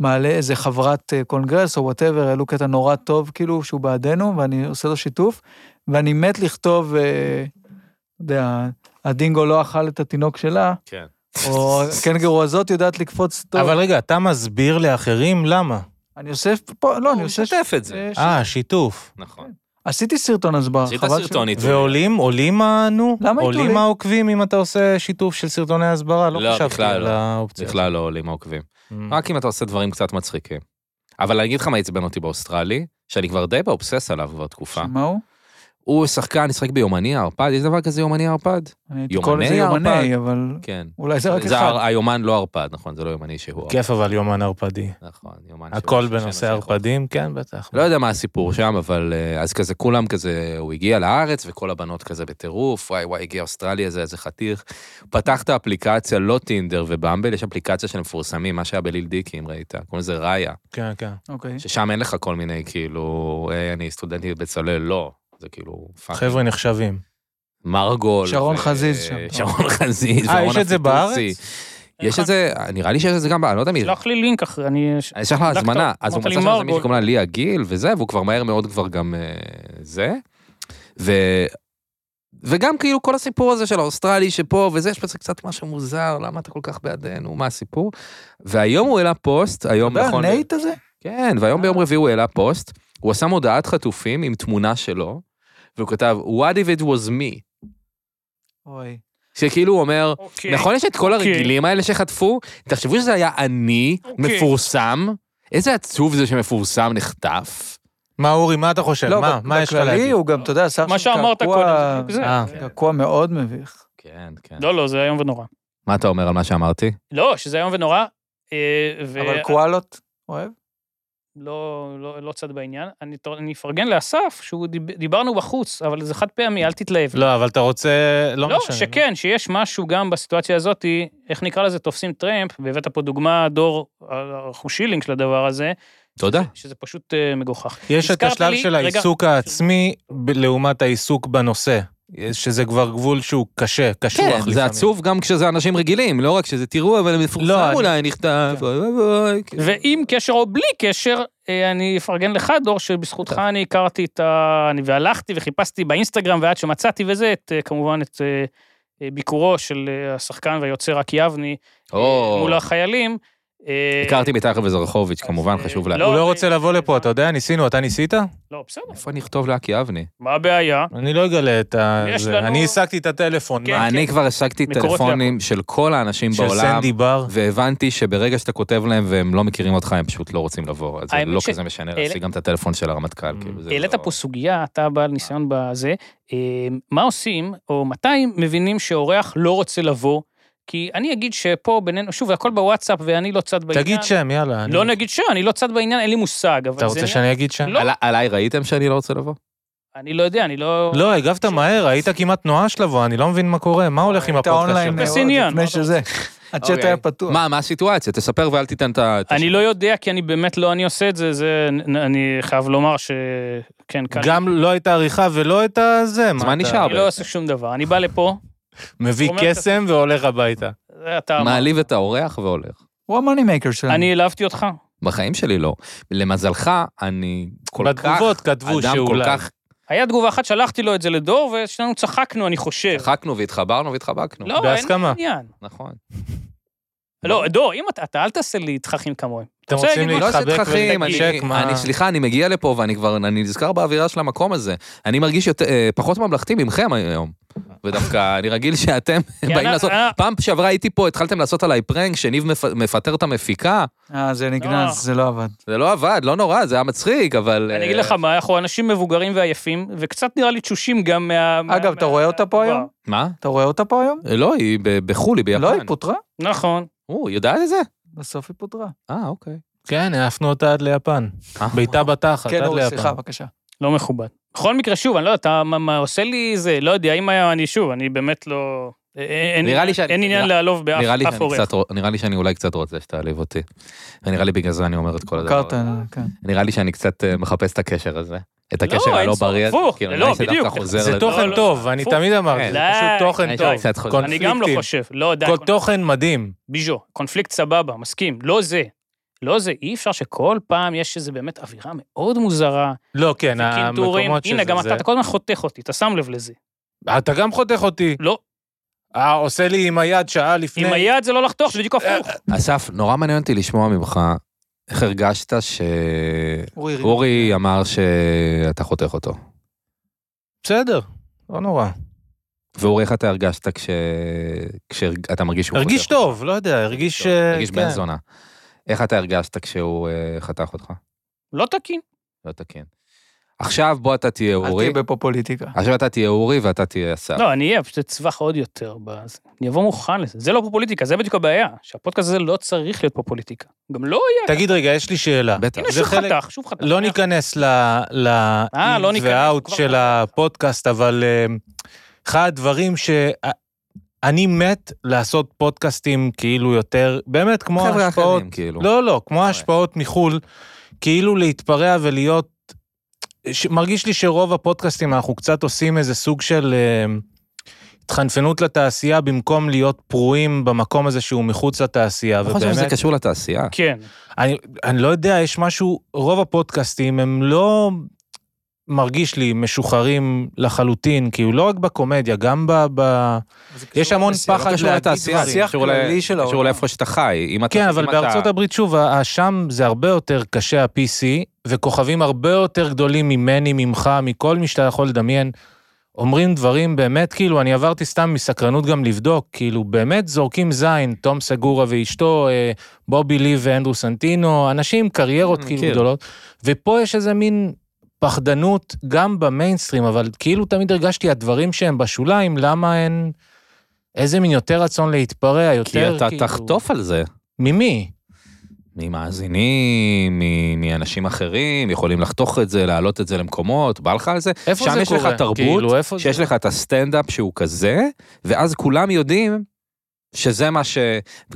Speaker 2: מעלה איזה חברת אה, קונגרס או וואטאבר, העלו קטע נורא טוב, כאילו, שהוא בעדנו, ואני עושה לו שיתוף, ואני מת לכתוב, אה, אתה יודע, הדינגו לא אכל את התינוק שלה,
Speaker 1: כן.
Speaker 2: או הקנגרו הזאת יודעת לקפוץ טוב.
Speaker 4: אבל רגע, אתה מסביר לאחרים למה.
Speaker 2: אני אוסף פה, לא, אני
Speaker 1: הוא
Speaker 2: אוסף...
Speaker 1: משתף את זה.
Speaker 2: אה, ש-
Speaker 4: אה, שיתוף.
Speaker 1: נכון.
Speaker 2: עשיתי סרטון הסברה,
Speaker 1: עשית
Speaker 2: אה, חבל
Speaker 1: סרטון איתו.
Speaker 4: ועולים, עולים ה- נו?
Speaker 2: למה עיתולים?
Speaker 4: עולים העוקבים אם אתה עושה שיתוף של סרטוני הסברה?
Speaker 1: לא,
Speaker 4: לא חשבתי
Speaker 1: בכלל
Speaker 4: על
Speaker 1: לא.
Speaker 4: האופציה.
Speaker 1: בכלל לא עולים העוקבים.
Speaker 4: Mm.
Speaker 1: רק אם אתה עושה דברים קצת מצחיקים. אבל אני אגיד לך מה עצבן אותי באוסטרלי, שאני כבר די באובסס עליו כבר תקופה.
Speaker 2: שמה הוא?
Speaker 1: הוא שחקן, משחק ביומני הערפד, יש דבר כזה יומני הערפד?
Speaker 2: אני הייתי
Speaker 1: יומני
Speaker 2: קורא לזה יומני,
Speaker 1: הערפד.
Speaker 2: אבל
Speaker 1: כן.
Speaker 2: אולי זה רק
Speaker 1: זה
Speaker 2: אחד.
Speaker 1: הר- היומן לא ערפד, נכון? זה לא יומני שהוא ערפד.
Speaker 4: כיף אבל יומן ערפדי.
Speaker 1: נכון, יומן שהוא-
Speaker 4: כן. הכל
Speaker 1: ששם
Speaker 4: בנושא
Speaker 1: זה
Speaker 4: ערפדים, כן, בטח.
Speaker 1: לא יודע מה הסיפור שם, אבל אה, אז כזה כולם כזה, הוא הגיע לארץ וכל הבנות כזה בטירוף, וואי וואי, הגיע אוסטרליה, זה איזה חתיך. פתח את האפליקציה, לא טינדר ובמבל, יש אפליקציה של מפורסמים, מה שהיה בליל דיקי, אם ראית, קוראים לזה ראיה,
Speaker 4: כן, כן.
Speaker 2: אוקיי.
Speaker 1: ששם אין לך כל מיני, כאילו, "היי, אני סטודנטית בצלאל, לא. זה כאילו, פאק.
Speaker 4: חבר'ה נחשבים.
Speaker 1: מרגול.
Speaker 2: שרון
Speaker 1: ו-
Speaker 2: חזיז שם.
Speaker 1: שרון חזיז.
Speaker 4: אה,
Speaker 1: ורונה
Speaker 4: יש את
Speaker 1: פיטוסי.
Speaker 4: זה בארץ?
Speaker 1: יש את זה, נראה לי שיש את זה גם, ב- אני לא יודע מי זה.
Speaker 3: שלח לי לינק אחרי, אני...
Speaker 1: אני אשלח לה
Speaker 3: דקטור,
Speaker 1: הזמנה, אז הוא
Speaker 3: אמרת לי
Speaker 1: מצא שם איזה מישהי
Speaker 3: מרגול.
Speaker 1: שקוראים לה ליה גיל וזה, והוא כבר מהר מאוד כבר גם אה, זה. ו... וגם כאילו כל הסיפור הזה של האוסטרלי שפה וזה, יש בזה קצת משהו מוזר, למה אתה כל כך בעדנו, מה הסיפור? והיום הוא העלה פוסט, היום
Speaker 2: אתה
Speaker 1: נכון...
Speaker 2: הנייט הזה?
Speaker 1: כן, והיום ביום רביעי הוא העלה פוסט, הוא עשה מודעת חטופים עם תמונה שלו, והוא כתב, What if it was me?
Speaker 2: אוי.
Speaker 1: שכאילו הוא אומר,
Speaker 3: אוקיי.
Speaker 1: נכון יש את כל
Speaker 3: אוקיי.
Speaker 1: הרגילים האלה שחטפו? תחשבו שזה היה אני,
Speaker 3: אוקיי.
Speaker 1: מפורסם. איזה עצוב זה שמפורסם נחטף.
Speaker 4: מה, אורי, מה אתה חושב? כן, מה,
Speaker 2: לא, ב-
Speaker 4: מה יש לך
Speaker 2: בכללי
Speaker 4: להגיד?
Speaker 2: הוא גם, אתה יודע, שר
Speaker 3: מה
Speaker 2: שם
Speaker 3: שאמרת
Speaker 2: קעקוע- אוקיי.
Speaker 3: קודם, זה בדיוק זה.
Speaker 4: אה.
Speaker 2: קעקוע מאוד מביך.
Speaker 1: כן, כן.
Speaker 3: לא, לא, זה איום ונורא.
Speaker 1: מה אתה אומר על מה שאמרתי?
Speaker 3: לא, שזה איום ונורא. אה, ו-
Speaker 2: אבל קואלות, אוהב?
Speaker 3: לא, לא, לא צד בעניין. אני, אני אפרגן לאסף, שהוא דיב, דיברנו בחוץ, אבל זה חד פעמי, אל תתלהב.
Speaker 4: לא, אבל אתה רוצה... לא
Speaker 3: לא,
Speaker 4: משנה.
Speaker 3: שכן, שיש משהו גם בסיטואציה הזאת, איך נקרא לזה, תופסים טרמפ, והבאת פה דוגמה, דור, אנחנו שילינג של הדבר הזה,
Speaker 1: תודה.
Speaker 3: שזה פשוט אה, מגוחך.
Speaker 4: יש את
Speaker 3: הזכרת
Speaker 4: השלב
Speaker 3: לי-
Speaker 4: של
Speaker 3: רגע.
Speaker 4: העיסוק העצמי ב- לעומת העיסוק בנושא, שזה כבר גבול שהוא קשה, קשוח
Speaker 1: כן,
Speaker 4: לפעמים.
Speaker 1: זה עצוב גם כשזה אנשים רגילים, לא רק שזה תראו, אבל
Speaker 4: לא,
Speaker 1: מפורסם
Speaker 4: אני-
Speaker 1: אולי נכתב.
Speaker 3: כן.
Speaker 1: אוי, אוי, אוי, כן.
Speaker 3: ועם קשר או בלי קשר, אה, אני אפרגן לך, דור, שבזכותך אני הכרתי את ה... אני והלכתי וחיפשתי באינסטגרם, ועד שמצאתי וזה, את, אה, כמובן את אה, אה, ביקורו של אה, השחקן והיוצר אקי יבני אה,
Speaker 1: או,
Speaker 3: מול החיילים. אה,
Speaker 1: הכרתי מתחת וזרחוביץ',
Speaker 3: אז,
Speaker 1: כמובן,
Speaker 3: אה,
Speaker 1: חשוב לה.
Speaker 3: לא,
Speaker 4: הוא לא
Speaker 3: אני-
Speaker 4: רוצה לבוא לפה, אתה יודע, ניסינו, אתה ניסית?
Speaker 3: לא, בסדר,
Speaker 1: איפה אני אכתוב לאקי אבני?
Speaker 3: מה הבעיה?
Speaker 4: אני לא אגלה את ה...
Speaker 3: יש
Speaker 4: זה.
Speaker 3: לנו-
Speaker 4: אני השגתי את הטלפון,
Speaker 3: כן,
Speaker 4: מה?
Speaker 1: אני כבר השגתי
Speaker 3: מקורות
Speaker 1: טלפונים של כל האנשים
Speaker 4: של
Speaker 1: בעולם,
Speaker 4: סנדי בר.
Speaker 1: והבנתי שברגע שאתה כותב להם והם לא מכירים אותך, הם פשוט לא רוצים לבוא. אז זה
Speaker 3: האמת
Speaker 1: לא
Speaker 3: ש-
Speaker 1: כזה משנה
Speaker 3: העלה-
Speaker 1: להשיג גם את הטלפון של הרמטכ"ל. כאילו, זה
Speaker 3: העלית
Speaker 1: לא-
Speaker 3: פה סוגיה, אתה בעל ניסיון בזה, אה, מה עושים, או מתי מבינים שאורח לא רוצה לבוא? כי אני אגיד שפה בינינו, שוב, הכל בוואטסאפ ואני לא צד בעניין.
Speaker 4: תגיד שם, יאללה.
Speaker 3: לא
Speaker 4: אני-
Speaker 3: נגיד שם, אני לא צד בעניין, אין לי מושג, אבל
Speaker 4: אתה
Speaker 3: זה...
Speaker 4: רוצה שאני אגיד שם?
Speaker 3: לא.
Speaker 1: עלי- עליי ראיתם שאני לא רוצה לבוא?
Speaker 3: אני לא יודע, אני לא...
Speaker 4: לא, הגבת מהר, היית כמעט נואש לבוא, אני לא מבין מה קורה, מה הולך עם
Speaker 2: היית
Speaker 4: הפודקאסט
Speaker 2: אונליין
Speaker 4: שלך?
Speaker 3: פודקאסט.
Speaker 2: מאוד
Speaker 3: עניין,
Speaker 2: לפני
Speaker 3: מה
Speaker 2: שזה. הצ'אט
Speaker 1: אוקיי.
Speaker 2: היה פתוח.
Speaker 1: מה, מה הסיטואציה? תספר ואל תיתן את ה...
Speaker 3: אני לא יודע, כי אני באמת לא, אני עושה את זה, זה... נ- אני חייב לומר ש... כן, כאן.
Speaker 4: גם לא הייתה עריכה ולא הייתה זה,
Speaker 1: אז מה
Speaker 4: אתה-
Speaker 1: נשאר?
Speaker 3: אני לא עושה שום דבר, אני בא לפה,
Speaker 4: מביא
Speaker 3: אומר-
Speaker 4: קסם והולך הביתה.
Speaker 3: זה אתה... אמרת.
Speaker 1: מעליב את האורח והולך.
Speaker 2: הוא המאני מייקר שלנו.
Speaker 3: אני העלבתי אותך.
Speaker 1: בחיים שלי לא. למזלך, אני כל כך...
Speaker 4: בתגובות כתבו
Speaker 1: אדם כל
Speaker 4: שאולי.
Speaker 1: כך
Speaker 3: היה תגובה אחת, שלחתי לו את זה לדור, ושנינו צחקנו, אני חושב.
Speaker 1: צחקנו והתחברנו והתחבקנו.
Speaker 3: כן. לא,
Speaker 4: בהסכמה.
Speaker 3: אין עניין.
Speaker 1: נכון.
Speaker 3: לא, דור, אם אתה, אתה אל תעשה לי תככים כמוהם.
Speaker 4: אתם
Speaker 3: רוצה
Speaker 4: רוצים
Speaker 3: להגיד
Speaker 1: לא עושה
Speaker 4: להתחבק
Speaker 1: תככים, אני,
Speaker 4: ולהתנשק, מה?
Speaker 1: אני, סליחה, אני מגיע לפה ואני כבר, אני נזכר באווירה של המקום הזה. אני מרגיש יותר, אה, פחות ממלכתי ממכם היום. ודווקא אני רגיל שאתם באים
Speaker 3: יאללה,
Speaker 1: לעשות,
Speaker 3: אה.
Speaker 1: פעם שעברה הייתי פה, התחלתם לעשות עליי פרנק, שניב מפ- מפטר את המפיקה,
Speaker 2: אה, זה נגנז,
Speaker 3: לא.
Speaker 2: זה לא עבד.
Speaker 1: זה לא עבד, לא נורא, זה היה מצחיק, אבל...
Speaker 3: אני אגיד
Speaker 1: אה,
Speaker 3: לך מה, אנחנו אנשים מבוגרים ועייפים, וקצת נראה לי תשושים גם מה...
Speaker 2: אגב, אתה
Speaker 3: מה-
Speaker 2: רואה אותה פה היום?
Speaker 1: מה?
Speaker 2: אתה רואה אותה פה היום?
Speaker 1: לא, היא ב- בחו"ל, היא ביפן.
Speaker 2: לא, היא פוטרה.
Speaker 3: נכון.
Speaker 1: או, היא יודעת את זה?
Speaker 2: בסוף היא פוטרה.
Speaker 1: אה, אוקיי.
Speaker 4: כן, העפנו אותה עד ליפן.
Speaker 1: אה.
Speaker 4: בעיטה בתחת,
Speaker 2: כן,
Speaker 4: עד
Speaker 2: אורי,
Speaker 4: ליפן.
Speaker 2: סליחה, בבקשה.
Speaker 3: לא מכובד. בכל מקרה, שוב, אני לא יודע, אתה מה- מה עושה לי זה, לא יודע, אם היה, אני שוב, אני באמת לא... אה, אין,
Speaker 1: נראה לי שאני-
Speaker 3: אין עניין
Speaker 1: נראה-
Speaker 3: לעלוב באף
Speaker 1: נראה לי
Speaker 3: אף
Speaker 1: שאני
Speaker 3: עורך.
Speaker 1: קצת רוצ- נראה לי שאני אולי קצת רוצה שתעליב אותי. ונראה לי בגלל זה אני אומר את כל הדבר
Speaker 2: קרת,
Speaker 1: הזה.
Speaker 2: כן.
Speaker 1: נראה לי שאני קצת אה, מחפש את הקשר הזה. את
Speaker 3: לא,
Speaker 1: הקשר
Speaker 3: אין
Speaker 1: הלא
Speaker 3: צורך,
Speaker 1: בריא. הזה,
Speaker 3: הפוך,
Speaker 1: כאילו,
Speaker 3: לא,
Speaker 1: נראה לי שזה
Speaker 3: בדיוק.
Speaker 1: דווקא חוזר
Speaker 4: זה
Speaker 1: לזה.
Speaker 3: לא,
Speaker 4: תוכן
Speaker 3: לא,
Speaker 4: טוב,
Speaker 3: לא.
Speaker 4: אני
Speaker 3: הפוך.
Speaker 4: תמיד אמרתי,
Speaker 1: כן.
Speaker 4: זה
Speaker 3: די,
Speaker 4: פשוט תוכן
Speaker 1: די,
Speaker 4: טוב.
Speaker 1: קצת חוזר.
Speaker 3: אני גם לא
Speaker 4: קונפליקטים.
Speaker 3: חושב, לא, די,
Speaker 4: כל תוכן מדהים.
Speaker 3: ביז'ו, קונפליקט סבבה, מסכים, לא זה. לא זה, אי אפשר שכל פעם יש איזה באמת אווירה מאוד מוזרה,
Speaker 4: לא, כן,
Speaker 3: קינטורים.
Speaker 4: המקומות שזה...
Speaker 3: כאילו הנה, גם
Speaker 4: זה-
Speaker 3: אתה, אתה כל הזמן חותך אותי, אתה שם לב לזה.
Speaker 4: אתה גם חותך אותי.
Speaker 3: לא,
Speaker 4: אה, עושה לי עם היד שעה לפני. אה,
Speaker 3: עם היד זה לא לחתוך, זה בדיוק הפוך.
Speaker 1: אסף, נורא מעניין אותי לשמוע ממך, איך הרגשת שאורי
Speaker 2: אורי,
Speaker 1: אמר שאתה חותך אותו?
Speaker 4: בסדר, לא נורא.
Speaker 1: ואורי, איך אתה הרגשת כש... כשאתה מרגיש שהוא
Speaker 4: הרגיש
Speaker 1: חותך אותך?
Speaker 4: טוב, לא יודע, הרגיש... אה,
Speaker 1: הרגיש
Speaker 4: כן.
Speaker 1: בן זונה. איך אתה הרגשת כשהוא אה, חתך אותך?
Speaker 3: לא תקין.
Speaker 1: לא תקין. עכשיו בוא אתה תהיה
Speaker 2: אל
Speaker 1: אורי.
Speaker 2: תהיה בפופוליטיקה.
Speaker 1: עכשיו אתה תהיה אורי ואתה תהיה אסף.
Speaker 3: לא, אני אהיה פשוט אצווח עוד יותר בזה. אני אבוא מוכן לזה. זה לא פופוליטיקה, זה בדיוק הבעיה. שהפודקאסט הזה לא צריך להיות פופוליטיקה. גם לא יהיה.
Speaker 4: תגיד רגע, יש לי שאלה.
Speaker 1: בטח.
Speaker 3: הנה,
Speaker 4: זה
Speaker 3: שוב
Speaker 4: חלק-
Speaker 3: חתך, שוב חתך.
Speaker 4: לא ניכנס ל... ל...
Speaker 3: אה, לא
Speaker 4: אין
Speaker 3: ניכנס,
Speaker 4: ואאוט
Speaker 3: כבר
Speaker 4: של
Speaker 3: חתך.
Speaker 4: הפודקאסט, אבל אמ, אחד הדברים ש... אה, אני מת לעשות פודקאסטים כאילו יותר, באמת כמו
Speaker 1: חבר'ה
Speaker 4: השפעות
Speaker 1: אחרים, כאילו.
Speaker 4: לא, לא, כמו ההשפעות מחו"ל, כאילו להתפרע ולהיות... ש... מרגיש לי שרוב הפודקאסטים אנחנו קצת עושים איזה סוג של... אה, התחנפנות לתעשייה במקום להיות פרועים במקום הזה שהוא מחוץ לתעשייה,
Speaker 1: אני חושב שזה קשור לתעשייה.
Speaker 3: כן.
Speaker 4: אני, אני לא יודע, יש משהו, רוב הפודקאסטים הם לא מרגיש לי משוחררים לחלוטין, כאילו לא רק בקומדיה, גם ב... ב... יש המון
Speaker 1: לא
Speaker 4: נכון, פחד
Speaker 1: קשור
Speaker 4: להגיד
Speaker 1: לתעשייה,
Speaker 4: דברים.
Speaker 1: זה קשור
Speaker 2: שיח
Speaker 1: ל-
Speaker 2: כללי של
Speaker 1: קשור
Speaker 2: העולם.
Speaker 1: לאיפה שאתה חי. אם אתה-
Speaker 4: כן,
Speaker 1: אם
Speaker 4: אבל
Speaker 1: אתה-
Speaker 4: בארצות הברית, שוב, ה- ה- שם זה הרבה יותר קשה, ה-PC, וכוכבים הרבה יותר גדולים ממני, ממך, מכל מי שאתה יכול לדמיין. אומרים דברים באמת, כאילו, אני עברתי סתם מסקרנות גם לבדוק, כאילו, באמת זורקים זין, תום סגורה ואשתו, אה, בובי לי ואנדרו סנטינו, אנשים עם קריירות
Speaker 1: Mm,
Speaker 4: כאילו
Speaker 1: מכיר.
Speaker 4: גדולות, ופה יש איזה מין פחדנות גם במיינסטרים, אבל כאילו תמיד הרגשתי הדברים שהם בשוליים, למה אין... איזה מין יותר רצון להתפרע, יותר
Speaker 1: כי
Speaker 4: כאילו...
Speaker 1: אתה תחטוף על זה.
Speaker 4: ממי?
Speaker 1: ממאזינים, מ- מאנשים אחרים, יכולים לחתוך את זה, להעלות את זה למקומות, בא לך על זה?
Speaker 4: איפה
Speaker 1: שם
Speaker 4: זה קורה?
Speaker 1: יש לך תרבות
Speaker 4: כאילו, איפה
Speaker 1: שיש
Speaker 4: זה...
Speaker 1: לך את הסטנדאפ שהוא כזה, ואז כולם יודעים שזה מה ש...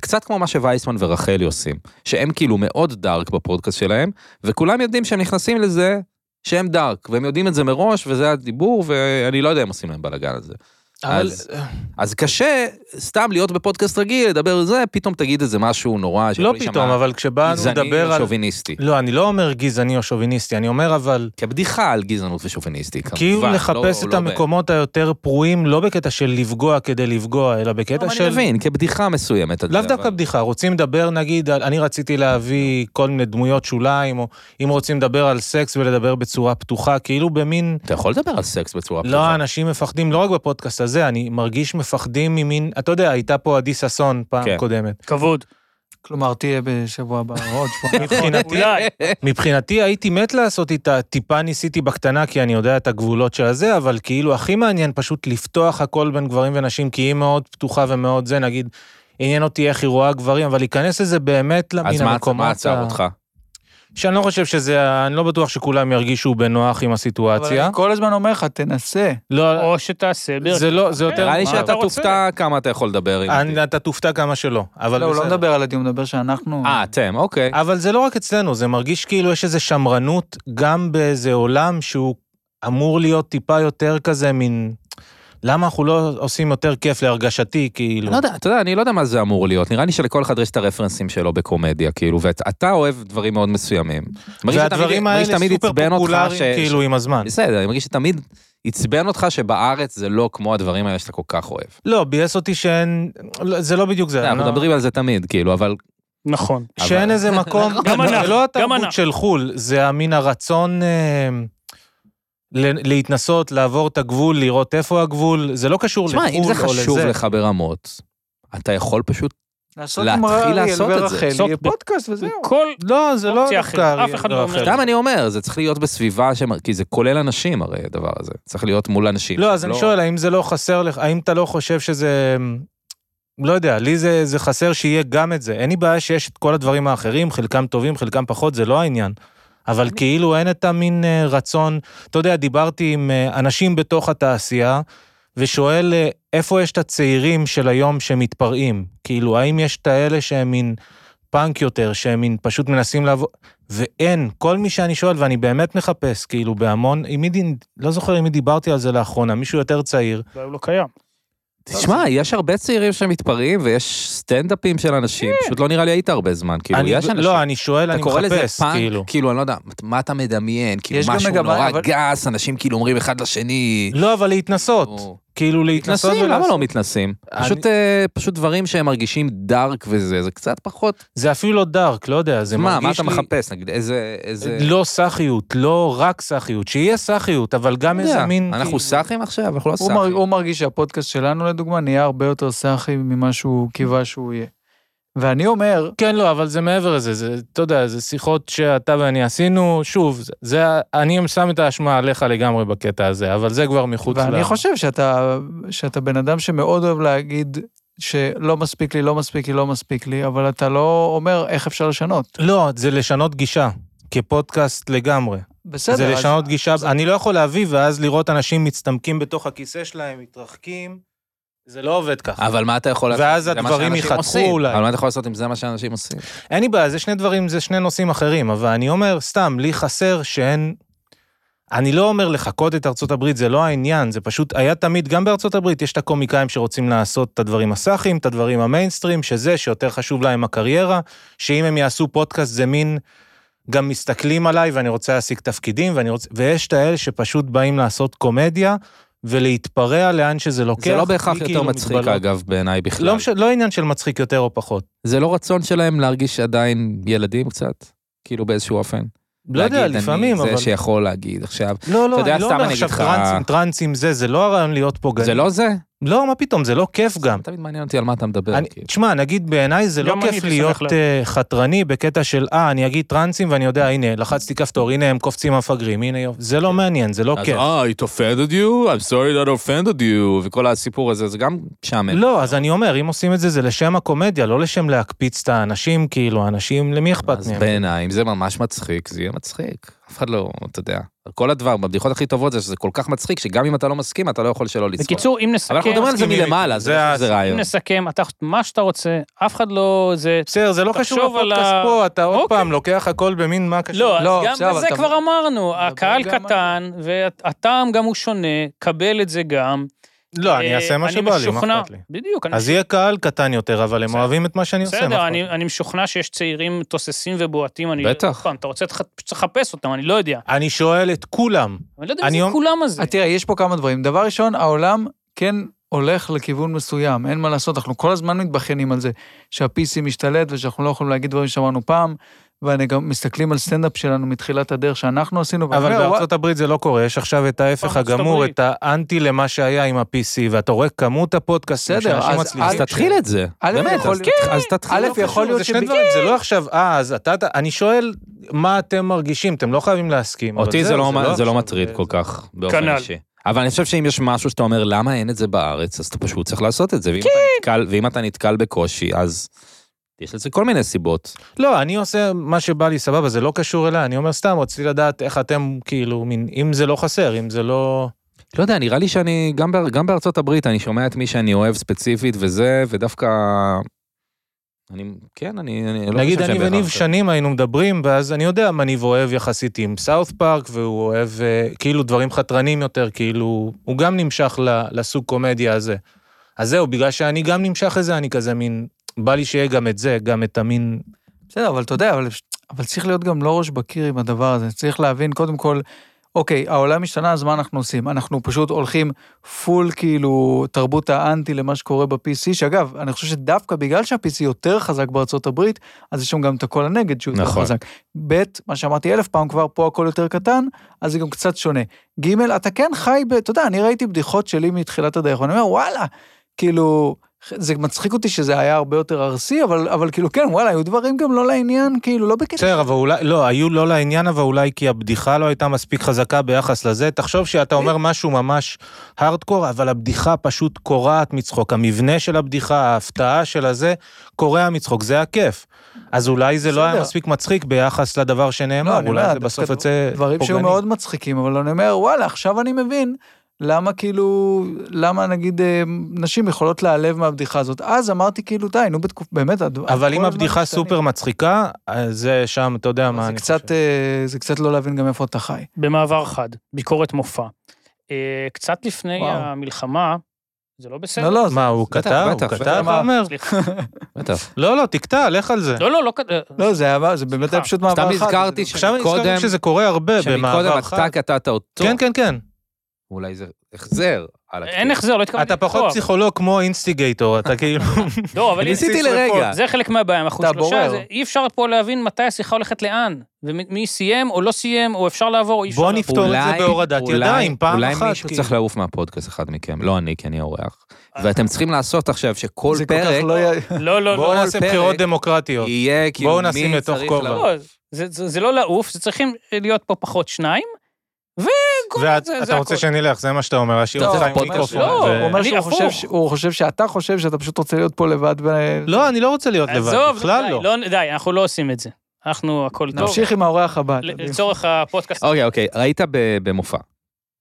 Speaker 1: קצת כמו מה שווייסמן ורחלי עושים, שהם כאילו מאוד דארק בפודקאסט שלהם, וכולם יודעים שהם נכנסים לזה שהם דארק, והם יודעים את זה מראש, וזה הדיבור, ואני לא יודע אם עושים להם בלאגן על זה.
Speaker 4: אבל-
Speaker 1: אז- אז קשה סתם להיות בפודקאסט רגיל, לדבר על זה, פתאום תגיד איזה משהו נורא,
Speaker 4: לא
Speaker 1: שיכול להישמע
Speaker 4: פתאום, אבל כשבאנו
Speaker 1: גזעני
Speaker 4: לדבר
Speaker 1: או
Speaker 4: על...
Speaker 1: שוביניסטי.
Speaker 4: לא, אני לא אומר גזעני או שוביניסטי, אני אומר אבל...
Speaker 1: כבדיחה על גזענות לא, ושוביניסטיקה.
Speaker 4: כאילו לחפש את המקומות היותר פרועים, לא בקטע של לפגוע כדי לפגוע, אלא בקטע
Speaker 1: אני
Speaker 4: של...
Speaker 1: מבין, כבדיחה מסוימת.
Speaker 4: לאו דווקא בדיחה, רוצים לדבר נגיד, על- אני רציתי להביא כל מיני דמויות שוליים, או אם רוצים לדבר על סקס ולדבר בצורה פתוחה, כאילו במין...
Speaker 1: אתה יכול לדבר על סקס בצורה
Speaker 4: לא, אנשים מפחדים, לא רק בפודקאסט הזה, אני מרגיש מפחדים ממין... אתה יודע, הייתה פה עדי ששון פעם
Speaker 1: כן.
Speaker 4: קודמת.
Speaker 3: כבוד.
Speaker 2: כלומר, תהיה בשבוע הבא, או עוד
Speaker 4: נכון.
Speaker 2: שבוע.
Speaker 4: מבחינתי,
Speaker 3: אולי.
Speaker 4: מבחינתי הייתי מת לעשות איתה, טיפה ניסיתי בקטנה, כי אני יודע את הגבולות של הזה, אבל כאילו הכי מעניין פשוט לפתוח הכל בין גברים ונשים, כי היא מאוד פתוחה ומאוד זה, נגיד, עניין אותי איך היא רואה גברים, אבל להיכנס לזה באמת למין
Speaker 1: אז מה- מה עצר
Speaker 4: לא ה-
Speaker 1: אותך?
Speaker 4: שאני לא חושב שזה, ה- אני לא בטוח שכולם ירגישו בנוח עם
Speaker 2: אבל
Speaker 4: הסיטואציה.
Speaker 2: אני כל הזמן אומר לך, תנסה.
Speaker 4: לא,
Speaker 3: או שתעשה בר...
Speaker 4: זה לא, זה
Speaker 2: כן,
Speaker 4: יותר...
Speaker 1: נראה לי
Speaker 4: מה?
Speaker 1: שאתה לא-
Speaker 3: אתה רוצה?
Speaker 1: תופתע כמה אתה יכול לדבר עם אותי.
Speaker 4: אני- לא אתה תופתע כמה שלא, אבל
Speaker 2: לא, הוא לא
Speaker 4: בסדר.
Speaker 2: מדבר על הדיון, הוא מדבר שאנחנו...
Speaker 1: אה, אתם, אוקיי.
Speaker 4: אבל זה לא רק אצלנו, זה מרגיש כאילו יש איזו שמרנות גם באיזה עולם שהוא אמור להיות טיפה יותר כזה מין... למה אנחנו לא עושים יותר כיף להרגשתי, כאילו?
Speaker 1: אני לא יודע, אתה יודע, אני לא יודע מה זה אמור להיות. נראה לי שלכל אחד יש את הרפרנסים שלו בקומדיה, כאילו, ואתה אוהב דברים מאוד מסוימים. מרגיש שתמיד-
Speaker 4: והדברים
Speaker 1: מרגיש
Speaker 4: האלה
Speaker 1: שתמיד
Speaker 4: סופר
Speaker 1: עצבן אותך
Speaker 4: פופולריים,
Speaker 1: ש-
Speaker 4: כאילו, עם הזמן.
Speaker 1: בסדר, אני מרגיש שתמיד עצבן אותך שבארץ זה לא כמו הדברים האלה שאתה כל כך אוהב.
Speaker 4: לא, ביאס אותי שאין... לא, זה לא בדיוק זה.
Speaker 1: אתה יודע, אנחנו
Speaker 4: לא-
Speaker 1: מדברים על זה תמיד, כאילו, אבל...
Speaker 3: נכון.
Speaker 4: שאין
Speaker 1: אבל-
Speaker 4: איזה מקום...
Speaker 3: גם
Speaker 4: זה
Speaker 3: אנחנו,
Speaker 4: לא
Speaker 3: גם
Speaker 4: התרבות
Speaker 3: אנחנו.
Speaker 4: של חו"ל, זה המין הרצון... אה, ל- להתנסות, לעבור את הגבול, לראות איפה הגבול, זה לא קשור לחו"ל או
Speaker 1: תשמע,
Speaker 4: לזה.
Speaker 1: אם זה חשוב לך ברמות, אתה יכול פשוט...
Speaker 2: לעשות
Speaker 1: להתחיל
Speaker 2: עם אריאל
Speaker 1: לעשות את זה.
Speaker 2: ורחל,
Speaker 3: לעשות
Speaker 2: יהיה
Speaker 3: ב-
Speaker 2: פודקאסט וזהו.
Speaker 3: כל...
Speaker 4: לא, זה לא
Speaker 3: אופציה
Speaker 4: דווקא
Speaker 3: אחרת. אף
Speaker 4: אריאל
Speaker 3: אחד לא אומר
Speaker 4: ורחל.
Speaker 3: את זה.
Speaker 1: סתם אני אומר, זה צריך להיות בסביבה, ש... כי זה כולל אנשים הרי, הדבר הזה. צריך להיות מול אנשים.
Speaker 4: לא, אז אני שואל, האם זה לא חסר לך, האם אתה לא חושב שזה... לא יודע, לי זה, זה חסר שיהיה גם את זה. אין לי בעיה שיש את כל הדברים האחרים, חלקם טובים, חלקם פחות, זה לא העניין. אבל כאילו אין את המין אה, רצון, אתה יודע, דיברתי עם אה, אנשים בתוך התעשייה, ושואל אה, איפה יש את הצעירים של היום שמתפרעים? כאילו, האם יש את האלה שהם מין פאנק יותר, שהם מין פשוט מנסים לעבור... ואין, כל מי שאני שואל, ואני באמת מחפש, כאילו, בהמון, עם מי, דין- לא זוכר עם מי דיברתי על זה לאחרונה, מישהו יותר צעיר.
Speaker 3: אולי הוא לא קיים.
Speaker 1: תשמע, יש הרבה צעירים שמתפרעים ויש סטנדאפים של אנשים, פשוט לא נראה לי היית הרבה זמן, כאילו,
Speaker 4: אה. אני,
Speaker 1: יש אנשים.
Speaker 4: לא, אני שואל,
Speaker 1: אתה
Speaker 4: אני
Speaker 1: קורא לזה
Speaker 4: מחפש,
Speaker 1: פאנק,
Speaker 4: כאילו.
Speaker 1: כאילו, אני לא יודע, מה אתה מדמיין, כאילו,
Speaker 2: יש גם
Speaker 1: משהו
Speaker 2: מגמה,
Speaker 1: נורא
Speaker 2: אבל-
Speaker 1: גס, אנשים כאילו אומרים אחד לשני.
Speaker 4: לא, אבל להתנסות.
Speaker 1: או-
Speaker 4: כאילו, להתנסות
Speaker 1: מתנסים, למה
Speaker 4: ולעשות.
Speaker 1: לא מתנסים?
Speaker 4: אני-
Speaker 1: פשוט, אה, פשוט דברים שהם מרגישים דארק וזה, זה קצת פחות...
Speaker 4: זה אפילו לא דארק, לא יודע, זה
Speaker 1: מה,
Speaker 4: מרגיש לי...
Speaker 1: מה אתה מחפש, נגיד, איזה... איזה...
Speaker 4: לא סאחיות, לא רק סאחיות, שיהיה סאחיות, אבל גם
Speaker 1: לא יודע,
Speaker 4: איזה מין...
Speaker 1: אנחנו
Speaker 4: כאילו-
Speaker 1: סאחים עכשיו? אנחנו לא
Speaker 2: הוא מר-
Speaker 1: סאחים.
Speaker 2: הוא מרגיש שהפודקאסט שלנו, לדוגמה, נהיה הרבה יותר סאחי ממה שהוא קיווה שהוא יהיה. ואני אומר,
Speaker 4: כן, לא, אבל זה מעבר לזה, זה, אתה יודע, זה שיחות שאתה ואני עשינו, שוב, זה- זה, אני שם את האשמה עליך לגמרי בקטע הזה, אבל זה כבר מחוץ ל...
Speaker 2: ואני חושב שאתה, שאתה בן אדם שמאוד אוהב להגיד שלא מספיק לי, לא מספיק לי, לא מספיק לי, אבל אתה לא אומר איך אפשר לשנות.
Speaker 4: לא, זה לשנות גישה, כפודקאסט לגמרי.
Speaker 2: בסדר,
Speaker 4: זה
Speaker 2: אז-
Speaker 4: לשנות גישה, אני לא יכול להביא, ואז לראות אנשים מצטמקים בתוך הכיסא שלהם, מתרחקים, זה לא עובד ככה.
Speaker 1: אבל מה אתה יכול לעשות?
Speaker 4: ואז
Speaker 1: זה מה
Speaker 4: הדברים
Speaker 1: שאנשים
Speaker 4: ייחתכו
Speaker 1: עושים.
Speaker 4: אולי.
Speaker 1: אבל מה אתה יכול לעשות אם זה מה שאנשים עושים?
Speaker 4: אין לי בעיה, זה שני דברים, זה שני נושאים אחרים, אבל אני אומר, סתם, לי חסר שאין... אני לא אומר לחקות את ארצות הברית, זה לא העניין, זה פשוט היה תמיד, גם בארצות הברית יש את הקומיקאים שרוצים לעשות את הדברים הסאחים, את הדברים המיינסטרים, שזה, שיותר חשוב להם הקריירה, שאם הם יעשו פודקאסט זה מין, גם מסתכלים עליי ואני רוצה להשיג תפקידים, ואני רוצה, ויש את האלה שפשוט באים לעשות קומדיה ולהתפרע לאן שזה לוקח.
Speaker 1: זה לא בהכרח
Speaker 4: בלי
Speaker 1: יותר
Speaker 4: כאילו
Speaker 1: מצחיק,
Speaker 4: מגבלות.
Speaker 1: אגב, בעיניי בכלל.
Speaker 4: לא, מש... לא עניין של מצחיק יותר או פחות.
Speaker 1: זה לא רצון שלהם להרגיש עדיין ילדים קצת? כאילו באיזשהו אופן.
Speaker 4: לא יודע,
Speaker 1: להגיד,
Speaker 4: לפעמים,
Speaker 1: אני
Speaker 4: אבל...
Speaker 1: זה שיכול להגיד עכשיו.
Speaker 4: לא,
Speaker 1: אתה
Speaker 4: לא,
Speaker 1: יודע,
Speaker 4: אני לא
Speaker 1: סתם
Speaker 4: אומר
Speaker 1: אני
Speaker 4: עכשיו
Speaker 1: אגיד לך-
Speaker 4: טרנסים, טרנסים זה, זה לא הרעיון להיות פוגעני.
Speaker 1: זה לא זה?
Speaker 4: לא, מה פתאום, זה לא כיף גם.
Speaker 1: תמיד מעניין אותי על מה אתה מדבר.
Speaker 4: אני-
Speaker 1: כאילו.
Speaker 4: תשמע, נגיד בעיניי זה לא
Speaker 3: גם אני
Speaker 4: כיף
Speaker 3: הייתי
Speaker 4: להיות
Speaker 3: שמח לה-
Speaker 4: אה, חתרני בקטע של, אה, אני אגיד טרנסים ואני יודע, הנה, לחצתי כפתור, הנה הם קופצים המפגרים, הנה יופי. זה לא מעניין, זה לא
Speaker 1: כן. אז
Speaker 2: אוקיי.
Speaker 4: כיף.
Speaker 1: אה, it offended you? I'm sorry that offended you. וכל הסיפור הזה, זה גם משעמם.
Speaker 4: לא, אז אני אומר, אם עושים את זה, זה לשם הקומדיה, לא לשם להקפיץ את האנשים, כאילו, אנשים, למי אכפת
Speaker 1: אז
Speaker 4: מהם?
Speaker 1: בעיניי, אם זה ממש מצחיק, זה יהיה מצחיק. אף אחד לא, אתה יודע. כל הדבר, בבדיחות הכי טובות זה שזה כל כך מצחיק, שגם אם אתה לא מסכים, אתה לא יכול שלא לצחוק.
Speaker 3: בקיצור, אם
Speaker 1: אבל
Speaker 2: כן.
Speaker 1: אנחנו
Speaker 3: נסכם,
Speaker 1: מדברים על זה
Speaker 4: מסכימים.
Speaker 1: מלמעלה,
Speaker 4: זה
Speaker 1: זה
Speaker 4: ה-
Speaker 1: זה
Speaker 3: אם
Speaker 1: רעיון.
Speaker 3: נסכם, אתה מה שאתה רוצה, אף אחד לא... זה...
Speaker 4: בסדר, זה לא קשור
Speaker 3: תחשוב על
Speaker 4: לפודקאסט
Speaker 3: ה-
Speaker 4: פה, אתה עוד
Speaker 3: אוקיי.
Speaker 4: פעם לוקח הכל במין מה קשור.
Speaker 3: לא, אז
Speaker 2: לא,
Speaker 3: גם
Speaker 2: עכשיו
Speaker 3: בזה
Speaker 2: אתה-
Speaker 3: כבר אמרנו,
Speaker 2: מדבר
Speaker 3: הקהל
Speaker 2: גם על-
Speaker 3: קטן, והטעם גם הוא שונה, קבל את זה גם. אה,
Speaker 4: לא, אני אעשה מה
Speaker 3: אני
Speaker 4: שבא לי, מה
Speaker 3: משוכנע-
Speaker 4: אכפת לי?
Speaker 3: בדיוק, אני
Speaker 4: אז יהיה קהל קטן יותר, אבל הם
Speaker 3: בסדר.
Speaker 4: אוהבים את מה שאני עושה. נכון? מה
Speaker 3: בסדר,
Speaker 4: אכפת
Speaker 3: אני,
Speaker 4: לי?
Speaker 3: אני משוכנע שיש צעירים תוססים ובועטים, אני...
Speaker 1: בטח.
Speaker 3: עוד פעם, אתה רוצה, תח- צריך לחפש אותם, אני לא יודע.
Speaker 4: אני שואל את כולם,
Speaker 3: אני לא יודע
Speaker 4: אני
Speaker 3: מי זה
Speaker 4: אומר-
Speaker 3: כולם הזה.
Speaker 2: אה, תראה, יש פה כמה דברים. דבר ראשון, העולם כן הולך לכיוון מסוים, אין מה לעשות, אנחנו כל הזמן מתבכיינים על זה, שה-PC משתלט ושאנחנו לא יכולים להגיד דברים שאמרנו פעם, ואני גם מסתכלים על סטנדאפ שלנו מתחילת הדרך שאנחנו עשינו, ואני
Speaker 4: אבל
Speaker 2: אומר, "וואו,
Speaker 4: בארצות הברית זה לא קורה, יש עכשיו את ההפך
Speaker 3: בארצות
Speaker 4: הגמור,
Speaker 3: הברית.
Speaker 4: את האנטי למה שהיה עם ה-PC, ואתה רואה כמות הפודקאסטים
Speaker 2: בסדר,
Speaker 4: שאנשים
Speaker 2: אז-
Speaker 1: אז
Speaker 4: מצליחים.
Speaker 1: תתחיל את זה.
Speaker 2: א',
Speaker 1: באמת,
Speaker 2: יכול
Speaker 1: אז
Speaker 2: להיות-
Speaker 1: תתח- אז תתחיל.
Speaker 2: א',
Speaker 1: לא
Speaker 2: יכול
Speaker 1: קשור,
Speaker 2: להיות
Speaker 4: זה
Speaker 2: ש-
Speaker 4: שני דברים, זה לא עכשיו, אה, אז אתה, אתה- אני שואל, מה אתם מרגישים, אתם לא חייבים להסכים. אבל
Speaker 1: אותי זה
Speaker 4: זהו,
Speaker 1: לא, זה
Speaker 4: עכשיו,
Speaker 1: לא מטריד
Speaker 4: אה,
Speaker 1: כל
Speaker 4: זה-
Speaker 1: כך, באופן
Speaker 3: כנ"ל.
Speaker 1: אישי. אבל אני חושב שאם יש משהו שאתה אומר, למה אין את זה בארץ, אז אתה פשוט צריך לעשות את זה. ואם, אתה,
Speaker 2: כן.
Speaker 1: נתקל, ואם אתה נתקל בקושי, אז יש לזה כל מיני סיבות.
Speaker 4: לא, אני עושה מה שבא לי, סבבה, זה לא קשור אליי, אני אומר סתם, רציתי לדעת איך אתם, כאילו, מין, אם זה לא חסר, אם זה לא...
Speaker 1: לא יודע, נראה לי שאני, גם, באר- גם בארצות הברית, אני שומע את מי שאני אוהב ספציפית וזה, ודווקא... אני, כן, אני, אני לא
Speaker 4: נגיד,
Speaker 1: חושב
Speaker 4: אני
Speaker 1: שבהכרח
Speaker 4: וניב
Speaker 1: זה.
Speaker 4: שנים היינו מדברים, ואז אני יודע מה ניב אוהב יחסית עם סאוף פארק, והוא אוהב אה, כאילו דברים חתרנים יותר, כאילו, הוא גם נמשך ל- לסוג קומדיה הזה. אז זהו, בגלל שאני גם נמשך לזה, אני כזה מין, בא לי שיהיה גם את זה, גם את המין...
Speaker 2: בסדר, אבל אתה יודע, אבל, אבל צריך להיות גם לא ראש בקיר עם הדבר הזה. צריך להבין, קודם כל, אוקיי, העולם השתנה, אז מה אנחנו עושים? אנחנו פשוט הולכים פול, כאילו, תרבות האנטי למה שקורה ב-PC, שאגב, אני חושב שדווקא בגלל שה-PC יותר חזק בארצות הברית, אז יש שם גם את הקול הנגד שהוא יותר
Speaker 1: נכון.
Speaker 2: חזק. ב', מה שאמרתי אלף פעם כבר, פה הכל יותר קטן, אז זה גם קצת שונה. ג', אתה כן חי ב... אתה יודע, אני ראיתי בדיחות שלי מתחילת הדרך, ואני אומר, וואלה, כאילו, זה מצחיק אותי שזה היה הרבה יותר ארסי, אבל, אבל כאילו, כן, וואלה, היו דברים גם לא לעניין, כאילו, לא בקטע.
Speaker 4: בסדר, אבל אולי, לא, היו לא לעניין, אבל אולי כי הבדיחה לא הייתה מספיק חזקה ביחס לזה. תחשוב שאתה אומר משהו ממש הארדקור, אבל הבדיחה פשוט קורעת מצחוק. המבנה של הבדיחה, ההפתעה של הזה, קורע מצחוק, זה הכיף. אז אולי זה לא היה
Speaker 2: בסדר.
Speaker 4: מספיק מצחיק ביחס לדבר שנאמר,
Speaker 2: לא, אני
Speaker 4: אולי
Speaker 2: אומר,
Speaker 4: זה בסוף
Speaker 2: דווקא
Speaker 4: יוצא
Speaker 2: דברים שהיו
Speaker 4: פוגעני.
Speaker 2: מאוד מצחיקים, אבל אני אומר, וואלה, עכשיו אני מבין למה כאילו, למה נגיד אה, נשים יכולות להיעלב מהבדיחה הזאת. אז אמרתי, כאילו, די, נו, בתקופ... באמת, הד-
Speaker 4: אבל
Speaker 2: כל
Speaker 4: אם
Speaker 2: הזמן
Speaker 4: הבדיחה
Speaker 2: משתנים.
Speaker 4: סופר מצחיקה, אז זה שם, אתה יודע מה
Speaker 2: זה
Speaker 4: אני
Speaker 2: קצת,
Speaker 4: חושב.
Speaker 2: אה, זה קצת לא להבין גם איפה אתה חי.
Speaker 3: במעבר חד, ביקורת מופע. אה, קצת לפני
Speaker 2: וואו.
Speaker 3: המלחמה, זה לא בסדר.
Speaker 2: לא, לא, זה-
Speaker 4: מה, הוא
Speaker 1: בטח,
Speaker 4: כתב? הוא
Speaker 1: בטח, בטח.
Speaker 4: כתב,
Speaker 2: מה?
Speaker 4: אומר?
Speaker 3: סליחה.
Speaker 1: בטח.
Speaker 4: לא, לא, תקטע, לך על זה.
Speaker 3: לא, לא, לא כ- אה,
Speaker 2: לא, זה היה, זה באמת היה
Speaker 3: סליחה.
Speaker 2: פשוט מעבר
Speaker 1: סתם
Speaker 2: חד.
Speaker 1: נזכרתי
Speaker 2: זה-
Speaker 1: ש-
Speaker 4: עכשיו אני
Speaker 1: קודם-
Speaker 4: נזכר שזה קורה הרבה במעבר
Speaker 1: שמקודם אתה
Speaker 4: חד.
Speaker 1: קטעת אותו,
Speaker 4: כן, כן, כן.
Speaker 1: אולי זה החזר. על
Speaker 3: אין
Speaker 1: הקטע.
Speaker 3: החזר, לא התכוונתי.
Speaker 4: אתה פחות
Speaker 3: לפתוח.
Speaker 4: פסיכולוג כמו אינסטיגייטור, אתה כאילו...
Speaker 3: לא, אבל
Speaker 1: ניסיתי
Speaker 3: הנה,
Speaker 1: לרגע.
Speaker 3: זה חלק מהבעיה, אנחנו
Speaker 2: אתה
Speaker 3: שלושה,
Speaker 2: בורר.
Speaker 3: זה- אי אפשר פה להבין מתי השיחה הולכת לאן, ומי סיים או לא סיים, או אפשר לעבור, או אי אפשר
Speaker 4: בוא
Speaker 3: לעבור.
Speaker 4: נפתור את זה
Speaker 1: אולי-
Speaker 4: בהורדת
Speaker 1: אולי-
Speaker 4: ידיים, פעם אחת,
Speaker 1: אולי מישהו
Speaker 4: כאילו.
Speaker 1: צריך לעוף מהפודקאסט אחד מכם, לא אני, כי אני האורח.
Speaker 4: אה.
Speaker 1: ואתם צריכים לעשות עכשיו שכל
Speaker 2: זה כל כך
Speaker 1: פרק
Speaker 2: לא... היה-
Speaker 3: לא, לא,
Speaker 4: בואו
Speaker 1: כל
Speaker 3: לא.
Speaker 4: נעשה
Speaker 1: פרק-
Speaker 4: בחירות דמוקרטיות.
Speaker 1: יהיה כאילו
Speaker 4: נשים
Speaker 1: מי
Speaker 4: לתוך
Speaker 1: צריך
Speaker 4: כובע.
Speaker 1: לעוף.
Speaker 3: לא, זה- זה זה לא לעוף, זה צריכים להיות פה פחות שניים, וכל זה, זה
Speaker 4: ואתה
Speaker 3: הכל.
Speaker 4: רוצה שאני אלך, זה מה שאתה אומר, להשאיר
Speaker 1: לא,
Speaker 4: אותך עם
Speaker 1: הפודקאסט
Speaker 4: מיקרופון.
Speaker 3: שלו.
Speaker 4: ו-
Speaker 2: הוא אומר
Speaker 3: אני
Speaker 2: שהוא
Speaker 3: הפוך.
Speaker 2: חושב, ש- הוא חושב שאתה חושב שאתה פשוט רוצה להיות פה לבד. ו-
Speaker 4: לא, אני לא רוצה להיות לבד,
Speaker 3: עזוב,
Speaker 4: בכלל
Speaker 3: די,
Speaker 4: לא.
Speaker 3: די, אנחנו לא עושים את זה. אנחנו, הכל טוב.
Speaker 2: נמשיך עם האורח הבא. אתה יודע.
Speaker 3: לא, לצורך הפודקאסט.
Speaker 1: אוקיי, אוקיי, ראית ב- במופע.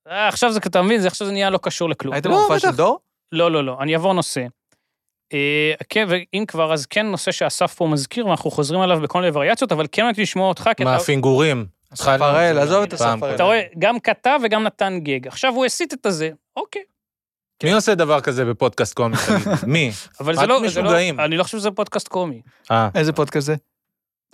Speaker 3: אה, עכשיו זה, אתה מבין, זה עכשיו זה נהיה לא קשור לכלום.
Speaker 2: היית
Speaker 1: לא,
Speaker 2: במופע של
Speaker 1: בטח.
Speaker 2: דור?
Speaker 3: לא, לא, לא, אני אעבור נושא. אה, כן, ואם כבר, אז כן נושא שאסף פה מזכיר, ואנחנו חוזרים עליו בכל מיני וריאציות, אבל כן רק לשמוע אותך, כי
Speaker 4: מה,
Speaker 3: אתה...
Speaker 4: הפינגורים?
Speaker 2: הספרל, עזוב את
Speaker 4: פעם.
Speaker 2: הספרל.
Speaker 3: אתה רואה, גם כתב וגם נתן גג. עכשיו הוא הסיט את הזה, אוקיי.
Speaker 4: מי עושה דבר כזה בפודקאסט קומי? תגיד? מי?
Speaker 3: אבל זה
Speaker 4: רק
Speaker 3: לא... זה לא-
Speaker 4: משוגעים.
Speaker 3: אני לא חושב שזה פודקאסט קומי.
Speaker 4: אה,
Speaker 2: איזה פודקאסט זה?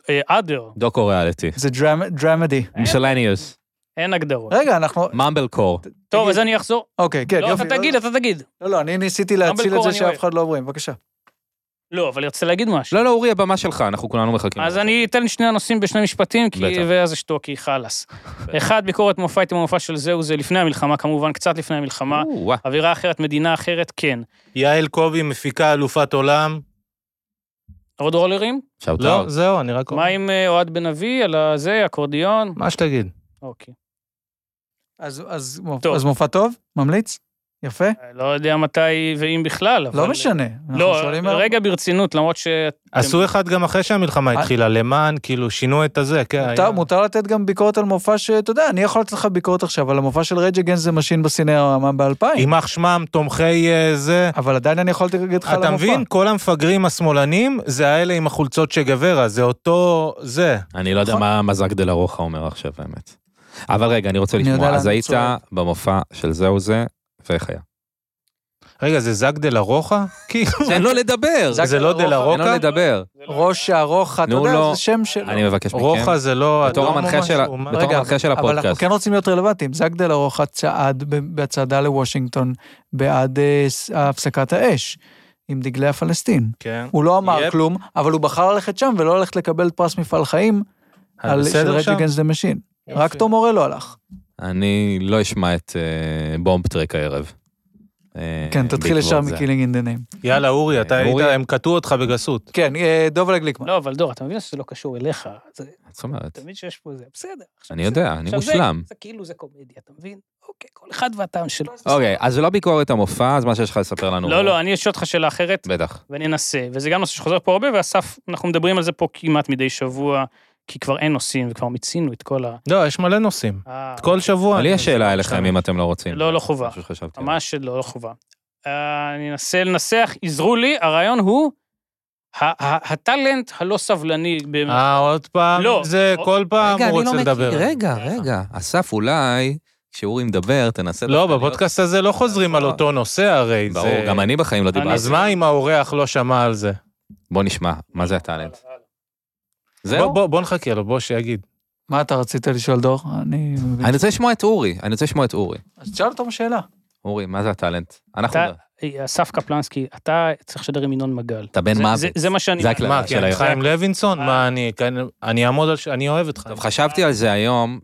Speaker 3: אה, אדר,
Speaker 1: דוקו ריאליטי.
Speaker 2: זה דרמדי.
Speaker 1: מישלניוס.
Speaker 3: אין הגדרות.
Speaker 2: רגע, אנחנו...
Speaker 1: ממבל קור.
Speaker 3: טוב, אז אני אחזור.
Speaker 2: אוקיי, כן,
Speaker 3: לא,
Speaker 2: יופי.
Speaker 3: אתה תגיד, אתה תגיד.
Speaker 2: לא, לא, אני ניסיתי להציל את
Speaker 3: קור
Speaker 2: זה
Speaker 3: אני
Speaker 2: שאף
Speaker 3: אוהב.
Speaker 2: אחד לא אומרים, בבקשה.
Speaker 3: לא, אבל אני רוצה להגיד משהו.
Speaker 1: לא, לא, אורי, הבמה שלך, אנחנו כולנו מחכים.
Speaker 3: אז אני אתן שני הנושאים בשני משפטים, כי...
Speaker 1: בטח.
Speaker 3: ואז אשתוק, כי חלאס. אחד, ביקורת מופע הייתי במופע של זהו, זה לפני המלחמה, כמובן, קצת לפני המלחמה.
Speaker 1: או, וואה.
Speaker 3: אווירה אחרת, מדינה אחרת, כן.
Speaker 4: יעל קובי מפיקה אלופת עולם.
Speaker 3: עוד רולרים?
Speaker 1: שאוט
Speaker 4: לא,
Speaker 1: אאוט.
Speaker 4: זהו, אני רק...
Speaker 3: מה עם אה, אוהד בן אבי, על הזה, אקורדיון?
Speaker 4: מה שתגיד.
Speaker 3: אוקיי.
Speaker 2: אז- אז מופ-
Speaker 3: טוב.
Speaker 2: אז מופע טוב? ממליץ? יפה?
Speaker 3: לא יודע מתי ואם בכלל, אבל...
Speaker 2: לא משנה. אנחנו
Speaker 3: לא,
Speaker 2: שואלים-
Speaker 3: רגע ברצינות, למרות ש...
Speaker 4: עשו אחד גם אחרי שהמלחמה
Speaker 2: אה.
Speaker 4: התחילה, למען, כאילו, שינו את הזה, כן.
Speaker 2: מותר-
Speaker 4: היה-
Speaker 2: מותר לתת גם ביקורת על מופע שאתה יודע, אני יכול לתת לך ביקורת עכשיו על המופע של רג' אגנס זה משין בסינמה ב-2000,
Speaker 4: יימח שמם, תומכי אה, זה.
Speaker 2: אבל עדיין אני יכול להגיד לך על המופע.
Speaker 4: אתה מבין? כל המפגרים השמאלנים, זה האלה עם החולצות שגברה, זה אותו... זה.
Speaker 1: אני לא יודע
Speaker 2: נכון.
Speaker 1: מה מזק דה לה רוחה אומר עכשיו, האמת. אבל רגע, אני רוצה
Speaker 2: אני יודע
Speaker 1: לשמוע.
Speaker 2: לאן
Speaker 1: אז
Speaker 2: זה
Speaker 1: היית
Speaker 2: צועד.
Speaker 1: במופע של זהו זה, ואיך היה?
Speaker 4: רגע, זה זאג דה לה רוחה? כאילו,
Speaker 1: תן לו לדבר.
Speaker 2: זק
Speaker 4: זה לא
Speaker 2: דה לה
Speaker 4: דה לה
Speaker 1: תן לו
Speaker 4: רוחה?
Speaker 1: לדבר.
Speaker 3: לא-
Speaker 4: לא
Speaker 2: ראש הארוחה, אתה
Speaker 1: נו,
Speaker 2: יודע,
Speaker 1: לא.
Speaker 2: זה שם של...
Speaker 1: אני מבקש מכם.
Speaker 4: רוחה זה לא...
Speaker 1: בתור
Speaker 4: אדום או
Speaker 1: המנחה של ה-
Speaker 4: משהו, מה?
Speaker 1: בתור
Speaker 2: רגע,
Speaker 1: המנחה של
Speaker 2: אבל אנחנו
Speaker 1: הפודקאסט.
Speaker 2: כן רוצים להיות רלוונטיים. זאק דה לה רוחה צעד ב- בהצעדה לוושינגטון בעד אה, ס- הפסקת האש עם דגלי הפלסטין.
Speaker 4: כן.
Speaker 2: הוא לא אמר
Speaker 4: יפ.
Speaker 2: כלום, אבל הוא בחר ללכת שם ולא ללכת לקבל פרס מפעל חיים
Speaker 4: אז
Speaker 2: על של
Speaker 4: בסדר
Speaker 2: רג'
Speaker 4: שם?
Speaker 2: אגנס דה משין.
Speaker 4: יופי.
Speaker 2: רק תום אורל לא הלך.
Speaker 1: אה, אני לא אשמע את אה, בומב טרק הערב. אה,
Speaker 2: כן, תתחיל
Speaker 1: בעקבות
Speaker 2: ישר
Speaker 1: זה.
Speaker 2: מקילינג אין דה ניים.
Speaker 4: יאללה, אורי, אתה היית,
Speaker 1: אורי.
Speaker 4: הם קטעו אותך בגסות.
Speaker 2: כן, אה, דובלה גליקמן.
Speaker 3: לא, אבל דור, אתה מבין שזה לא קשור אליך. זה
Speaker 1: זאת אומרת,
Speaker 3: תמיד שיש פה זה, בסדר. עכשיו
Speaker 1: אני
Speaker 3: זה-
Speaker 1: יודע, אני
Speaker 3: עכשיו זה-
Speaker 1: מושלם.
Speaker 3: זה כאילו זה קומדיה, אתה מבין? אוקיי, כל אחד והטעם שלו.
Speaker 1: אוקיי, אז זה לא ביקורת המופע, אז מה שיש לך לספר לנו.
Speaker 3: לא, לא, אני אשאל אותך שאלה אחרת,
Speaker 1: בטח.
Speaker 3: ואני אנסה. וזה גם נושא שחוזר פה הרבה, ואסף, אנחנו מדברים על זה פה כמעט מדי שבוע, כי כבר אין נושאים, וכבר מיצינו את כל ה...
Speaker 4: לא, יש מלא נושאים.
Speaker 3: אה,
Speaker 4: כל שבוע.
Speaker 1: אבל לי
Speaker 4: אני-
Speaker 1: יש שאלה אליכם אם אתם לא רוצים.
Speaker 3: לא, לא חובה.
Speaker 1: משהו שחשבתי עליו.
Speaker 3: ממש לא, לא חובה. אה, אני אנסה לנסח, עזרו לי, הרעיון הוא ה- ה- הטאלנט הלא סבלני. במ-
Speaker 4: אה, עוד פעם?
Speaker 3: לא.
Speaker 4: זה כל פעם
Speaker 1: רגע,
Speaker 4: הוא
Speaker 1: אני לא
Speaker 4: רוצה לדבר.
Speaker 1: מכיר. רגע, רגע. אסף, אולי, כשאורי מדבר, תנסה...
Speaker 4: לא,
Speaker 1: דווקא
Speaker 4: בפודקאסט הזה לא חוזרים על אותו נושא הרי.
Speaker 1: להיות-
Speaker 4: זה-
Speaker 1: ברור, גם אני בחיים לא
Speaker 4: אז
Speaker 1: דיברתי.
Speaker 4: מה אם האורח לא שמע על זה?
Speaker 1: בוא נשמע, מה זה הטאלנט?
Speaker 4: בוא-
Speaker 1: זהו?
Speaker 4: בוא- בוא נחכה לו, בוא שיגיד.
Speaker 2: מה אתה רצית לשאול, דור? אני מבין.
Speaker 1: אני רוצה לשמוע את אורי, אני רוצה לשמוע את אורי.
Speaker 2: אז תשאל אותו שאלה.
Speaker 1: אורי, מה זה הטאלנט? אנחנו...
Speaker 3: אתה- אה, אסף קפלנסקי, אתה צריך לשדר עם ינון מגל.
Speaker 1: אתה בן
Speaker 3: זה-
Speaker 1: מוות.
Speaker 3: זה- זה מה שאני...
Speaker 1: זה הכלל.
Speaker 4: מה,
Speaker 1: של
Speaker 4: כן,
Speaker 1: היום.
Speaker 4: חיים לוינסון?
Speaker 3: אה.
Speaker 4: מה, אני כן, אני אעמוד על ש... אני אוהב את חיים.
Speaker 1: טוב, חשבתי על זה היום,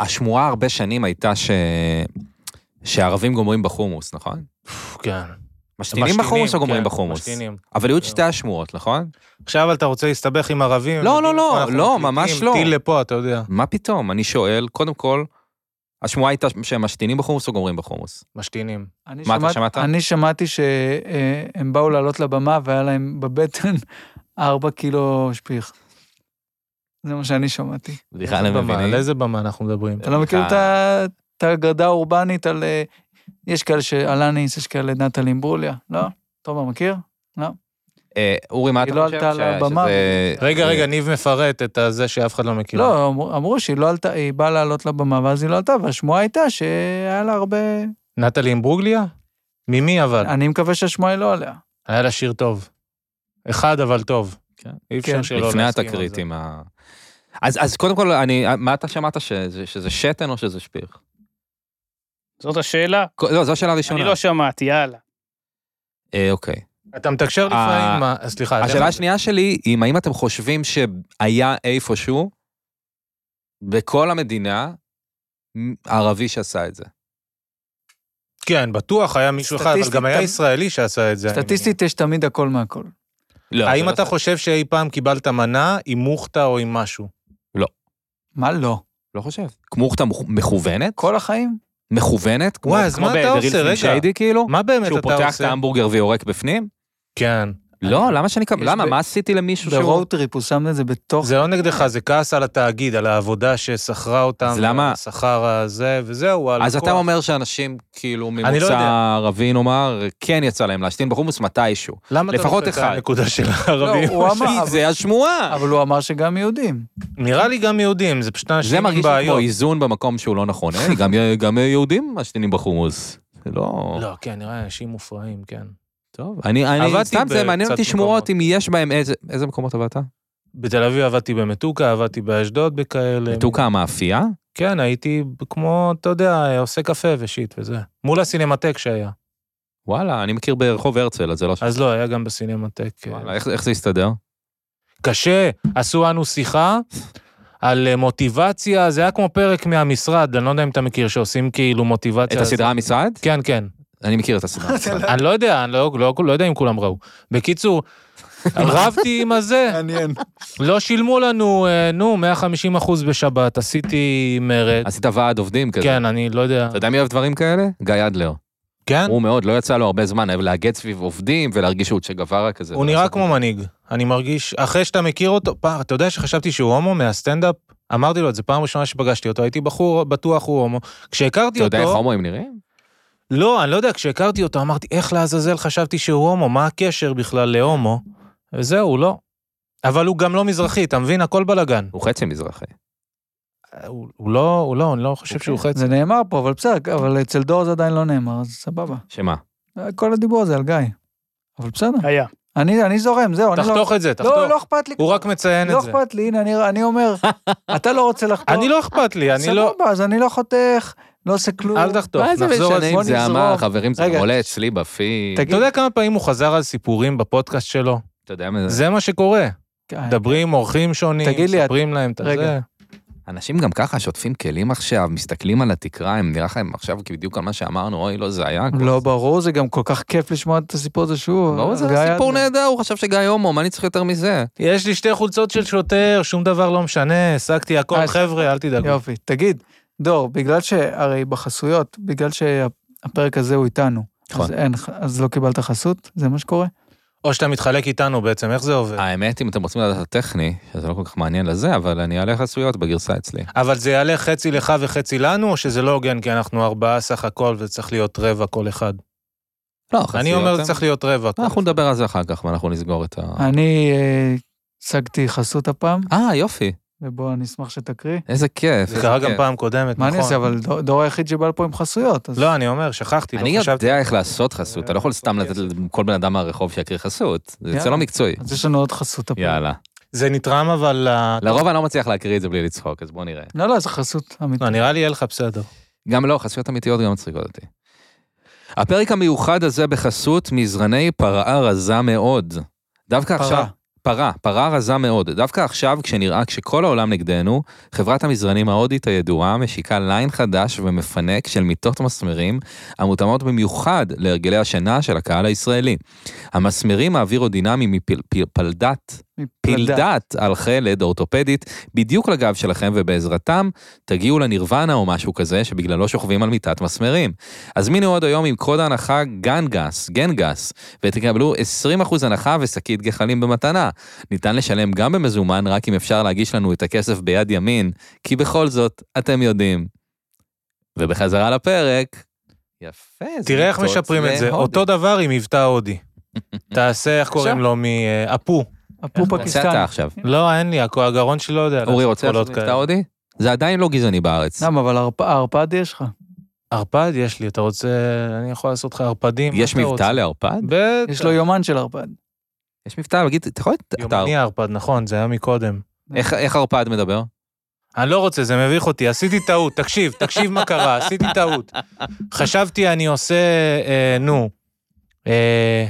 Speaker 1: שהשמועה הרבה שנים הייתה ש... שערבים גומרים בחומוס, נכון?
Speaker 4: כן.
Speaker 1: משתינים בחומוס או גומרים
Speaker 4: כן,
Speaker 1: בחומוס?
Speaker 4: משתינים.
Speaker 1: אבל היו את שתי השמועות, נכון?
Speaker 4: עכשיו אתה רוצה להסתבך עם ערבים?
Speaker 1: לא,
Speaker 4: הם יודעים
Speaker 1: לא, לא,
Speaker 4: איפה אנחנו
Speaker 1: לא,
Speaker 4: מקליטים,
Speaker 1: ממש לא.
Speaker 4: טיל לפה, אתה יודע.
Speaker 1: מה פתאום? אני שואל, קודם כל, השמועה הייתה שהם משתינים בחומוס או גומרים בחומוס?
Speaker 4: משתינים.
Speaker 2: אני
Speaker 1: מה, אתה שמעת?
Speaker 2: אני שמעתי שהם באו לעלות לבמה והיה להם בבטן 4 קילו שפיך. זה מה שאני שמעתי.
Speaker 1: בדיחה
Speaker 4: איזה
Speaker 1: למבינים.
Speaker 4: במה, על איזה במה אנחנו מדברים?
Speaker 2: אתה לא מכיר את ה- את האגדה האורבנית על... אה, יש כאלה שאלניס, יש כאלה נטלי ברוליה, לא? תומר מכיר?
Speaker 1: אה, אורי, מה
Speaker 2: היא
Speaker 1: אתה
Speaker 2: לא
Speaker 1: חושב?
Speaker 2: עלתה על
Speaker 1: ש-
Speaker 2: הבמה.
Speaker 1: שזה- כן.
Speaker 4: רגע, רגע, ניב מפרט את הזה שאף אחד לא מכיר.
Speaker 2: לא, אמרו- אמרו שהיא לא עלתה, היא באה לעלות לבמה ואז היא לא עלתה, והשמועה הייתה שהיה לה הרבה...
Speaker 4: נטלי עם ברוגליה? ממי אבל?
Speaker 2: אני מקווה שהשמועה היא לא עליה.
Speaker 4: היה לה שיר טוב. אחד אבל טוב.
Speaker 1: כן.
Speaker 4: אי אפשר
Speaker 2: כן.
Speaker 4: שלא
Speaker 1: לפני
Speaker 4: להסכים על זה.
Speaker 1: התקריטים. ה- אז אז קודם כל, אני- מה אתה שמעת? שזה- שזה שתן או שזה שפיך?
Speaker 3: זאת השאלה.
Speaker 1: לא, זו השאלה הראשונה.
Speaker 3: אני לא שמעתי, יאללה.
Speaker 1: אה, אוקיי.
Speaker 4: אתה מתקשר
Speaker 1: אה,
Speaker 4: לפעמים, מה- סליחה.
Speaker 1: השאלה
Speaker 4: לך-
Speaker 1: השנייה שלי היא, אם האם אתם חושבים שהיה איפשהו בכל המדינה מ- ערבי שעשה את זה?
Speaker 4: כן, בטוח היה מישהו אחד, אבל
Speaker 2: סטטיסטית,
Speaker 4: גם היה
Speaker 2: אתה-
Speaker 4: ישראלי שעשה את זה. אני
Speaker 2: סטטיסטית יש תמיד הכל מהכל.
Speaker 1: לא.
Speaker 4: מניח. האם
Speaker 1: זה
Speaker 4: אתה
Speaker 1: לא-
Speaker 4: חושב שאי פעם קיבלת מנה עם מוכתה או עם משהו?
Speaker 2: מה לא?
Speaker 1: לא חושב. כמוכתה מוכ- מכוונת?
Speaker 2: כל החיים?
Speaker 1: מכוונת? כמו-
Speaker 4: וואי, אז
Speaker 1: כמו
Speaker 4: מה אתה
Speaker 1: ב-
Speaker 4: עושה?
Speaker 1: ברילס עם
Speaker 4: רגע.
Speaker 1: שיידי כאילו?
Speaker 4: מה באמת
Speaker 1: שהוא
Speaker 4: אתה
Speaker 1: פותח את
Speaker 4: עושה?
Speaker 1: ההמבורגר ויורק בפנים?
Speaker 4: כן.
Speaker 1: לא, למה שאני... קם-
Speaker 2: יש
Speaker 1: למה?
Speaker 2: ב-
Speaker 1: מה עשיתי למישהו שהוא...
Speaker 2: ברואוטריפ הוא שם את זה בתוך...
Speaker 4: זה לא נגדך, זה כעס על התאגיד, על העבודה ששכרה אותם,
Speaker 1: אז למה-
Speaker 4: השכר הזה, וזהו, הלקוח.
Speaker 1: אז אתה אומר שאנשים, כאילו,
Speaker 4: לא
Speaker 1: ממוצע
Speaker 4: יודע.
Speaker 1: ערבי, נאמר, כן יצא להם להשתין בחומוס מתישהו.
Speaker 4: למה אתה
Speaker 1: לפחות
Speaker 4: לוקח את
Speaker 1: אחד.
Speaker 4: הנקודה של
Speaker 2: לא,
Speaker 4: הערבים?
Speaker 2: הוא אמר,
Speaker 1: כי
Speaker 2: אבל-
Speaker 1: זה השמועה.
Speaker 2: אבל הוא אמר שגם יהודים.
Speaker 4: נראה לי גם יהודים, זה פשוט
Speaker 1: זה
Speaker 4: אנשים עם
Speaker 1: מרגיש לי כמו
Speaker 4: בעיות.
Speaker 1: איזון במקום שהוא לא נכון. אה, גם- גם יהודים משתינים בחומוס. זה לא...
Speaker 4: לא, כן, נראה לי אנשים מופרעים, כן.
Speaker 1: טוב. אני, אני,
Speaker 4: עבדתי
Speaker 1: סתם זה מעניין
Speaker 4: בקצת
Speaker 1: אותי שמועות
Speaker 4: מקומות.
Speaker 1: אם יש בהם איזה, איזה מקומות עבדת?
Speaker 4: בתל אביב עבדתי במתוקה, עבדתי באשדוד בכאלה.
Speaker 1: בטוקה המאפייה?
Speaker 4: כן, הייתי כמו, אתה יודע, עושה קפה ושיט וזה. מול הסינמטק שהיה.
Speaker 1: וואלה, אני מכיר ברחוב הרצל, אז זה לא... ש...
Speaker 4: אז לא, היה גם בסינמטק. אה,
Speaker 1: וואלה, איך, איך זה הסתדר?
Speaker 4: קשה, עשו לנו שיחה על אה, מוטיבציה, זה היה כמו פרק מהמשרד, אני לא יודע אם אתה מכיר, שעושים כאילו
Speaker 1: את
Speaker 4: מוטיבציה.
Speaker 1: הסדרה המשרד?
Speaker 4: כן, כן.
Speaker 1: אני מכיר את הסדרה המשרד.
Speaker 4: אני לא יודע, אני לא, לא, לא יודע אם כולם ראו. בקיצור, רבתי עם הזה,
Speaker 2: מעניין.
Speaker 4: לא שילמו לנו, אה, נו, 150 אחוז בשבת, עשיתי מרד.
Speaker 1: עשית ועד עובדים כזה.
Speaker 4: כן, אני לא יודע.
Speaker 1: אתה יודע מי אוהב דברים כאלה? גיא אדלר.
Speaker 4: כן?
Speaker 1: הוא מאוד, לא יצא לו הרבה זמן, אוהב לאגד סביב עובדים ולהרגיש שהוא צ'ה גווארה כזה. לא
Speaker 4: הוא נראה כמו מנהיג. אני מרגיש, אחרי שאתה מכיר אותו, פעם, אתה יודע שחשבתי שהוא הומו מהסטנדאפ? אמרתי לו את זה פעם ראשונה שפגשתי אותו, הייתי בחור, בטוח הוא הומו. כשהכרתי
Speaker 1: אתה יודע איך
Speaker 4: אותו,
Speaker 1: הומואים נראים?
Speaker 4: לא, אני לא יודע, כשהכרתי אותו אמרתי, איך לעזאזל חשבתי שהוא הומו, מה הקשר בכלל להומו? וזהו, לא. אבל הוא גם לא מזרחי, אתה מבין? הכל בלאגן.
Speaker 1: הוא חצי מזרחי.
Speaker 4: הוא הוא לא, הוא לא, אני לא חושב שהוא חצי.
Speaker 2: אוקיי. זה נאמר פה, אבל בסדר, אבל אצל דור זה עדיין לא נאמר, אז סבבה.
Speaker 4: אה,
Speaker 1: שמה?
Speaker 2: כל הדיבור הזה על גיא. אבל בסדר.
Speaker 3: היה.
Speaker 2: אני אני זורם, זהו. אני לא-
Speaker 4: תחתוך את זה,
Speaker 2: לא, לא
Speaker 4: תחתוך.
Speaker 2: אכפת לי.
Speaker 4: הוא רק מציין
Speaker 2: לא
Speaker 4: את זה.
Speaker 2: אכפת לי, הנה, אני- אני אומר, אתה לא רוצה לחתוך.
Speaker 4: אני לא אכפת לי, אני לא...
Speaker 2: סבבה, אז אני לא חותך, לא עושה כלום.
Speaker 4: אל תחתוך,
Speaker 1: מה זה
Speaker 4: נחזור על
Speaker 1: משנה
Speaker 4: זה.
Speaker 1: אם
Speaker 2: בוא
Speaker 1: זה
Speaker 2: נזרום.
Speaker 1: אמר, חברים, זה
Speaker 2: רגע.
Speaker 1: עולה אצלי בפיד.
Speaker 2: תגיד,
Speaker 4: אתה יודע כמה פעמים הוא חזר על סיפורים בפודקאסט שלו?
Speaker 1: אתה יודע מה זה?
Speaker 4: זה מה שקורה.
Speaker 2: אה,
Speaker 4: מדברים עם אורחים שונים,
Speaker 2: תגיד לי,
Speaker 4: מספרים להם את
Speaker 2: רגע.
Speaker 4: זה.
Speaker 1: אנשים גם ככה שוטפים כלים עכשיו, מסתכלים על התקרה, הם נראה לכם עכשיו בדיוק על מה שאמרנו, אוי, לא, זה היה.
Speaker 2: לא, ברור, זה גם כל כך כיף לשמוע את הסיפור הזה
Speaker 4: אה,
Speaker 2: שוב.
Speaker 1: ברור, זה
Speaker 2: גיא
Speaker 1: סיפור
Speaker 2: אדלר.
Speaker 1: נהדר, הוא חשב שגיא הומו, מה אני צריך יותר מזה?
Speaker 4: יש לי שתי חולצות של שוטר, שום דבר לא משנה, השגתי הכל,
Speaker 2: אז-
Speaker 4: חבר'ה, אל תדאגו.
Speaker 2: יופי. תגיד, דור, בגלל שהרי בחסויות, בגלל שהפרק הזה הוא איתנו,
Speaker 1: נכון.
Speaker 2: אז אין, אז לא קיבלת חסות? זה מה שקורה?
Speaker 4: או שאתה מתחלק איתנו בעצם, איך זה עובד?
Speaker 1: האמת, אם אתם רוצים לדעת את הטכני, שזה לא כל כך מעניין לזה, אבל אני אעלה חסויות בגרסה אצלי.
Speaker 4: אבל זה יעלה חצי לך וחצי לנו, או שזה לא הוגן, כי אנחנו ארבעה סך הכל, וצריך להיות רבע כל אחד?
Speaker 1: לא, חסויות.
Speaker 4: אני אומר,
Speaker 1: הם-
Speaker 4: זה צריך להיות רבע. כל
Speaker 1: אנחנו
Speaker 4: אחד.
Speaker 1: נדבר על זה אחר כך, ואנחנו נסגור את ה...
Speaker 2: אני אה, השגתי חסות הפעם,
Speaker 1: אה, יופי,
Speaker 2: ובוא, אני אשמח שתקריא.
Speaker 1: איזה כיף.
Speaker 4: זה
Speaker 1: איזה
Speaker 4: קרה גם
Speaker 1: כיף.
Speaker 4: פעם קודמת, נכון.
Speaker 2: מה אני אעשה, אבל דור- דור היחיד שבא לפה עם חסויות, אז...
Speaker 4: לא, אני אומר, שכחתי,
Speaker 1: אני
Speaker 4: לא חשבתי.
Speaker 1: יודע איך לעשות חסות, אתה לא יכול סתם לתת לכל בן אדם מהרחוב שיקריא חסות, זה יוצא
Speaker 2: יאללה.
Speaker 1: לא מקצועי.
Speaker 2: אז יש לנו עוד חסות הפעם.
Speaker 1: יאללה.
Speaker 4: זה נתרם, אבל... אה, ה-
Speaker 1: לרוב אני לא מצליח להקריא את זה בלי לצחוק, אז בוא נראה.
Speaker 2: לא, לא, זה חסות אמיתית.
Speaker 4: לא, נראה לי יהיה לך בסדר.
Speaker 1: גם לא, חסויות אמיתיות גם מצחיקות אותי. הפרק המיוחד הזה בחסות מזרני פרה רזה מאוד. דווקא
Speaker 2: פרה.
Speaker 1: עכשיו... פרה, פרה רזה מאוד. דווקא עכשיו, כשנראה כשכל העולם נגדנו, חברת המזרנים ההודית הידועה משיקה ליין חדש ומפנק של מיטות מסמרים, המותאמות במיוחד להרגלי השינה של הקהל הישראלי. המסמרים האווירודינמיים מפלדת פילדת על חלד אורתופדית בדיוק לגב שלכם ובעזרתם תגיעו לנירוונה או משהו כזה שבגללו שוכבים על מיטת מסמרים. הזמינו עוד היום עם קוד ההנחה גנגס, גנגס, ותקבלו 20% הנחה ושקית גחלים במתנה. ניתן לשלם גם במזומן רק אם אפשר להגיש לנו את הכסף ביד ימין, כי בכל זאת אתם יודעים. ובחזרה לפרק. יפה, זה
Speaker 4: תראה איך
Speaker 1: ניצוץ
Speaker 4: משפרים את זה.
Speaker 1: להודי.
Speaker 4: אותו דבר עם מבטא הודי. תעשה, איך קוראים לו? מאפו.
Speaker 2: הפו
Speaker 1: תעשה אתה
Speaker 2: פקיסטני.
Speaker 1: עכשיו.
Speaker 4: לא, אין לי, הכ- הגרון שלי לא יודע.
Speaker 1: אורי
Speaker 4: לעשות
Speaker 1: רוצה
Speaker 4: קולות
Speaker 1: לעשות מבטא
Speaker 4: כאלה.
Speaker 1: הודי? זה עדיין לא גזעני בארץ.
Speaker 2: למה, אבל הרפ- הערפד יש לך.
Speaker 4: ערפד יש לי, אתה רוצה... אני יכול לעשות לך ערפדים.
Speaker 1: יש
Speaker 4: מה אתה רוצה?
Speaker 1: מבטא לערפד?
Speaker 4: בטח.
Speaker 2: יש לו יומן של ערפד.
Speaker 1: יש מבטא, אבל תגיד, אתה יכול... אתה-
Speaker 4: יומני ערפד, נכון, זה היה מקודם.
Speaker 1: איך- איך ערפד מדבר?
Speaker 4: אני לא רוצה, זה מביך אותי, עשיתי טעות, תקשיב, תקשיב מה קרה, עשיתי טעות. חשבתי אני עושה, אה, נו, אה,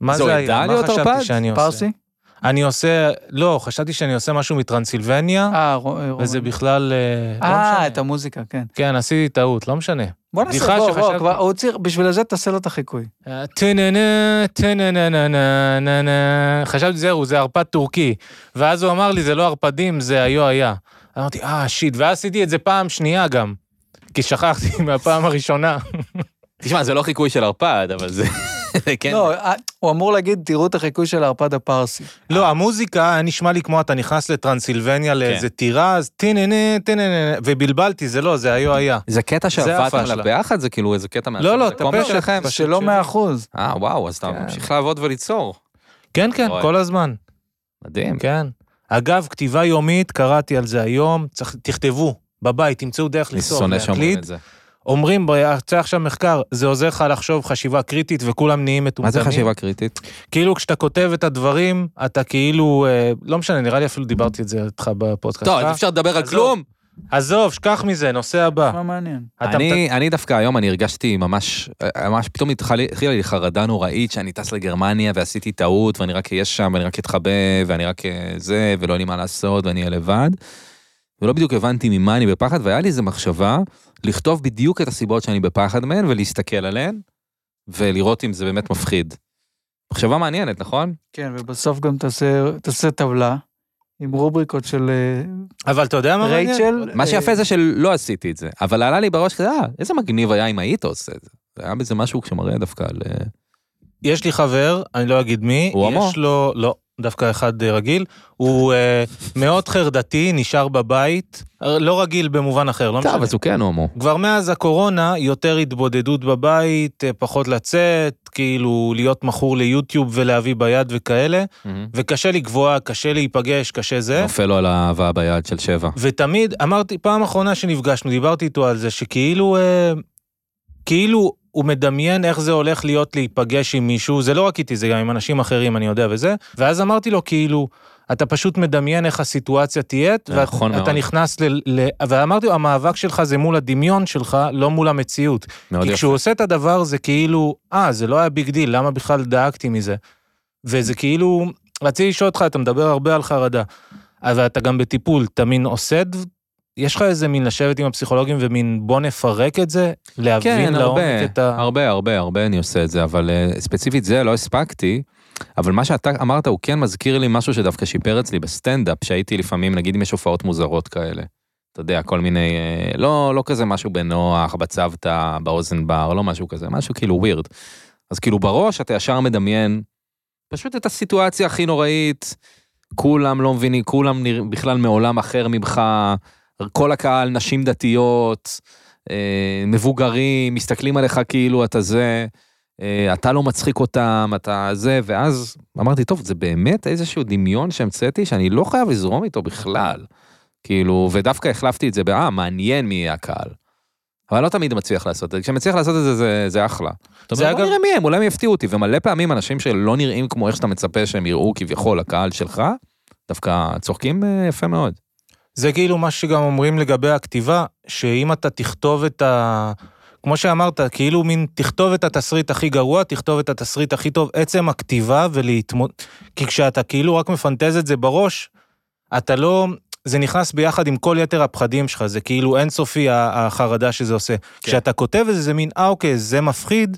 Speaker 4: מה
Speaker 1: זו
Speaker 4: זה
Speaker 1: עדה
Speaker 4: היה? מה
Speaker 1: להיות ערפד?
Speaker 4: חשבתי שאני עושה?
Speaker 2: פרסי?
Speaker 4: אני עושה, לא, חשבתי שאני עושה משהו מטרנסילבניה,
Speaker 2: אה, רו- אה,
Speaker 4: וזה
Speaker 2: רומן.
Speaker 4: בכלל, אה, לא
Speaker 2: אה, את
Speaker 4: משנה.
Speaker 2: המוזיקה, כן.
Speaker 4: כן, עשיתי טעות, לא משנה.
Speaker 2: בוא נעשה,
Speaker 4: בדיחה
Speaker 2: בוא, בוא,
Speaker 4: שחשבתי.
Speaker 2: כבר, הוא צריך, בשביל זה תעשה לו את החיקוי.
Speaker 4: אה, טה-נה-נה, טה-נה-נה-נה-נה-נה. חשבתי זהו, זה ערפד טורקי. ואז הוא אמר לי, זה לא ערפדים, זה היו היה. אמרתי, אה, שיט. ואז עשיתי את זה פעם שנייה גם, כי שכחתי מהפעם הראשונה.
Speaker 1: תשמע, זה לא חיקוי של ערפד, אבל זה... כן.
Speaker 2: לא, אה, הוא אמור להגיד, תראו את החיקוי של הערפד הפרסי.
Speaker 4: לא, המוזיקה היה נשמע לי כמו אתה נכנס לטרנסילבניה לאיזה טירה, אז טיננה, טיננה, ובלבלתי, זה לא, זה היו היה.
Speaker 1: זה קטע שעבדתם
Speaker 4: הפשלה.
Speaker 1: עליו ביחד? זה כאילו איזה קטע
Speaker 4: לא, לא,
Speaker 1: זה קומבו
Speaker 4: טפשת,
Speaker 1: שלכם?
Speaker 4: פשוט.
Speaker 2: שלא
Speaker 4: שלי.
Speaker 2: מאה אחוז.
Speaker 1: אה, וואו, אז אתה
Speaker 2: כן.
Speaker 1: ממשיך לעבוד וליצור.
Speaker 4: כן, כן,
Speaker 1: אוי.
Speaker 4: כל הזמן.
Speaker 1: מדהים.
Speaker 4: כן. אגב, כתיבה יומית, קראתי על זה היום, צריך- תכתבו, בבית, תמצאו דרך
Speaker 1: אני
Speaker 4: לסוף,
Speaker 1: שונא שאומרים
Speaker 4: להקליט.
Speaker 1: את זה.
Speaker 4: אומרים, יצא עכשיו מחקר, זה עוזר לך לחשוב חשיבה קריטית וכולם נהיים
Speaker 1: מה
Speaker 4: מטומטמים.
Speaker 1: זה חשיבה קריטית?
Speaker 4: כאילו כשאתה כותב את הדברים, אתה כאילו, אה, לא משנה, נראה לי אפילו דיברתי את זה איתך בפודקאסט.
Speaker 1: טוב,
Speaker 4: שלך.
Speaker 1: אז אפשר לדבר על
Speaker 4: עזוב.
Speaker 1: כלום?
Speaker 4: עזוב, שכח מזה, נושא הבא.
Speaker 2: מה מעניין?
Speaker 4: אתה-
Speaker 1: אני, אני דווקא היום, אני הרגשתי ממש, ממש פתאום התחילה התחילה לי חרדה נוראית שאני טס לגרמניה ועשיתי טעות ואני רק אהיה שם ואני רק אתחבא ואני רק אה, זה ולא אין לי מה לעשות ואני אהיה לבד. ולא בדיוק הבנתי ממה אני בפחד והיה לי איזו מחשבה לכתוב בדיוק את הסיבות שאני בפחד מהן ולהסתכל עליהן ולראות אם זה באמת מפחיד. מחשבה מעניינת, נכון?
Speaker 2: כן, ובסוף גם תעשה- תעשה טבלה עם רובריקות של אה,
Speaker 4: אבל אתה יודע מה מעניין?
Speaker 2: רייצ'ל.
Speaker 1: מה שיפה
Speaker 2: אה,
Speaker 1: זה שלא עשיתי את זה, אבל עלה לי בראש כזה, אה, איזה מגניב היה אם היית עושה את זה. היה בזה משהו שמראה דווקא על... אה,
Speaker 4: יש לי חבר, אני לא אגיד מי,
Speaker 1: הוא הומו?
Speaker 4: יש לו, לא, דווקא אחד אה, רגיל, הוא אה, מאוד חרדתי, נשאר בבית, אה, לא רגיל במובן אחר, לא
Speaker 1: טוב,
Speaker 4: משנה.
Speaker 1: אז הוא כן הומו.
Speaker 4: כבר מאז הקורונה, יותר התבודדות בבית, אה, פחות לצאת, כאילו להיות מכור ליוטיוב ולהביא ביד וכאלה, וקשה לקבוע, קשה להיפגש, קשה זה.
Speaker 1: נופל לו על האהבה ביד של שבע.
Speaker 4: ותמיד אמרתי, פעם אחרונה שנפגשנו, דיברתי איתו על זה, שכאילו, אה, כאילו הוא מדמיין איך זה הולך להיות להיפגש עם מישהו, זה לא רק איתי, זה גם עם אנשים אחרים, אני יודע וזה, ואז אמרתי לו, כאילו, אתה פשוט מדמיין איך הסיטואציה תהיה,
Speaker 1: זה נכון מאוד.
Speaker 4: ואתה נכנס ל... ל ואמרתי לו, המאבק שלך זה מול הדמיון שלך, לא מול המציאות.
Speaker 1: מאוד
Speaker 4: כי
Speaker 1: יפה.
Speaker 4: כשהוא עושה את הדבר זה כאילו, אה, זה לא היה ביג דיל, למה בכלל דאגתי מזה? וזה כאילו, רציתי לשאול אותך, אתה מדבר הרבה על חרדה, אבל אתה גם בטיפול, אתה מין עושה, דב- יש לך איזה מין לשבת עם הפסיכולוגים ומין בוא נפרק את זה? להבין
Speaker 1: כן,
Speaker 4: לעומק
Speaker 1: הרבה,
Speaker 4: את ה...
Speaker 1: הרבה, הרבה, הרבה אני עושה את זה, אבל אה, ספציפית זה לא הספקתי, אבל מה שאתה אמרת הוא כן מזכיר לי משהו שדווקא שיפר אצלי בסטנדאפ, שהייתי לפעמים, נגיד אם יש הופעות מוזרות כאלה. אתה יודע, כל מיני, אה, לא, לא כזה משהו בנוח, בצוותא, באוזן בר, לא משהו כזה, משהו כאילו ווירד. אז כאילו בראש אתה ישר מדמיין פשוט את הסיטואציה הכי נוראית, כולם לא מבינים, כולם נרא- בכלל מעולם אחר ממך, כל הקהל, נשים דתיות, אה, מבוגרים, מסתכלים עליך כאילו אתה זה, אה, אתה לא מצחיק אותם, אתה זה, ואז אמרתי, טוב, זה באמת איזשהו דמיון שהמצאתי שאני לא חייב לזרום איתו בכלל. כאילו, ודווקא החלפתי את זה ב"אה, מעניין מי יהיה הקהל". אבל לא תמיד מצליח לעשות את זה, כשמצליח לעשות את זה, זה, זה אחלה. אתה
Speaker 4: זה
Speaker 1: אומר, "אוקיי." בוא
Speaker 4: אגב-
Speaker 1: נראה מי הם, אולי הם יפתיעו אותי, ומלא פעמים אנשים שלא נראים כמו איך שאתה מצפה שהם יראו כביכול הקהל שלך, דווקא צוחקים אה, יפה מאוד.
Speaker 4: זה כאילו מה שגם אומרים לגבי הכתיבה, שאם אתה תכתוב את ה... כמו שאמרת, כאילו מין תכתוב את התסריט הכי גרוע, תכתוב את התסריט הכי טוב, עצם הכתיבה ולהתמוד... כי כשאתה כאילו רק מפנטז את זה בראש, אתה לא... זה נכנס ביחד עם כל יתר הפחדים שלך, זה כאילו אינסופי ה- החרדה שזה עושה. כשאתה כותב את זה, זה מין, אה, אוקיי, זה מפחיד,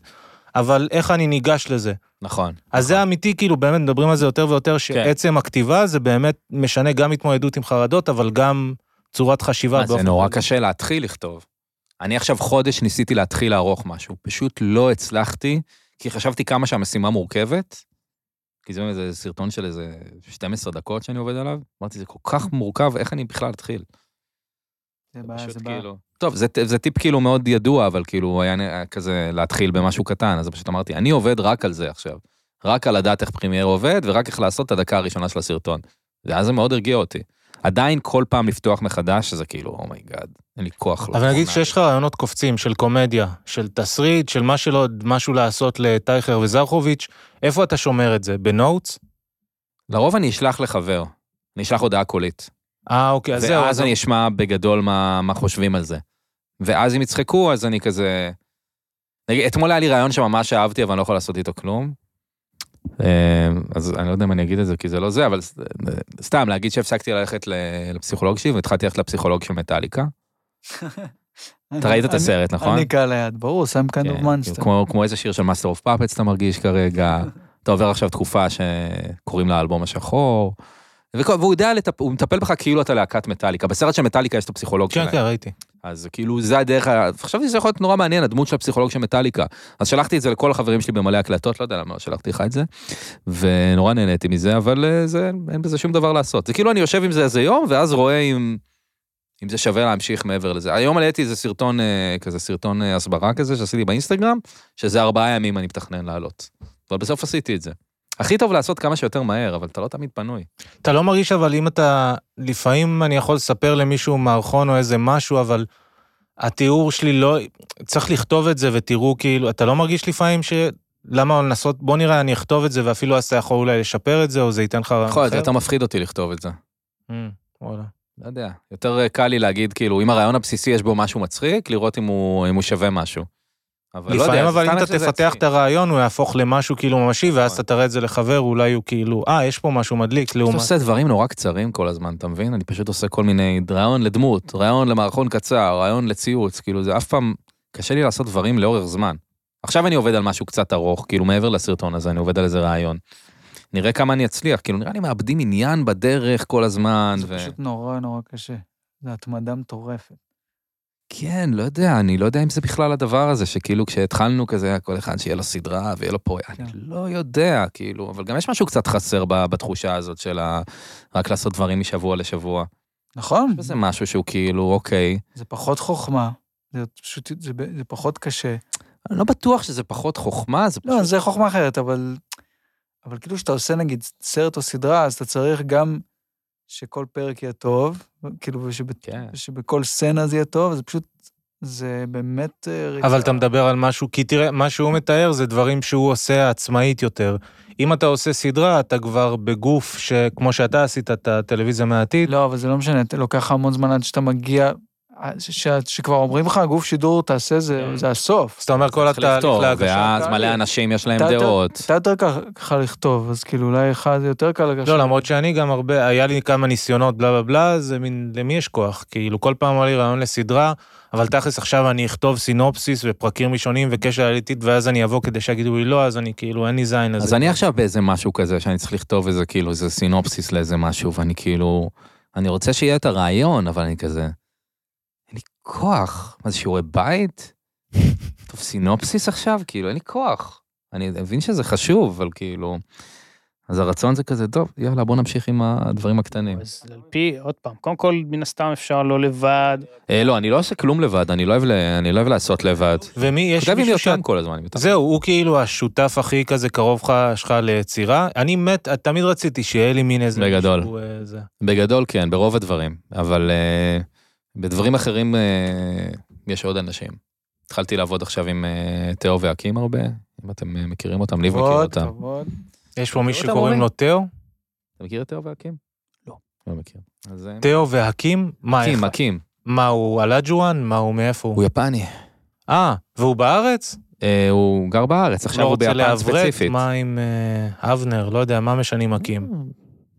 Speaker 4: אבל איך אני ניגש לזה?
Speaker 1: נכון. כן.
Speaker 4: אז זה אמיתי, כאילו, באמת מדברים על זה יותר ויותר, שעצם הכתיבה זה באמת משנה גם התמודדות עם חרדות, אבל גם צורת חשיבה.
Speaker 1: מה, זה
Speaker 4: באופן
Speaker 1: נורא
Speaker 4: כללי.
Speaker 1: קשה להתחיל לכתוב. אני עכשיו חודש ניסיתי להתחיל לערוך משהו, פשוט לא הצלחתי, כי חשבתי כמה שהמשימה מורכבת, כי זה איזה סרטון של איזה 12 דקות שאני עובד עליו, אמרתי, זה כל כך מורכב, איך אני בכלל אתחיל?
Speaker 2: זה
Speaker 1: זה
Speaker 2: בעיה,
Speaker 1: פשוט
Speaker 2: זה בעיה.
Speaker 1: כאילו... טוב, זה, זה טיפ כאילו מאוד ידוע, אבל כאילו היה נ- כזה להתחיל במשהו קטן, אז פשוט אמרתי, אני עובד רק על זה עכשיו. רק על לדעת איך פרימייר עובד, ורק איך לעשות את הדקה הראשונה של הסרטון. ואז זה מאוד הרגיע אותי. עדיין כל פעם לפתוח מחדש, זה כאילו, אומייגאד, אין לי כוח.
Speaker 4: אבל נגיד
Speaker 1: לאחרונה.
Speaker 4: שיש לך רעיונות קופצים של קומדיה, של תסריט, של מה שלא, משהו לעשות לטייכר וזרחוביץ', איפה אתה שומר את זה? בנוטס?
Speaker 1: לרוב אני אשלח לחבר, אני אשלח הודעה קולית.
Speaker 4: אה, אוקיי, אז זהו.
Speaker 1: ואז אני אשמע בגדול מה, מה חושבים על זה. ואז אם יצחקו, אז אני כזה... נגיד, אתמול היה לי רעיון שממש אהבתי, אבל אני לא יכול לעשות איתו כלום. אה, אז אני לא יודע אם אני אגיד את זה, כי זה לא זה, אבל ס- אה, סתם, להגיד שהפסקתי ללכת ל- לפסיכולוג שלי, והתחלתי ללכת לפסיכולוג של מטאליקה. אתה ראית את
Speaker 2: אני- כן
Speaker 1: הסרט, נכון?
Speaker 2: אני קהל היד, ברור, סם קנד אוף
Speaker 1: כן,
Speaker 2: מונסטר.
Speaker 1: כמו, כמו איזה שיר של מאסטר אוף פאפץ אתה מרגיש כרגע, אתה עובר עכשיו תקופה שקוראים לה האלבום השחור, וכל- והוא יודע, לטפ... הוא מטפל בך כאילו אתה להקת מטאליקה. בסרט של מטאליקה יש את הפסיכולוג
Speaker 4: כן,
Speaker 1: שלהם.
Speaker 4: כן, ראיתי.
Speaker 1: אז כאילו זה הדרך, ה- חשבתי שזה יכול להיות נורא מעניין, הדמות של הפסיכולוג של מטאליקה. אז שלחתי את זה לכל החברים שלי במלא הקלטות, לא יודע למה לא שלחתי לך את זה, ונורא נהניתי מזה, אבל אה, זה, אין בזה שום דבר לעשות. זה כאילו אני יושב עם זה איזה יום, ואז רואה אם, אם זה שווה להמשיך מעבר לזה. היום העליתי איזה סרטון, אה, כזה סרטון אה, הסברה כזה שעשיתי באינסטגרם, שזה ארבעה ימים אני מתכנן לעלות. אבל בסוף עשיתי את זה. הכי טוב לעשות כמה שיותר מהר, אבל אתה לא תמיד פנוי.
Speaker 4: אתה לא מרגיש אבל אם אתה, לפעמים אני יכול לספר למישהו מערכון או איזה משהו, אבל התיאור שלי לא, צריך לכתוב את זה ותראו כאילו, אתה לא מרגיש לפעמים ש... למה לנסות, בוא נראה, אני אכתוב את זה ואפילו אז אתה יכול אולי לשפר את זה, או זה ייתן לך...
Speaker 1: יכול להיות,
Speaker 4: אחר?
Speaker 1: אתה מפחיד אותי לכתוב את זה.
Speaker 4: Mm, וואלה.
Speaker 1: לא יודע, יותר אה, קל לי להגיד, כאילו, אם הרעיון הבסיסי יש בו משהו מצחיק, לראות אם הוא, אם הוא שווה משהו. אבל לא יודע,
Speaker 4: לפעמים
Speaker 1: זה
Speaker 4: אבל
Speaker 1: סתם
Speaker 4: אם אתה
Speaker 1: יש לזה
Speaker 4: תפתח
Speaker 1: עצמי.
Speaker 4: את הרעיון, הוא יהפוך למשהו כאילו ממשי, ואז
Speaker 1: נכון.
Speaker 4: אתה תראה את זה לחבר, אולי הוא כאילו, אה, יש פה משהו מדליק,
Speaker 1: פשוט
Speaker 4: לעומת...
Speaker 1: עושה דברים נורא קצרים כל הזמן, אתה מבין? אני פשוט עושה כל מיני, רעיון לדמות, רעיון למערכון קצר, רעיון לציוץ, כאילו, זה אף פעם, קשה לי לעשות דברים לאורך זמן. עכשיו אני עובד על משהו קצת ארוך, כאילו, מעבר לסרטון הזה, אני עובד על איזה רעיון. נראה כמה אני אצליח, כאילו, נראה לי מאבדים עניין בדרך כל הזמן,
Speaker 2: זה
Speaker 1: ו...
Speaker 2: פשוט נורא נורא קשה. זו התמדה מטורפת.
Speaker 1: כן, לא יודע, אני לא יודע אם זה בכלל הדבר הזה, שכאילו כשהתחלנו כזה, היה כל אחד שיהיה לו סדרה ויהיה לו פה, אני
Speaker 2: כן.
Speaker 1: לא יודע, כאילו, אבל גם יש משהו קצת חסר ב- בתחושה הזאת של ה... רק לעשות דברים משבוע לשבוע.
Speaker 2: נכון,
Speaker 1: זה משהו שהוא כאילו, אוקיי,
Speaker 2: זה פחות חוכמה, זה פשוט, זה ב- זה פחות קשה.
Speaker 1: אני לא בטוח שזה פחות חוכמה, זה פשוט...
Speaker 2: לא, זה חוכמה אחרת, אבל... אבל כאילו כשאתה עושה נגיד סרט או סדרה, אז אתה צריך גם שכל פרק יהיה טוב, כאילו שב,
Speaker 1: כן.
Speaker 2: שבכל סצנה זה יהיה טוב, זה פשוט, זה באמת... אה,
Speaker 4: אבל
Speaker 2: ריצה.
Speaker 4: אתה מדבר על משהו, כי תראה, מה שהוא מתאר זה דברים שהוא עושה עצמאית יותר. אם אתה עושה סדרה, אתה כבר בגוף שכמו שאתה עשית את הטלוויזיה מהעתיד,
Speaker 2: לא, אבל זה לא משנה, אתה לוקח המון זמן עד שאתה מגיע, אה, ש, ש, שכבר אומרים לך, גוף שידור, תעשה
Speaker 1: כן.
Speaker 2: זה, זה הסוף.
Speaker 4: אז אתה אומר כל
Speaker 1: צריך
Speaker 4: התהליך
Speaker 1: לפתור,
Speaker 4: להגשה.
Speaker 1: ואז מלא
Speaker 2: תהליך.
Speaker 1: אנשים יש להם
Speaker 2: אתה- אתה-
Speaker 1: דעות.
Speaker 2: אתה יותר קל לך לכתוב, אז כאילו אולי לך זה יותר קל לך.
Speaker 4: לא, למרות שאני גם הרבה, היה לי כמה ניסיונות בלה בלה בלה, זה מין, למי יש כוח? כאילו, כל פעם היה לי רעיון לסדרה, אבל תכלס עכשיו אני אכתוב סינופסיס ופרקים ראשונים וקשר עליתית, ואז אני אבוא כדי שיגידו לי לא, אז אני כאילו, אין לי זין לזה.
Speaker 1: אז אני עכשיו באיזה משהו כזה, שאני צריך לכתוב איזה, כאילו, איזה סינופסיס לאיזה משהו, ואני כאילו, אני רוצה שיהיה את הרעיון, אבל אני כזה, אין לי כוח. מה זה, שיעורי בית? טוב, סינופסיס עכשיו? כאילו, אין לי כוח. אני מבין שזה חשוב, אבל כאילו... אז הרצון זה כזה, טוב, יאללה, בוא נמשיך עם הדברים הקטנים.
Speaker 3: אז על פי, עוד פעם, קודם כל, מן הסתם אפשר לא לבד.
Speaker 1: אה, לא, אני לא עושה כלום לבד, אני לא אוהב, ל- אני לא אוהב לעשות לבד.
Speaker 4: ומי, יש
Speaker 1: כותב עם
Speaker 4: מישהו שאת
Speaker 1: יותם כל הזמן. עם יותם.
Speaker 4: זהו, הוא כאילו השותף הכי כזה קרוב לך, שלך ליצירה. אני מת, תמיד רציתי שיהיה לי מין איזה...
Speaker 1: בגדול.
Speaker 4: מישהו, אה, זה.
Speaker 1: בגדול כן, ברוב הדברים, אבל אה, בדברים אחרים אה, יש עוד אנשים. התחלתי לעבוד עכשיו עם אה, תאו והקים הרבה, אם אתם אה, מכירים אותם, ליב מכיר
Speaker 2: כבוד,
Speaker 1: אותם.
Speaker 2: כבוד.
Speaker 4: יש פה מישהו
Speaker 1: אותם, אורי?
Speaker 4: שקוראים לו תאו?
Speaker 1: אתה מכיר את תאו והקים?
Speaker 3: לא.
Speaker 1: לא מכיר. אז... אה,
Speaker 4: תאו והקים? מה, איך?
Speaker 1: הקים, הקים.
Speaker 4: מה, הוא הלג'ואן? מה, הוא מאיפה הוא?
Speaker 1: הוא יפני.
Speaker 4: אה, והוא בארץ?
Speaker 1: אה, הוא גר בארץ, עכשיו
Speaker 4: לא
Speaker 1: הוא
Speaker 4: רוצה
Speaker 1: ביפן
Speaker 4: לעברת?
Speaker 1: ספציפית.
Speaker 4: מה עם אה, אבנר? לא יודע, מה משנים הקים?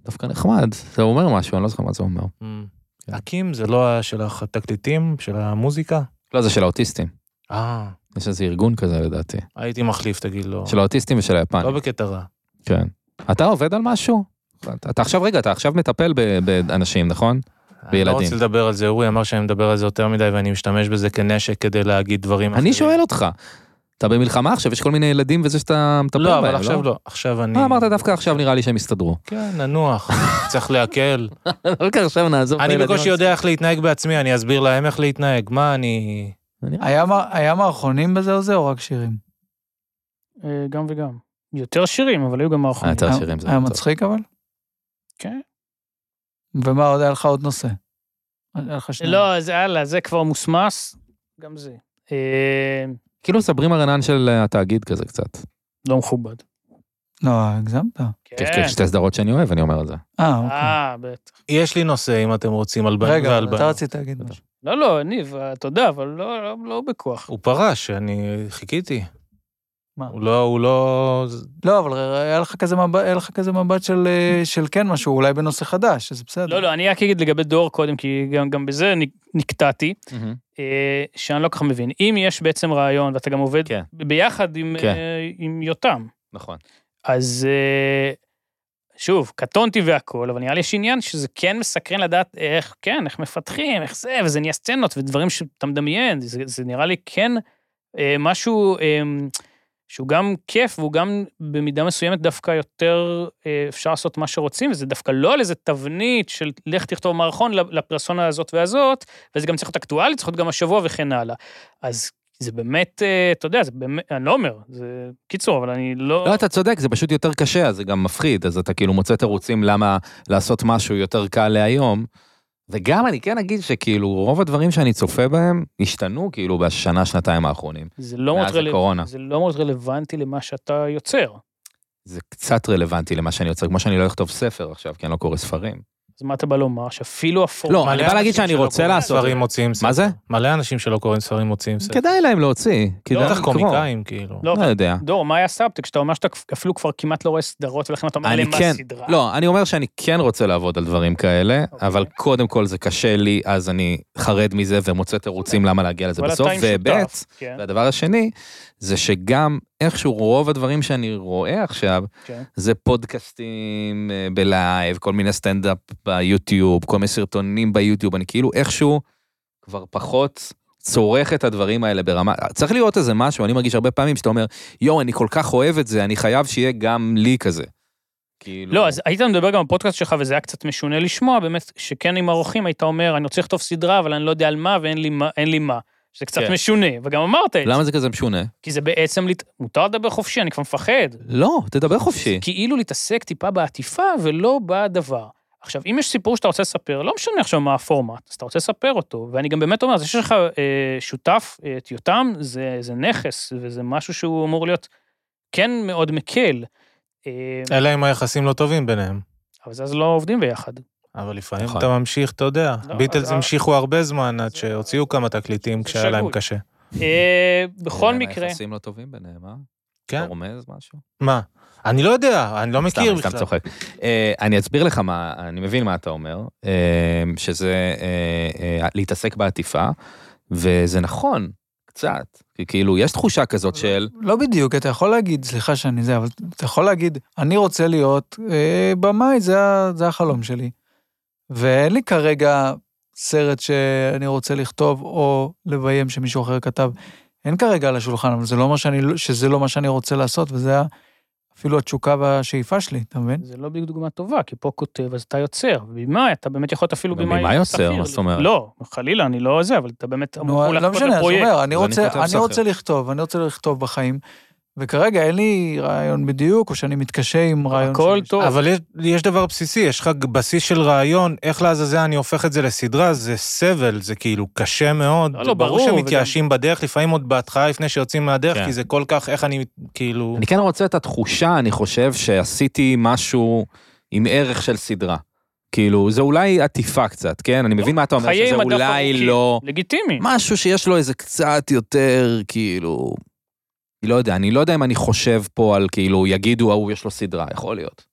Speaker 1: דווקא נחמד, זה אומר משהו, אני לא זוכר מה זה אומר. כן.
Speaker 4: הקים זה לא של התקליטים? של המוזיקה?
Speaker 1: לא, זה של האוטיסטים.
Speaker 4: אה,
Speaker 1: יש איזה ארגון כזה לדעתי.
Speaker 4: הייתי מחליף, תגיד לו.
Speaker 1: של האוטיסטים ושל היפנים.
Speaker 4: לא בקטע רע.
Speaker 1: כן. אתה עובד על משהו? אתה אתה עכשיו, רגע, אתה עכשיו מטפל ב- באנשים, נכון?
Speaker 4: אני לא
Speaker 1: וילדים.
Speaker 4: רוצה לדבר על זה, אורי אמר שאני מדבר על זה יותר מדי ואני משתמש בזה כנשק כדי להגיד דברים אחרים.
Speaker 1: אני שואל אותך, אתה במלחמה עכשיו, יש כל מיני ילדים וזה שאתה מטפל בהם,
Speaker 4: לא, אבל עכשיו לא, עכשיו אני...
Speaker 1: מה אמרת דווקא עכשיו נראה לי שהם יסתדרו.
Speaker 4: כן, ננוח, צריך להקל.
Speaker 1: דווקא עכשיו נעזוב את
Speaker 4: אני
Speaker 1: הילדים לא
Speaker 4: בקושי יודע איך להתנהג בעצמי, אני אסביר להם איך להתנהג, מה אני...
Speaker 2: היה מע- היה מערכונים בזה או זה, או רק שירים?
Speaker 3: אה, גם וגם. יותר שירים, אבל היו גם
Speaker 1: אה,
Speaker 3: מערכונים.
Speaker 1: יותר שירים זה
Speaker 2: היה
Speaker 1: היה טוב.
Speaker 2: מצחיק אבל?
Speaker 3: כן.
Speaker 2: ומה עוד היה לך עוד נושא? היה לך שניים.
Speaker 3: לא, אז הלאה, זה כבר מוסמס. גם זה. אה,
Speaker 1: כאילו סברים הרנן של אה, התאגיד כזה קצת.
Speaker 3: לא מכובד. כן.
Speaker 2: לא, הגזמת.
Speaker 1: יש כאילו שתי סדרות שאני אוהב, אני אומר את זה.
Speaker 2: אה, אוקיי.
Speaker 3: אה, בטח.
Speaker 4: יש לי נושא, אם אתם רוצים, על בנים
Speaker 2: רגע,
Speaker 4: ועל
Speaker 2: אבל אתה
Speaker 4: בנות.
Speaker 2: רצית להגיד משהו.
Speaker 3: לא, לא, ניב, אה, תודה, אבל לא- לא- לא בכוח.
Speaker 4: הוא פרש, אני חיכיתי.
Speaker 2: מה?
Speaker 4: הוא לא, הוא לא...
Speaker 2: לא, אבל היה לך כזה מבט, היה לך כזה מבט של, אה, של כן משהו, אולי בנושא חדש, אז בסדר.
Speaker 3: לא, לא, אני רק אגיד לגבי דור קודם, כי גם- גם בזה נק- נקטעתי. אה, שאני לא כל כך מבין. אם יש בעצם רעיון, ואתה גם עובד
Speaker 1: כן.
Speaker 3: ביחד עם,
Speaker 1: כן.
Speaker 3: אה, עם יותם,
Speaker 1: נכון.
Speaker 3: אז אה, שוב, קטונתי והכול, אבל נראה לי יש עניין שזה כן מסקרן לדעת איך, כן, איך מפתחים, איך זה, וזה נהיה סצנות ודברים שאתה מדמיין, זה, זה נראה לי כן אה, משהו אה, שהוא גם כיף, והוא גם במידה מסוימת דווקא יותר אה, אפשר לעשות מה שרוצים, וזה דווקא לא על איזה תבנית של לך תכתוב מערכון לפרסונה הזאת והזאת, וזה גם צריך להיות אקטואלי, צריך להיות גם השבוע וכן הלאה. אז זה באמת, אה, אתה יודע, זה באמת, אני לא אומר, זה קיצור, אבל אני לא...
Speaker 1: לא, אתה צודק, זה פשוט יותר קשה, אז זה גם מפחיד, אז אתה כאילו מוצא תירוצים למה לעשות משהו יותר קל להיום. וגם אני כן אגיד שכאילו רוב הדברים שאני צופה בהם השתנו כאילו בשנה, שנתיים האחרונים.
Speaker 3: זה לא, מאוד
Speaker 1: מאז
Speaker 3: רלו...
Speaker 1: הקורונה.
Speaker 3: זה לא מאוד רלוונטי למה שאתה יוצר.
Speaker 1: זה קצת רלוונטי למה שאני יוצר, כמו שאני לא אכתוב ספר עכשיו, כי אני לא קורא ספרים.
Speaker 3: אז מה אתה בא לומר? שאפילו הפורמט...
Speaker 1: לא, אני
Speaker 4: מלא
Speaker 1: בא להגיד
Speaker 4: אנשים
Speaker 1: שאני
Speaker 4: שלא
Speaker 1: רוצה
Speaker 4: קוראים
Speaker 1: לעשות
Speaker 4: ספרים
Speaker 1: את זה.
Speaker 4: מוציאים
Speaker 1: מה
Speaker 4: ספר.
Speaker 1: זה?
Speaker 4: מלא אנשים שלא קוראים ספרים מוציאים ספר.
Speaker 1: כדאי להם להוציא, כדאי
Speaker 4: בטח
Speaker 1: לקרוא.
Speaker 4: קומיקאים, כאילו.
Speaker 3: לא,
Speaker 1: לא יודע.
Speaker 3: דור, מה היה סאבטק? שאתה אומר שאתה אפילו כבר כמעט לא רואה סדרות, ולכן אתה אומר
Speaker 1: אני
Speaker 3: עליהם מה
Speaker 1: כן-
Speaker 3: הסדרה.
Speaker 1: לא, אני אומר שאני כן רוצה לעבוד על דברים כאלה,
Speaker 3: אוקיי.
Speaker 1: אבל קודם כל זה קשה לי, אז אני חרד מזה ומוצא תירוצים למה להגיע לזה
Speaker 3: אוקיי. אבל
Speaker 1: בסוף.
Speaker 3: אתה
Speaker 1: וב',
Speaker 3: עם שותף. כן,
Speaker 1: והדבר השני, זה שגם איכשהו רוב הדברים שאני רואה עכשיו,
Speaker 3: כן.
Speaker 1: זה פודקאסטים אה, בלייב, כל מיני סטנדאפ ביוטיוב, כל מיני סרטונים ביוטיוב, אני כאילו איכשהו כבר פחות צורך את הדברים האלה ברמה, צריך לראות איזה משהו, אני מרגיש הרבה פעמים שאתה אומר, יואו, אני כל כך אוהב את זה, אני חייב שיהיה גם לי כזה. כאילו...
Speaker 3: לא, אז היית מדבר גם בפודקאסט שלך, וזה היה קצת משונה לשמוע, באמת, שכן עם עורכים היית אומר, אני רוצה לכתוב סדרה, אבל אני לא יודע על מה ואין לי מה. אין לי מה. שזה קצת
Speaker 1: כן.
Speaker 3: משונה, וגם אמרת את זה,
Speaker 1: למה זה כזה משונה?
Speaker 3: כי זה בעצם, לת- מותר לדבר חופשי, אני כבר מפחד.
Speaker 1: לא, תדבר חופשי.
Speaker 3: כאילו להתעסק טיפה בעטיפה ולא בדבר. עכשיו, אם יש סיפור שאתה רוצה לספר, לא משנה עכשיו מה הפורמט, אז אתה רוצה לספר אותו, ואני גם באמת אומר, זה שיש לך אה, שותף, אה, את יותם, זה, זה נכס, וזה משהו שהוא אמור להיות כן מאוד מקל, אה,
Speaker 4: אלא אם היחסים לא טובים ביניהם.
Speaker 3: אבל זה אז לא עובדים ביחד.
Speaker 4: אבל לפעמים
Speaker 1: נכון.
Speaker 4: אתה ממשיך, אתה יודע.
Speaker 3: לא,
Speaker 4: ביטלס
Speaker 3: אז-
Speaker 4: המשיכו הרבה זמן עד שהוציאו כמה תקליטים
Speaker 3: זה
Speaker 4: כשהיה להם
Speaker 3: שגוי.
Speaker 4: קשה.
Speaker 3: אה, בכל מקרה,
Speaker 1: היחסים לא טובים ביניהם, אה?
Speaker 4: כן.
Speaker 1: אתה רומז משהו?
Speaker 4: מה? אני לא יודע, אני לא מכיר
Speaker 1: סתם, סתם
Speaker 4: בכלל.
Speaker 1: צוחק. אה, אני אסביר לך מה, אני מבין מה אתה אומר, אה, שזה אה, אה, להתעסק בעטיפה, וזה נכון, קצת. כי כאילו, יש תחושה כזאת
Speaker 4: אוקיי.
Speaker 1: של...
Speaker 2: לא בדיוק, אתה יכול להגיד, סליחה שאני זה, אבל אתה יכול להגיד, אני רוצה להיות אה, במאי, זה, ה- זה החלום שלי. ואין לי כרגע סרט שאני רוצה לכתוב או לביים שמישהו אחר כתב. אין כרגע על השולחן, אבל זה לא אומר שאני, לא- שזה לא מה שאני רוצה לעשות, וזה ה- אפילו התשוקה והשאיפה שלי, אתה מבין?
Speaker 3: זה לא בדיוק דוגמה טובה, כי פה כותב, אז אתה יוצר, ובמאי אתה באמת יכול להיות אפילו
Speaker 1: גם
Speaker 3: במאי
Speaker 1: במאי יוצר,
Speaker 3: שכיר.
Speaker 1: מה זאת אומרת?
Speaker 3: לא, חלילה, אני לא זה, אבל אתה באמת אמור
Speaker 2: נו, לא
Speaker 3: לחכות
Speaker 2: משנה, אז הוא
Speaker 3: לפרויקט.
Speaker 2: אומר, אני
Speaker 1: אז אני
Speaker 2: רוצה,
Speaker 1: כותב
Speaker 2: אני
Speaker 1: סחר.
Speaker 2: רוצה לכתוב, אני רוצה לכתוב בחיים, וכרגע אין לי רעיון בדיוק, או שאני מתקשה עם רעיון
Speaker 3: הכל
Speaker 2: שיש.
Speaker 3: טוב.
Speaker 4: אבל יש- יש דבר בסיסי, יש לך בסיס של רעיון, איך לעזאזל אני הופך את זה לסדרה, זה סבל, זה כאילו קשה מאוד.
Speaker 3: לא, לא, ברור,
Speaker 4: ברור שמתייאשים בדרך, לפעמים עוד בהתחלה לפני שיוצאים מהדרך,
Speaker 1: כן.
Speaker 4: כי זה כל כך, איך אני, כאילו...
Speaker 1: אני כן רוצה את התחושה, אני חושב, שעשיתי משהו עם ערך של סדרה. כאילו, זה אולי עטיפה קצת, כן? אני מבין מה אתה אומר,
Speaker 3: חיי
Speaker 1: שזה
Speaker 3: מדף
Speaker 1: אולי
Speaker 3: ארוכים,
Speaker 1: לא...
Speaker 3: לגיטימי.
Speaker 1: משהו שיש לו איזה קצת יותר, כאילו... אני לא יודע, אני לא יודע אם אני חושב פה על כאילו, יגידו, ההוא יש לו סדרה, יכול להיות.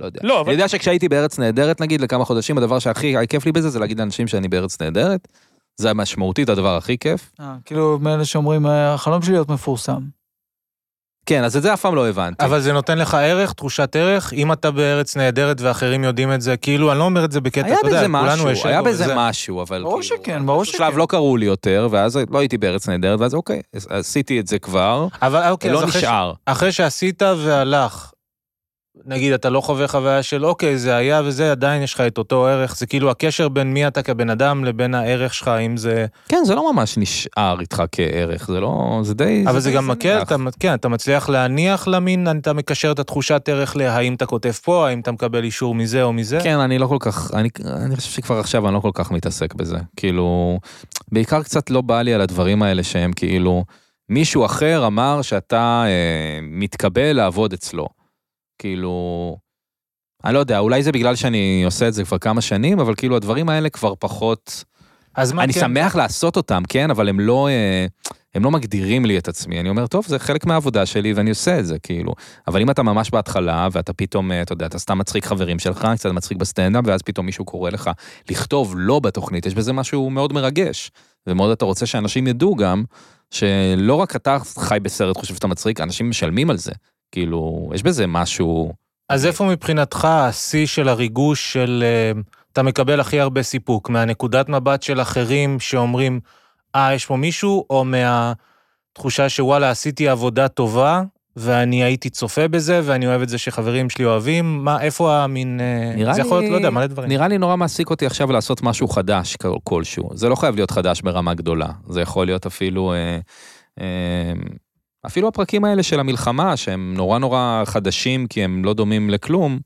Speaker 1: לא יודע.
Speaker 3: לא, אבל
Speaker 1: אני יודע שכשהייתי בארץ נהדרת, נגיד, לכמה חודשים, הדבר שהכי היה כיף לי בזה, זה להגיד לאנשים שאני בארץ נהדרת. זה משמעותית הדבר הכי כיף.
Speaker 2: אה, כאילו, מאלה שאומרים, "אה, החלום שלי להיות מפורסם.
Speaker 1: כאילו, כן, אז את זה אף פעם לא הבנתי.
Speaker 4: אבל זה נותן לך ערך, תחושת ערך, אם אתה בארץ נהדרת ואחרים יודעים את זה, כאילו, אני לא אומר את זה בקטע,
Speaker 1: היה
Speaker 4: אתה יודע,
Speaker 1: בזה
Speaker 4: כולנו יש...
Speaker 1: משהו, היה
Speaker 4: אגו
Speaker 1: בזה
Speaker 4: וזה.
Speaker 1: משהו, אבל
Speaker 2: ברור
Speaker 1: כאילו,
Speaker 2: שכן, ברור
Speaker 1: באיזשהו שלב
Speaker 2: שכן.
Speaker 1: לא קראו לי יותר, ואז לא הייתי בארץ נהדרת, ואז אוקיי, אז עשיתי את זה כבר,
Speaker 4: אבל אוקיי,
Speaker 1: לא
Speaker 4: אז אחרי ש-
Speaker 1: נשאר.
Speaker 4: אחרי שעשית והלך, נגיד, אתה לא חווה חוויה של אוקיי, זה היה וזה, עדיין יש לך את אותו ערך, זה כאילו הקשר בין מי אתה כבן אדם לבין הערך שלך, אם זה...
Speaker 1: כן, זה לא ממש נשאר איתך כערך, זה לא, זה די...
Speaker 4: אבל זה
Speaker 1: די
Speaker 4: גם מקל,
Speaker 1: זניח.
Speaker 4: אתה, כן, אתה מצליח להניח למין, אתה מקשר את התחושת ערך להאם אתה כותב פה, האם אתה מקבל אישור מזה או מזה.
Speaker 1: כן, אני לא כל כך, אני, אני חושב שכבר עכשיו אני לא כל כך מתעסק בזה. כאילו, בעיקר קצת לא בא לי על הדברים האלה שהם כאילו, מישהו אחר אמר שאתה אה, מתקבל לעבוד אצלו. כאילו, אני לא יודע, אולי זה בגלל שאני עושה את זה כבר כמה שנים, אבל כאילו הדברים האלה כבר פחות...
Speaker 4: אז מה
Speaker 1: אני
Speaker 4: כן?
Speaker 1: שמח לעשות אותם, כן, אבל הם לא, אה, הם לא מגדירים לי את עצמי. אני אומר, טוב, זה חלק מהעבודה שלי ואני עושה את זה, כאילו. אבל אם אתה ממש בהתחלה, ואתה פתאום, אה, אתה יודע, אתה סתם מצחיק חברים שלך, קצת מצחיק בסטנדאפ, ואז פתאום מישהו קורא לך לכתוב לא בתוכנית, יש בזה משהו מאוד מרגש. ומאוד אתה רוצה שאנשים ידעו גם, שלא רק אתה חי בסרט, חושב שאתה מצחיק, אנשים משלמים על זה. כאילו, יש בזה משהו
Speaker 4: אז איפה מבחינתך השיא של הריגוש של... אה, אתה מקבל הכי הרבה סיפוק, מהנקודת מבט של אחרים שאומרים, אה, יש פה מישהו, או מהתחושה שוואלה, עשיתי עבודה טובה, ואני הייתי צופה בזה, ואני אוהב את זה שחברים שלי אוהבים, מה, איפה המין... אה,
Speaker 1: נראה
Speaker 4: זה יכול להיות,
Speaker 1: לי-
Speaker 4: לא יודע, מלא דברים.
Speaker 1: נראה לי נורא מעסיק אותי עכשיו לעשות משהו חדש כל- כלשהו. זה לא חייב להיות חדש ברמה גדולה, זה יכול להיות אפילו... אה, אה, אפילו הפרקים האלה של המלחמה, שהם נורא נורא חדשים כי הם לא דומים לכלום,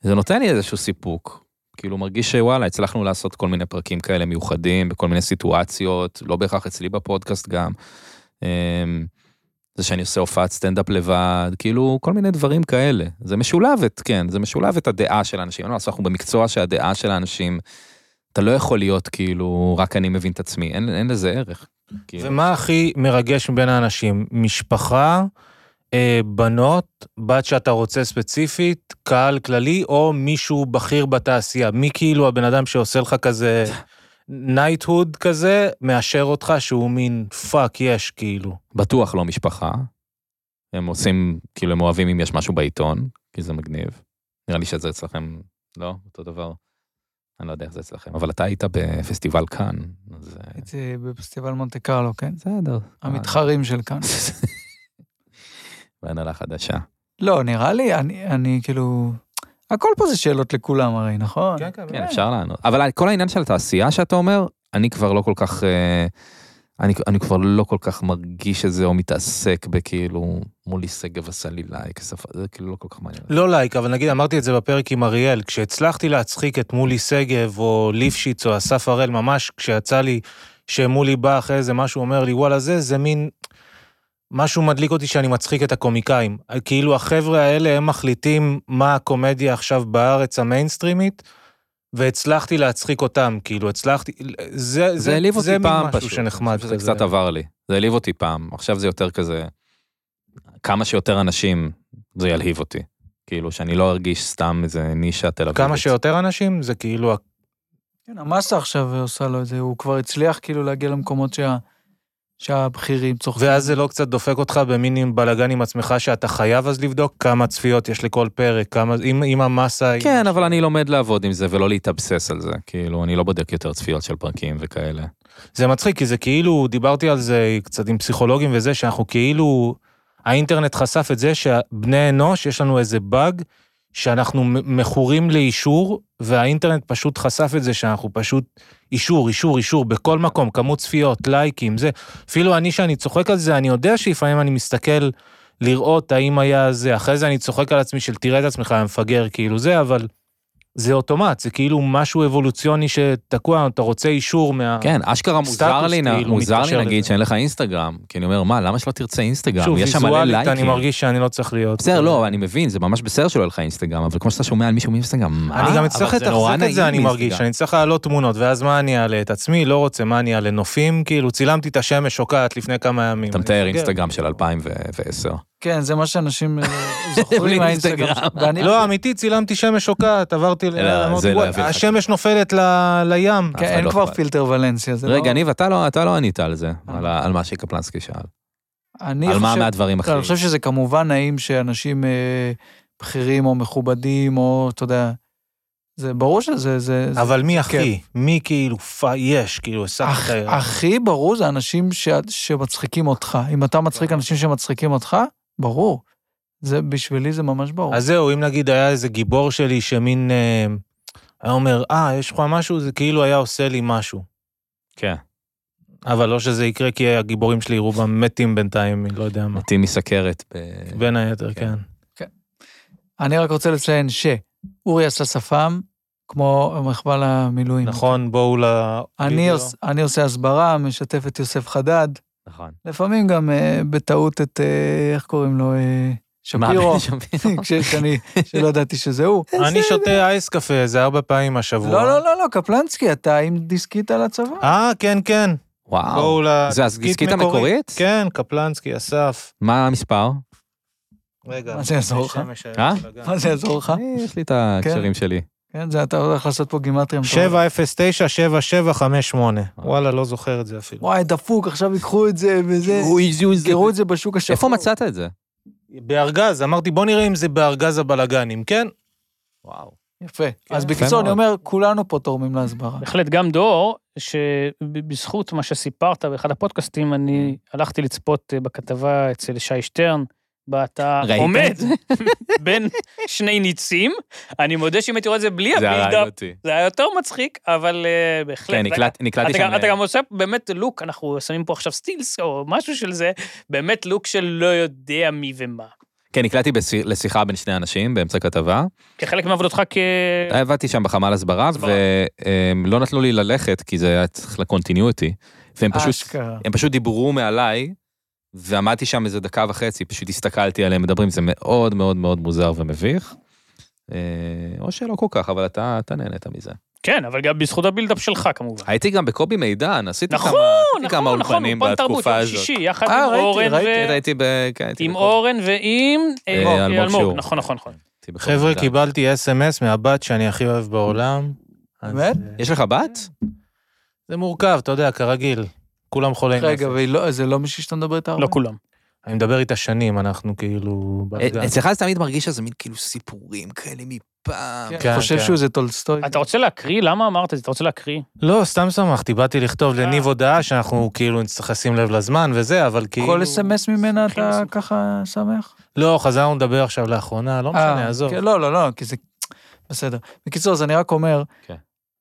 Speaker 1: זה נותן לי איזשהו סיפוק. כאילו מרגיש שוואלה, הצלחנו לעשות כל מיני פרקים כאלה מיוחדים, בכל מיני סיטואציות, לא בהכרח אצלי בפודקאסט גם. אה, זה שאני עושה הופעת סטנדאפ לבד, כאילו כל מיני דברים כאלה. זה משולב את, כן, זה משולב את הדעה של האנשים. לא, אז אנחנו במקצוע שהדעה של האנשים, אתה לא יכול להיות כאילו, רק אני מבין את עצמי, אין, אין לזה ערך. כאילו.
Speaker 4: ומה הכי מרגש מבין האנשים? משפחה, אה, בנות, בת שאתה רוצה ספציפית, קהל כללי, או מישהו בכיר בתעשייה? מי כאילו הבן אדם שעושה לך כזה נייטהוד כזה, מאשר אותך שהוא מין פאק יש כאילו.
Speaker 1: בטוח לא משפחה. הם עושים, כאילו, הם אוהבים אם יש משהו בעיתון, כי זה מגניב. נראה לי שזה אצלכם, לא? אותו דבר. אני לא יודע איך זה אצלכם, אבל אתה היית בפסטיבל כאן, אז... אה,
Speaker 2: הייתי בפסטיבל מונטה קרלו, כן?
Speaker 1: בסדר.
Speaker 2: המתחרים של כאן.
Speaker 1: והנהלה חדשה. כן,
Speaker 2: לא, נראה לי, אני, אני כאילו... הכל פה זה שאלות לכולם הרי, נכון?
Speaker 1: כן, אפשר לענות. אבל כל העניין של התעשייה שאתה אומר, אני כבר לא כל כך... אה, אני, אני כבר לא כל כך מרגיש את זה, או מתעסק בכאילו מולי שגב הסלילאי, כשפה, זה כאילו לא כל כך מעניין.
Speaker 4: לא לייק, אבל נגיד אמרתי את זה בפרק עם אריאל, כשהצלחתי להצחיק את מולי שגב או ליפשיץ או אסף הראל, ממש כשיצא לי שמולי בא אחרי איזה משהו, אומר לי וואלה זה, זה מין... משהו מדליק אותי שאני מצחיק את הקומיקאים. כאילו החבר'ה האלה הם מחליטים מה הקומדיה עכשיו בארץ המיינסטרימית, והצלחתי להצחיק אותם, כאילו הצלחתי... זה,
Speaker 1: זה העליב אותי
Speaker 4: זה מין
Speaker 1: פעם
Speaker 4: משהו
Speaker 1: פשוט.
Speaker 4: שנחמד
Speaker 1: זה קצת עבר לי. זה העליב אותי פעם, עכשיו זה יותר כזה... כמה שיותר אנשים, זה ילהיב אותי. כאילו, שאני לא ארגיש סתם איזה נישה תל אביבית.
Speaker 4: כמה שיותר אנשים, זה כאילו
Speaker 2: כן, המאסה עכשיו עושה לו את זה, הוא כבר הצליח כאילו להגיע למקומות שה, שהבכירים צוחקים.
Speaker 4: ואז זה לא קצת דופק אותך במין בלאגן עם עצמך, שאתה חייב אז לבדוק כמה צפיות יש לכל פרק, כמה, אם, אם המסה היא...
Speaker 1: כן, אבל אני לומד לעבוד עם זה ולא להתאבסס על זה. כאילו, אני לא בודק יותר צפיות של פרקים וכאלה.
Speaker 4: זה מצחיק, כי זה כאילו, דיברתי על זה קצת עם פסיכולוגים וזה, שאנחנו כאילו... האינטרנט חשף את זה שבני אנוש, יש לנו איזה באג, שאנחנו מ- מכורים לאישור, והאינטרנט פשוט חשף את זה שאנחנו פשוט... אישור, אישור, אישור, בכל מקום, כמות צפיות, לייקים, זה. אפילו אני, שאני צוחק על זה, אני יודע שלפעמים אני מסתכל לראות האם היה זה, אחרי זה אני צוחק על עצמי של תראה את עצמך, יא מפגר, כאילו זה, אבל... זה אוטומט, זה כאילו משהו אבולוציוני שתקוע, אתה רוצה אישור מה...
Speaker 1: כן, אשכרה מוזר
Speaker 4: סטטוס,
Speaker 1: לי, נ-
Speaker 4: כאילו,
Speaker 1: מוזר לי
Speaker 4: מתקשר
Speaker 1: נגיד
Speaker 4: לזה.
Speaker 1: שאין לך אינסטגרם, כי אני אומר, מה, למה שלא תרצה אינסטגרם?
Speaker 4: שוב,
Speaker 1: יש שם מלא
Speaker 4: ויזואלית אני
Speaker 1: לייקים.
Speaker 4: מרגיש שאני לא צריך להיות.
Speaker 1: בסדר, לא, אבל אני מבין, זה ממש בסדר שלא יהיה לך אינסטגרם, אבל כמו שאתה שומע על מישהו מאינסטגרם, מה?
Speaker 4: אה, אני גם
Speaker 1: אה, אבל
Speaker 4: אצטרך
Speaker 1: זה נורא
Speaker 4: לתחזק את
Speaker 1: נעים
Speaker 4: זה, אני מרגיש,
Speaker 1: מאינסטגרם.
Speaker 4: אני צריך להעלות תמונות, ואז מה אני אעלה? את עצמי? לא רוצה, מה אני אעלה? נופים? כאילו, צילמתי את השמש שוקעת לפני כמה ימים.
Speaker 1: אתה
Speaker 4: אני
Speaker 1: מתאר
Speaker 4: סוגר.
Speaker 1: אינסטגרם של 2010.
Speaker 2: כן, זה מה שאנשים אה,
Speaker 1: בלי
Speaker 2: זוכרים מהאינסטגרם.
Speaker 1: אינסטגרם.
Speaker 2: ואני-
Speaker 4: לא, אמיתי, צילמתי שמש שוקעת, עברתי ל...
Speaker 1: אלא,
Speaker 4: אמרתי,
Speaker 1: זה
Speaker 4: "וואי,
Speaker 1: להביא לך-
Speaker 4: השמש נופלת ל- לים.
Speaker 1: אף
Speaker 2: כן,
Speaker 1: אחד
Speaker 2: אין
Speaker 1: לא
Speaker 2: כבר
Speaker 1: אכפת.
Speaker 2: פילטר ולנסיה, זה לא... אה.
Speaker 1: רגע, ניב, אתה לא- אתה לא ענית על זה, על ה- על מה שקפלנסקי שאל.
Speaker 2: אני
Speaker 1: על מה
Speaker 2: חושב-
Speaker 1: מהדברים
Speaker 2: לא,
Speaker 1: אחרים.
Speaker 2: אני חושב שזה כמובן נעים שאנשים אה, בכירים או מכובדים, או, אתה יודע, זה ברור שזה... זה, זה-
Speaker 4: אבל מי אחי? מי כאילו, פ- יש, כאילו,
Speaker 2: הכ-
Speaker 4: הסחת...
Speaker 2: הכי ברור זה אנשים ש... שמצחיקים אותך. אם אתה
Speaker 4: נכון.
Speaker 2: מצחיק אנשים שמצחיקים אותך, ברור. זה, בשבילי זה ממש ברור.
Speaker 4: אז זהו, אם נגיד היה איזה גיבור שלי שמין... אה, היה אומר, אה, יש לך משהו? זה כאילו היה עושה לי משהו.
Speaker 1: כן.
Speaker 4: אבל לא שזה יקרה, כי הגיבורים שלי רובם מתים בינתיים, לא יודע
Speaker 2: אה.
Speaker 4: מה.
Speaker 1: מתים מסכרת. ב-
Speaker 4: בין היתר,
Speaker 1: כן.
Speaker 4: כן.
Speaker 2: אני רק רוצה לציין שאורי עשה שפם, כמו מחבל המילואים.
Speaker 4: נכון, בואו ל...
Speaker 2: אני,
Speaker 4: וידאו.
Speaker 2: עוש, אני עושה הסברה, משתף את יוסף חדד,
Speaker 1: נכון.
Speaker 2: לפעמים גם אה, בטעות את, אה, איך קוראים לו? אה, שפירו.
Speaker 1: מה, שפירו.
Speaker 2: כשאני, שלא ידעתי שזה הוא.
Speaker 4: אני שותה אייס קפה איזה ארבע פעמים השבוע.
Speaker 2: לא, לא, לא, לא, קפלנסקי, אתה עם דיסקית על הצוואר.
Speaker 4: אה, כן, כן.
Speaker 1: וואו.
Speaker 4: בואו ל...
Speaker 1: זה הדיסקית המקורית?
Speaker 4: כן, קפלנסקי, אסף.
Speaker 1: מה המספר?
Speaker 4: רגע.
Speaker 2: מה זה יעזור לך?
Speaker 4: שמש היה
Speaker 1: אה?
Speaker 4: בלגן.
Speaker 2: מה זה יעזור לך?
Speaker 1: אני, יש לי את ההקשרים שלי.
Speaker 2: כן, זה אתה הולך לעשות פה גימטריה. מטורפת.
Speaker 4: 709-7758. וואלה, לא זוכר את זה אפילו.
Speaker 2: וואי, דפוק, עכשיו ייקחו את זה וזה.
Speaker 1: אוי, זו, זו.
Speaker 2: יזכרו את זה בשוק השחור.
Speaker 1: איפה מצאת את זה?
Speaker 4: בארגז, אמרתי, בוא נראה אם זה בארגז הבלגן, אם כן, וואו.
Speaker 2: יפה. אז
Speaker 4: יפה
Speaker 2: בקיצור, אני
Speaker 1: מאוד.
Speaker 2: אומר, כולנו פה תורמים להסברה.
Speaker 3: בהחלט, גם דור, שבזכות מה שסיפרת באחד הפודקאסטים, אני הלכתי לצפות אה, בכתבה אצל שי שטרן, בה אתה
Speaker 1: ראית?
Speaker 3: עומד בין שני ניצים. אני מודה שאם הייתי רואה את זה בלי
Speaker 1: זה הרג
Speaker 3: הבילדאפ,
Speaker 1: אותי.
Speaker 3: זה היה יותר מצחיק, אבל אה, בהחלט.
Speaker 1: כן, נקלט- נקלעתי
Speaker 3: אתה
Speaker 1: שם. אה,
Speaker 3: גם, אתה גם עושה באמת לוק, אנחנו שמים פה עכשיו סטילס או משהו של זה, באמת לוק של לא יודע מי ומה.
Speaker 1: כן, נקלעתי בסי- לשיחה בין שני אנשים באמצע כתבה.
Speaker 3: כחלק מעבודתך כ...
Speaker 1: עבדתי אה, שם בחמ"ל הסברה,
Speaker 3: הסברה.
Speaker 1: ולא נתנו לי ללכת, כי זה היה צריך לקונטיניוטי. והם פשוט
Speaker 2: אשכרה.
Speaker 1: הם פשוט דיברו מעליי, ועמדתי שם איזה דקה וחצי, פשוט הסתכלתי עליהם מדברים, זה מאוד מאוד מאוד מוזר ומביך. אה, או שלא כל כך, אבל אתה, אתה נהנית מזה.
Speaker 3: כן, אבל גם בזכות הבילדאפ שלך כמובן.
Speaker 1: הייתי גם בקובי מידן, עשיתי
Speaker 3: נכון,
Speaker 1: כמה, עשיתי כמה
Speaker 3: נכון, נכון,
Speaker 1: אולפנים
Speaker 3: אולפן תרבות,
Speaker 1: בתקופה
Speaker 3: יום
Speaker 1: הזאת.
Speaker 3: שישי, יחד
Speaker 2: אה,
Speaker 3: עם
Speaker 2: ראיתי,
Speaker 3: אורן
Speaker 2: ראיתי,
Speaker 1: כן,
Speaker 3: ו...
Speaker 1: הייתי ב... כן, הייתי
Speaker 3: עם
Speaker 1: בקובי.
Speaker 3: אורן ועם אה,
Speaker 1: אה, אלמוג שיעור.
Speaker 3: נכון, נכון, נכון.
Speaker 1: הייתי בקובי
Speaker 4: חבר'ה,
Speaker 1: מידן. אה,
Speaker 4: קיבלתי אס.אם.אס מהבת שאני הכי אוהב בעולם. אז,
Speaker 2: באמת?
Speaker 4: אה,
Speaker 1: יש לך בת?
Speaker 4: זה מורכב, אתה יודע, כרגיל. כולם חולי נפש.
Speaker 2: רגע, וזה לא מישהי שאתה מדבר איתה הרבה?
Speaker 3: לא כולם.
Speaker 4: אני מדבר איתה שנים, אנחנו כאילו... בלגן.
Speaker 1: אצלך זה תמיד מרגיש שזה מין כאילו סיפורים כאלה מפעם.
Speaker 2: כן,
Speaker 4: כן,
Speaker 2: אני חושב
Speaker 4: כן.
Speaker 2: שהוא איזה טולסטוי.
Speaker 3: אתה רוצה להקריא? למה אמרת את זה? אתה רוצה להקריא?
Speaker 4: לא, סתם שמחתי, באתי לכתוב
Speaker 3: אה.
Speaker 4: לניב הודעה שאנחנו כאילו נצטרך לשים לב לזמן וזה, אבל כאילו...
Speaker 2: כל אס.אם.אס ממנה
Speaker 3: הכי
Speaker 2: אתה
Speaker 3: מסובך.
Speaker 2: ככה שמח?
Speaker 4: לא, חזרנו לדבר עכשיו לאחרונה, לא משנה,
Speaker 2: אה,
Speaker 4: עזוב.
Speaker 2: כן, לא, לא, לא, כי זה... בסדר. בקיצור, אז אני רק אומר,
Speaker 1: כן.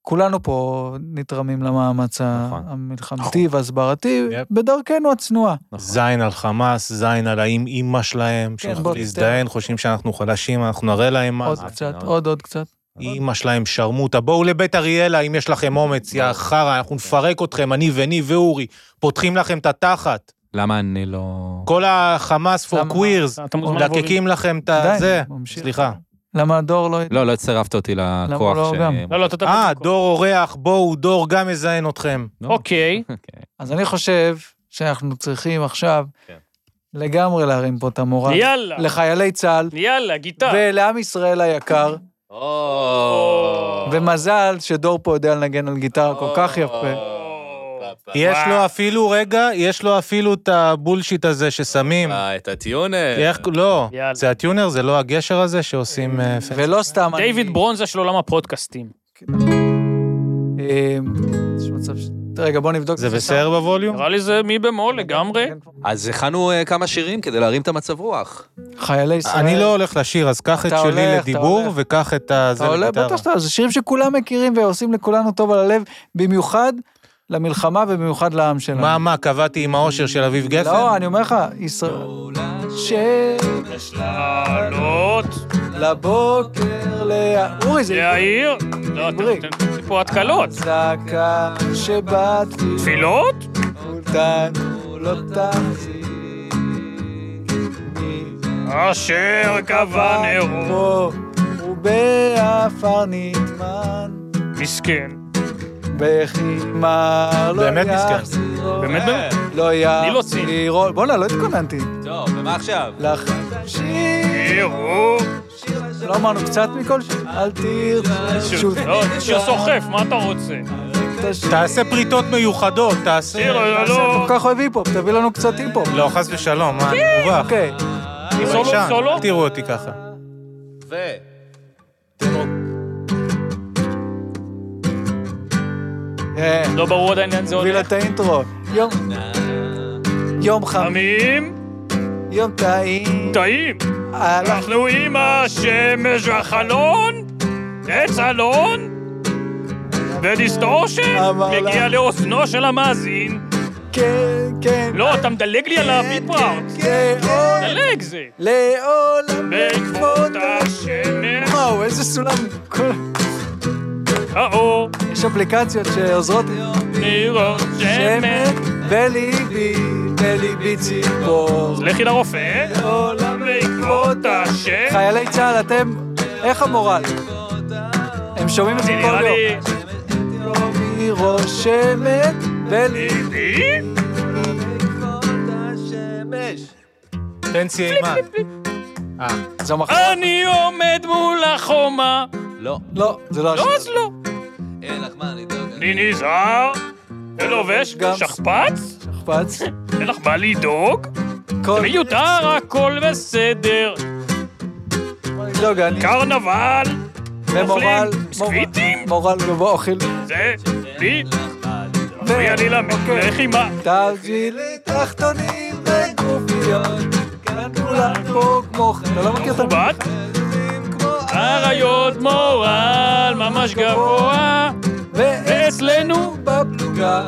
Speaker 2: כולנו פה נתרמים למאמץ ה-
Speaker 1: נכון.
Speaker 2: המלחמתי וההסברתי,
Speaker 4: יפ.
Speaker 2: בדרכנו הצנועה.
Speaker 4: זין על חמאס, זין על האם אימא
Speaker 2: כן,
Speaker 4: שלהם,
Speaker 2: בוא
Speaker 4: שאנחנו
Speaker 2: תתן.
Speaker 4: להזדיין, חושבים שאנחנו חלשים, אנחנו נראה להם מה
Speaker 2: עוד
Speaker 4: זה.
Speaker 2: קצת,
Speaker 1: מאוד.
Speaker 2: עוד עוד קצת.
Speaker 4: אימא שלהם שרמוטה, בואו לבית אריאלה אם יש לכם אומץ, יא חרא, אנחנו נפרק אתכם, אני וניב ואורי, פותחים לכם את התחת.
Speaker 1: למה אני לא...
Speaker 4: כל החמאס פור
Speaker 2: למה?
Speaker 4: קווירס,
Speaker 3: אתה מוזמן לבוא
Speaker 4: מדקקים לכם את
Speaker 2: די,
Speaker 4: הזה.
Speaker 2: ממשיך.
Speaker 4: אה, סליחה.
Speaker 2: למה הדור לא...
Speaker 1: לא, לא הצטרפת אותי לכוח
Speaker 2: לא
Speaker 1: ש...
Speaker 2: גם?
Speaker 3: לא, לא, אתה תביא
Speaker 4: אה,
Speaker 3: את הכל.
Speaker 4: דור אורח, בואו, דור גם מזיין אתכם.
Speaker 1: לא.
Speaker 3: אוקיי.
Speaker 1: אוקיי.
Speaker 2: אז אני חושב שאנחנו צריכים עכשיו
Speaker 1: כן.
Speaker 2: לגמרי להרים פה את
Speaker 4: אה,
Speaker 2: המורל.
Speaker 3: יאללה,
Speaker 2: לחיילי צה"ל
Speaker 3: יאללה, גיטר.
Speaker 2: ולעם ישראל היקר, ומזל שדור פה יודע לנגן על גיטרה כל כך יפה.
Speaker 4: יש לו אפילו, רגע, יש לו אפילו את הבולשיט הזה ששמים.
Speaker 1: אה, את הטיונר.
Speaker 4: איך, לא,
Speaker 3: אה. יאללה.
Speaker 4: זה הטיונר, זה לא הגשר הזה שעושים... אה, פ-
Speaker 2: ולא סתם אני...
Speaker 3: דיוויד ברונזה של עולם הפודקאסטים.
Speaker 2: אה, יש מצב ש... רגע, בוא נבדוק.
Speaker 4: זה
Speaker 3: אה,
Speaker 2: את כן,
Speaker 4: בסדר בווליום?
Speaker 3: נראה לי זה מי במול לגמרי.
Speaker 1: אז הכנו אה, כמה שירים כדי להרים את המצב רוח.
Speaker 2: חיילי
Speaker 3: אה,
Speaker 2: ישראל.
Speaker 4: אני לא הולך לשיר, אז קח את
Speaker 2: אתה הולך,
Speaker 4: שלי
Speaker 2: אתה
Speaker 4: לדיבור
Speaker 2: הולך.
Speaker 4: וקח את ה- זה
Speaker 2: אתה עולה,
Speaker 4: לגיטרה.
Speaker 2: בטח שאתה, זה שירים שכולם מכירים ועושים לכולנו טוב על הלב, במיוחד למלחמה ובמיוחד לעם שלנו.
Speaker 4: מה, מה, קבעתי עם האושר של אביב גפן?
Speaker 2: לא, אני אומר לך, ישראל... שמש
Speaker 3: לעלות,
Speaker 2: לבוקר לה... אורי, זה...
Speaker 3: להעיר. לא,
Speaker 2: עברי.
Speaker 4: אוקיי.
Speaker 3: אתם עושים פה התקלות.
Speaker 2: צעקה שבת
Speaker 3: תפילות?
Speaker 2: אותנו לא תחזיר.
Speaker 3: אשר קבע נרו.
Speaker 2: פה ובעפר נטמן,
Speaker 3: מסכן.
Speaker 2: בכי מר לא
Speaker 4: באמת מסכן.
Speaker 2: יחזירו.
Speaker 3: באמת, באמת.
Speaker 2: לא
Speaker 3: אני לא ציני.
Speaker 2: יחזירו. בואנה, לא התכוננתי.
Speaker 1: טוב, ומה עכשיו?
Speaker 2: לך שיר.
Speaker 3: אה. תראו.
Speaker 2: לא אמרנו קצת מכל שיר? אל תרצה שוב.
Speaker 3: לא, זה שיר סוחף, מה אתה רוצה?
Speaker 2: כן,
Speaker 4: תעשה פריטות מיוחדות,
Speaker 3: שיר,
Speaker 4: תעשה...
Speaker 3: לא, לא.
Speaker 2: כל כך אוהב היפ-הופ, תביא לנו קצת היפ-הופ.
Speaker 4: לא, חס ושלום, מה, אני מובך.
Speaker 2: אוקיי.
Speaker 3: כן, סולו,
Speaker 4: בבקשה,
Speaker 3: סולו.
Speaker 4: אל תראו אותי ככה.
Speaker 1: ו...
Speaker 2: אה,
Speaker 3: לא ברור עדיין לאן זה
Speaker 2: תביא לה
Speaker 3: הולך.
Speaker 2: את האינטרו. יום... יום חם,
Speaker 3: עמים,
Speaker 2: יום טעים. אה,
Speaker 3: טעים.
Speaker 2: הלך
Speaker 3: אנחנו עם השמש והחלון, עץ אלון, ודיסטורשן
Speaker 2: אבל-
Speaker 3: מגיע לאוזנו של המאזין.
Speaker 2: כן, כן.
Speaker 3: לא, אתה מדלג לי על הביפרארט.
Speaker 2: כן, כן.
Speaker 3: דלג זה.
Speaker 2: לעולם
Speaker 3: בעקבות
Speaker 2: בעקבות
Speaker 3: השמש,
Speaker 2: וואו, איזה סולם. כל-
Speaker 3: האור,
Speaker 2: יש אפליקציות שעוזרות
Speaker 3: נראות שמש.
Speaker 2: שמן בליבי, בליבי ציפור.
Speaker 3: אז לכי לרופא.
Speaker 2: לעולם
Speaker 3: בעקבות השמש.
Speaker 2: חיילי צה"ל, אתם, איך המורל? הם שומעים את זה
Speaker 3: זה נראה
Speaker 2: כל
Speaker 3: לי...
Speaker 2: יום. היא רושמת בליבי.
Speaker 4: תן סיימן. אה,
Speaker 2: זו מחלה.
Speaker 3: אני עומד מול החומה.
Speaker 1: לא.
Speaker 2: לא, זה לא
Speaker 3: לא,
Speaker 2: השיר.
Speaker 3: אז לא.
Speaker 1: אין לך מה לדאוג.
Speaker 3: אני נזהר, ולובש
Speaker 2: גם-
Speaker 3: שכפ"ץ,
Speaker 2: שכפ"ץ.
Speaker 3: אין לך מה לדאוג.
Speaker 2: הכל.
Speaker 3: מיותר הכל בסדר,
Speaker 2: זוגן,
Speaker 3: קרנבל,
Speaker 2: לא, ומורל,
Speaker 3: אוכלים ביסקוויטים?
Speaker 2: מורל גבוה אוכל
Speaker 3: זה לי, מפריע לי
Speaker 2: אוקיי.
Speaker 3: ללחימה.
Speaker 2: תבשילי תחתונים וגופיות, כאן כולם פה כמו חן. אתה לא מכיר את
Speaker 3: מכובד?
Speaker 2: המחירים כמו
Speaker 3: אריות מורל, ממש גבוה, ואצלנו
Speaker 2: בפלוגה,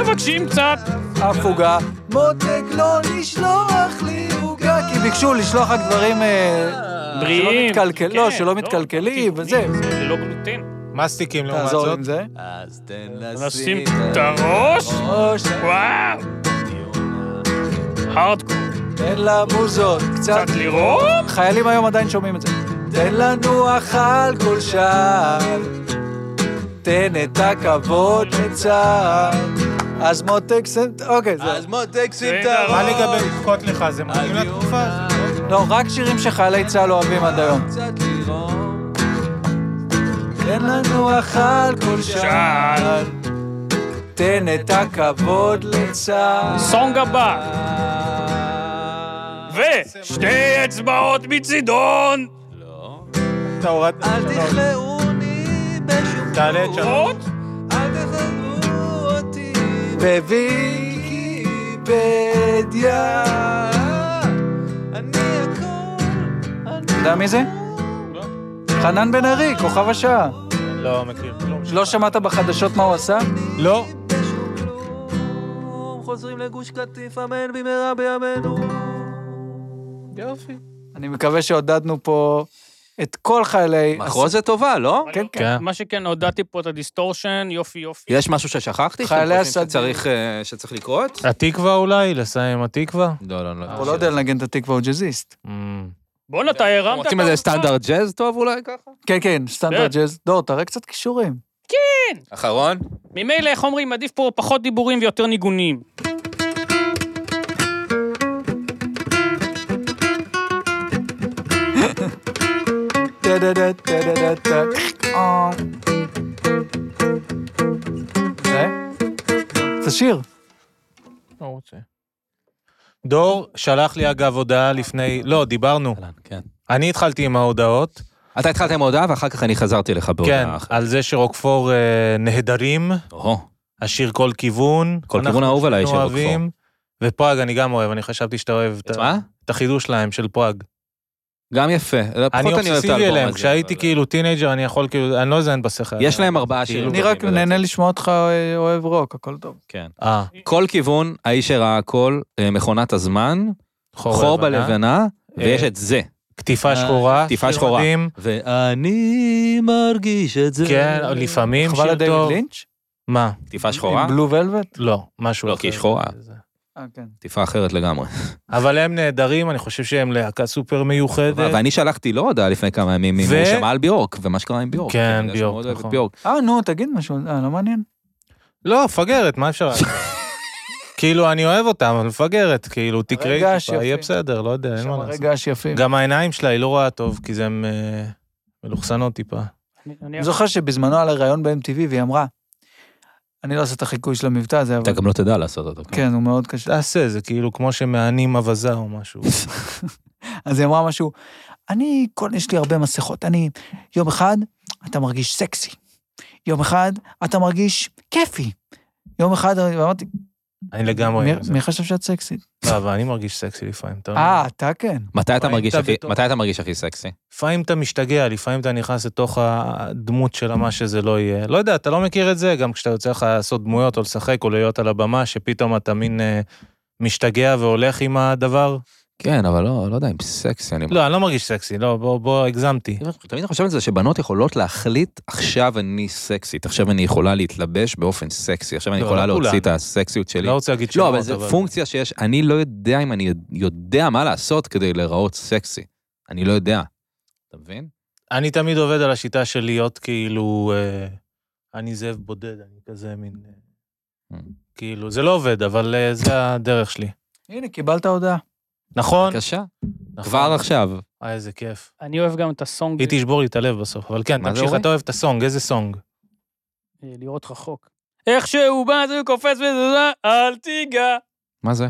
Speaker 3: מבקשים קצת.
Speaker 2: אה, הפוגה. מותק לא לשלוח לי עוגה, כי ביקשו לשלוח רק דברים... אה, שלא
Speaker 3: בריאים.
Speaker 2: מתקלקל, לא,
Speaker 3: כן,
Speaker 2: שלא מתקלקלים, וזה.
Speaker 3: זה לא ללא גלוטן.
Speaker 4: מסטיקים לעומת
Speaker 2: תעזור
Speaker 4: זאת.
Speaker 2: עם זה.
Speaker 1: אז תן
Speaker 3: נשים את הראש,
Speaker 2: או ש-
Speaker 3: וואו, הארדקור.
Speaker 2: תן למוזות קצת
Speaker 3: קצת לראות?
Speaker 2: חיילים היום עדיין שומעים את זה. תן לנוח על כל שער, תן את הכבוד לצה"ל. אז מותק סנט... אוקיי, זהו.
Speaker 1: אז מותק שים את
Speaker 3: מה
Speaker 4: מה
Speaker 1: הראש.
Speaker 4: לגבי לבכות לך? זה מתאים לתקופה הזאת.
Speaker 2: לא, רק שירים שחיילי צה"ל אוהבים עד היום.
Speaker 1: קצת לראות.
Speaker 2: תן לנוח על כל שער, תן את הכבוד לצה"ל.
Speaker 3: סונג הבא. ושתי אצבעות מצידון.
Speaker 1: לא.
Speaker 4: אתה לא, הורדת...
Speaker 2: אל תכלאוני בשום
Speaker 4: תעלה את
Speaker 2: צורה.
Speaker 4: שלוש.
Speaker 3: עוד?
Speaker 1: כן,
Speaker 2: אל תחזרו אותי בוויקיפדיה. אני הכל, אני... אתה יודע מי זה? חנן בן ארי, כוכב השעה.
Speaker 4: לא מכיר כלום.
Speaker 2: לא שמעת בחדשות מה הוא עשה?
Speaker 4: לא.
Speaker 2: חוזרים לגוש קטיף, אמן במהרה בימינו.
Speaker 4: יופי.
Speaker 2: אני מקווה שעודדנו פה את כל חיילי...
Speaker 1: מחרוזת טובה, לא?
Speaker 2: כן, כן.
Speaker 4: כן.
Speaker 3: מה שכן, הודעתי פה את הדיסטורשן, יופי יופי.
Speaker 1: יש משהו ששכחתי? שאתם
Speaker 2: חיילי
Speaker 1: חושבים
Speaker 2: הסדיר.
Speaker 1: שצריך, אה, שצריך לקרות?
Speaker 4: התקווה אולי? לסיים עם התקווה?
Speaker 1: לא, לא, לא.
Speaker 2: הוא לא יודע לנגן את התקווה, הוא ג'אזיסט.
Speaker 4: Mm.
Speaker 3: בואנה, אתה הרמת...
Speaker 1: רוצים איזה
Speaker 3: כמה זמן?
Speaker 1: סטנדרט ג'אז טוב אולי ככה?
Speaker 2: כן, כן, סטנדרט
Speaker 3: כן.
Speaker 2: ג'אז. דור, תראה קצת כישורים.
Speaker 1: אחרון?
Speaker 3: ממילא, איך אומרים, עדיף פה פחות דיבורים ויותר ניגונים.
Speaker 2: טה-דה-דה, טה-דה-דה, טה. אה. זה? זה שיר.
Speaker 4: לא רוצה. דור שלח לי אגב הודעה לפני... לא, דיברנו.
Speaker 1: כן.
Speaker 4: אני התחלתי עם ההודעות.
Speaker 1: אתה התחלת עם ההודעה ואחר כך אני חזרתי לך
Speaker 4: כן,
Speaker 1: בהודעה אחרת.
Speaker 4: על זה שרוקפור אה, נהדרים,
Speaker 1: אוהו,
Speaker 4: השיר כל כיוון.
Speaker 1: כל
Speaker 4: אנחנו
Speaker 1: כיוון אהוב עליי של
Speaker 4: שנינו
Speaker 1: רוקפור.
Speaker 4: אוהבים. ופראג אני גם אוהב, אני חשבתי שאתה אוהב את
Speaker 1: את
Speaker 4: ה-
Speaker 1: מה?
Speaker 4: את החידוש להם של פראג.
Speaker 1: גם יפה. לא, פחות
Speaker 4: אני
Speaker 1: אוהב את
Speaker 4: אובססיבי
Speaker 1: האלבום
Speaker 4: אליהם,
Speaker 1: הזה,
Speaker 4: כשהייתי
Speaker 1: אבל-
Speaker 4: כאילו טינג'ר אני יכול כאילו, אני לא אזיין בשכל.
Speaker 1: יש להם ארבעה
Speaker 4: כאילו.
Speaker 1: שירים.
Speaker 2: אני רק
Speaker 1: טובים,
Speaker 2: נהנה
Speaker 1: לדעתי.
Speaker 2: לשמוע אותך אה, אוהב רוק, הכל טוב.
Speaker 1: כן.
Speaker 4: אה,
Speaker 1: כל כיוון, האיש שראה הכל, אה, מכונת הזמן, חור
Speaker 4: לבנה.
Speaker 1: בלבנה,
Speaker 4: אה,
Speaker 1: ויש את זה.
Speaker 4: קטיפה
Speaker 1: אה,
Speaker 4: שחורה.
Speaker 1: קטיפה
Speaker 4: שיר
Speaker 1: שחורה.
Speaker 4: מדהים.
Speaker 1: ואני מרגיש את זה.
Speaker 4: כן, לפעמים
Speaker 2: חבל על
Speaker 4: שיר
Speaker 2: דיוויד
Speaker 4: טוב.
Speaker 2: לינץ'?
Speaker 4: מה?
Speaker 1: טיפה שחורה?
Speaker 2: עם בלו ולווט?
Speaker 4: לא, משהו
Speaker 1: לא,
Speaker 4: אחר.
Speaker 1: כי היא שחורה.
Speaker 4: זה-
Speaker 2: אה, כן.
Speaker 1: טיפה אחרת לגמרי.
Speaker 4: אבל הם נהדרים, אני חושב שהם להקה סופר מיוחדת.
Speaker 1: ואני שלחתי לו הודעה לפני כמה ימים, אם
Speaker 4: ו-
Speaker 1: הוא שמע על ביורק, ומה שקרה עם ביורק.
Speaker 4: כן,
Speaker 1: אני יודע שהוא
Speaker 4: ביורק,
Speaker 1: מאוד אוהב את
Speaker 4: נכון.
Speaker 1: ביורק.
Speaker 2: אה, נו, תגיד משהו, אה, לא מעניין.
Speaker 4: לא, מפגרת, מה אפשר? לעשות? כאילו, אני אוהב אותם, אבל מפגרת, כאילו, תקראי
Speaker 2: הרגש
Speaker 4: טיפה, יהיה
Speaker 2: יפה.
Speaker 4: בסדר, לא יודע,
Speaker 2: יש
Speaker 4: אין
Speaker 2: שם
Speaker 4: מה לעשות.
Speaker 2: רגע שיפים.
Speaker 4: גם העיניים שלה, היא לא רואה טוב, כי זה הם אה, מלוכסנות טיפה.
Speaker 3: אני- אני-
Speaker 2: אני זוכר שבזמנו על הראיון ב-MTV, והיא אמרה, אני לא עושה את החיקוי של המבטא הזה,
Speaker 1: אתה
Speaker 2: אבל...
Speaker 1: גם לא תדע לעשות אותו. כן.
Speaker 2: כן, הוא מאוד קשה.
Speaker 4: תעשה, זה כאילו כמו שמענים אווזה או משהו.
Speaker 2: אז היא אמרה משהו, אני, כל, יש לי הרבה מסכות, אני, יום אחד אתה מרגיש סקסי, יום אחד אתה מרגיש כיפי, יום אחד, ואמרתי,
Speaker 4: אני לגמרי...
Speaker 2: "מי-
Speaker 4: עם זה.
Speaker 2: מי חשב שאת סקסית?
Speaker 4: לא, אבל אני מרגיש סקסי לפעמים.
Speaker 1: לא.
Speaker 4: אתה-
Speaker 2: אה, אתה כן.
Speaker 1: מתי אתה
Speaker 4: לפעמים
Speaker 1: מרגיש
Speaker 4: אתה
Speaker 1: הכי-
Speaker 4: בתור-
Speaker 1: מתי אתה מרגיש הכי סקסי?
Speaker 4: לפעמים אתה משתגע, לפעמים אתה נכנס לתוך הדמות של מה שזה לא יהיה. לא יודע, אתה לא מכיר את זה, גם כשאתה יוצא לך לעשות דמויות או לשחק או להיות על הבמה, שפתאום אתה מין אה, משתגע והולך עם הדבר.
Speaker 1: כן, אבל לא לא יודע אם סקסי, אני...
Speaker 4: לא, אני לא מרגיש סקסי, לא, בוא, בוא, הגזמתי.
Speaker 1: תמיד אני חושב על זה שבנות יכולות להחליט, עכשיו אני סקסית, עכשיו אני יכולה להתלבש באופן סקסי, עכשיו אני
Speaker 4: לא,
Speaker 1: יכולה
Speaker 4: לא
Speaker 1: להוציא
Speaker 4: כולן.
Speaker 1: את הסקסיות שלי.
Speaker 4: לא רוצה להגיד
Speaker 1: לא,
Speaker 4: שמות,
Speaker 1: אבל זו פונקציה שיש, אני לא יודע אם אני יודע מה לעשות כדי להיראות סקסי. אני לא יודע. אתה מבין?
Speaker 4: אני תמיד עובד על השיטה של להיות כאילו, אה, אני זאב בודד, אני כזה מין... אה,
Speaker 1: Mm.
Speaker 4: כאילו, זה לא עובד, אבל אה, זה הדרך שלי.
Speaker 2: הנה, קיבלת הודעה.
Speaker 4: נכון?
Speaker 1: בבקשה.
Speaker 4: נכון.
Speaker 1: כבר עכשיו.
Speaker 4: אה, איזה כיף.
Speaker 3: אני אוהב גם את הסונג,
Speaker 4: היא תשבור לי את הלב בסוף, אבל כן,
Speaker 1: מה זה,
Speaker 4: תמשיך,
Speaker 1: אורי?
Speaker 4: אתה אוהב את הסונג, איזה סונג?
Speaker 3: אה, לראות רחוק. איך שהוא בא, זה קופץ וזה, אל תיגע.
Speaker 1: מה זה?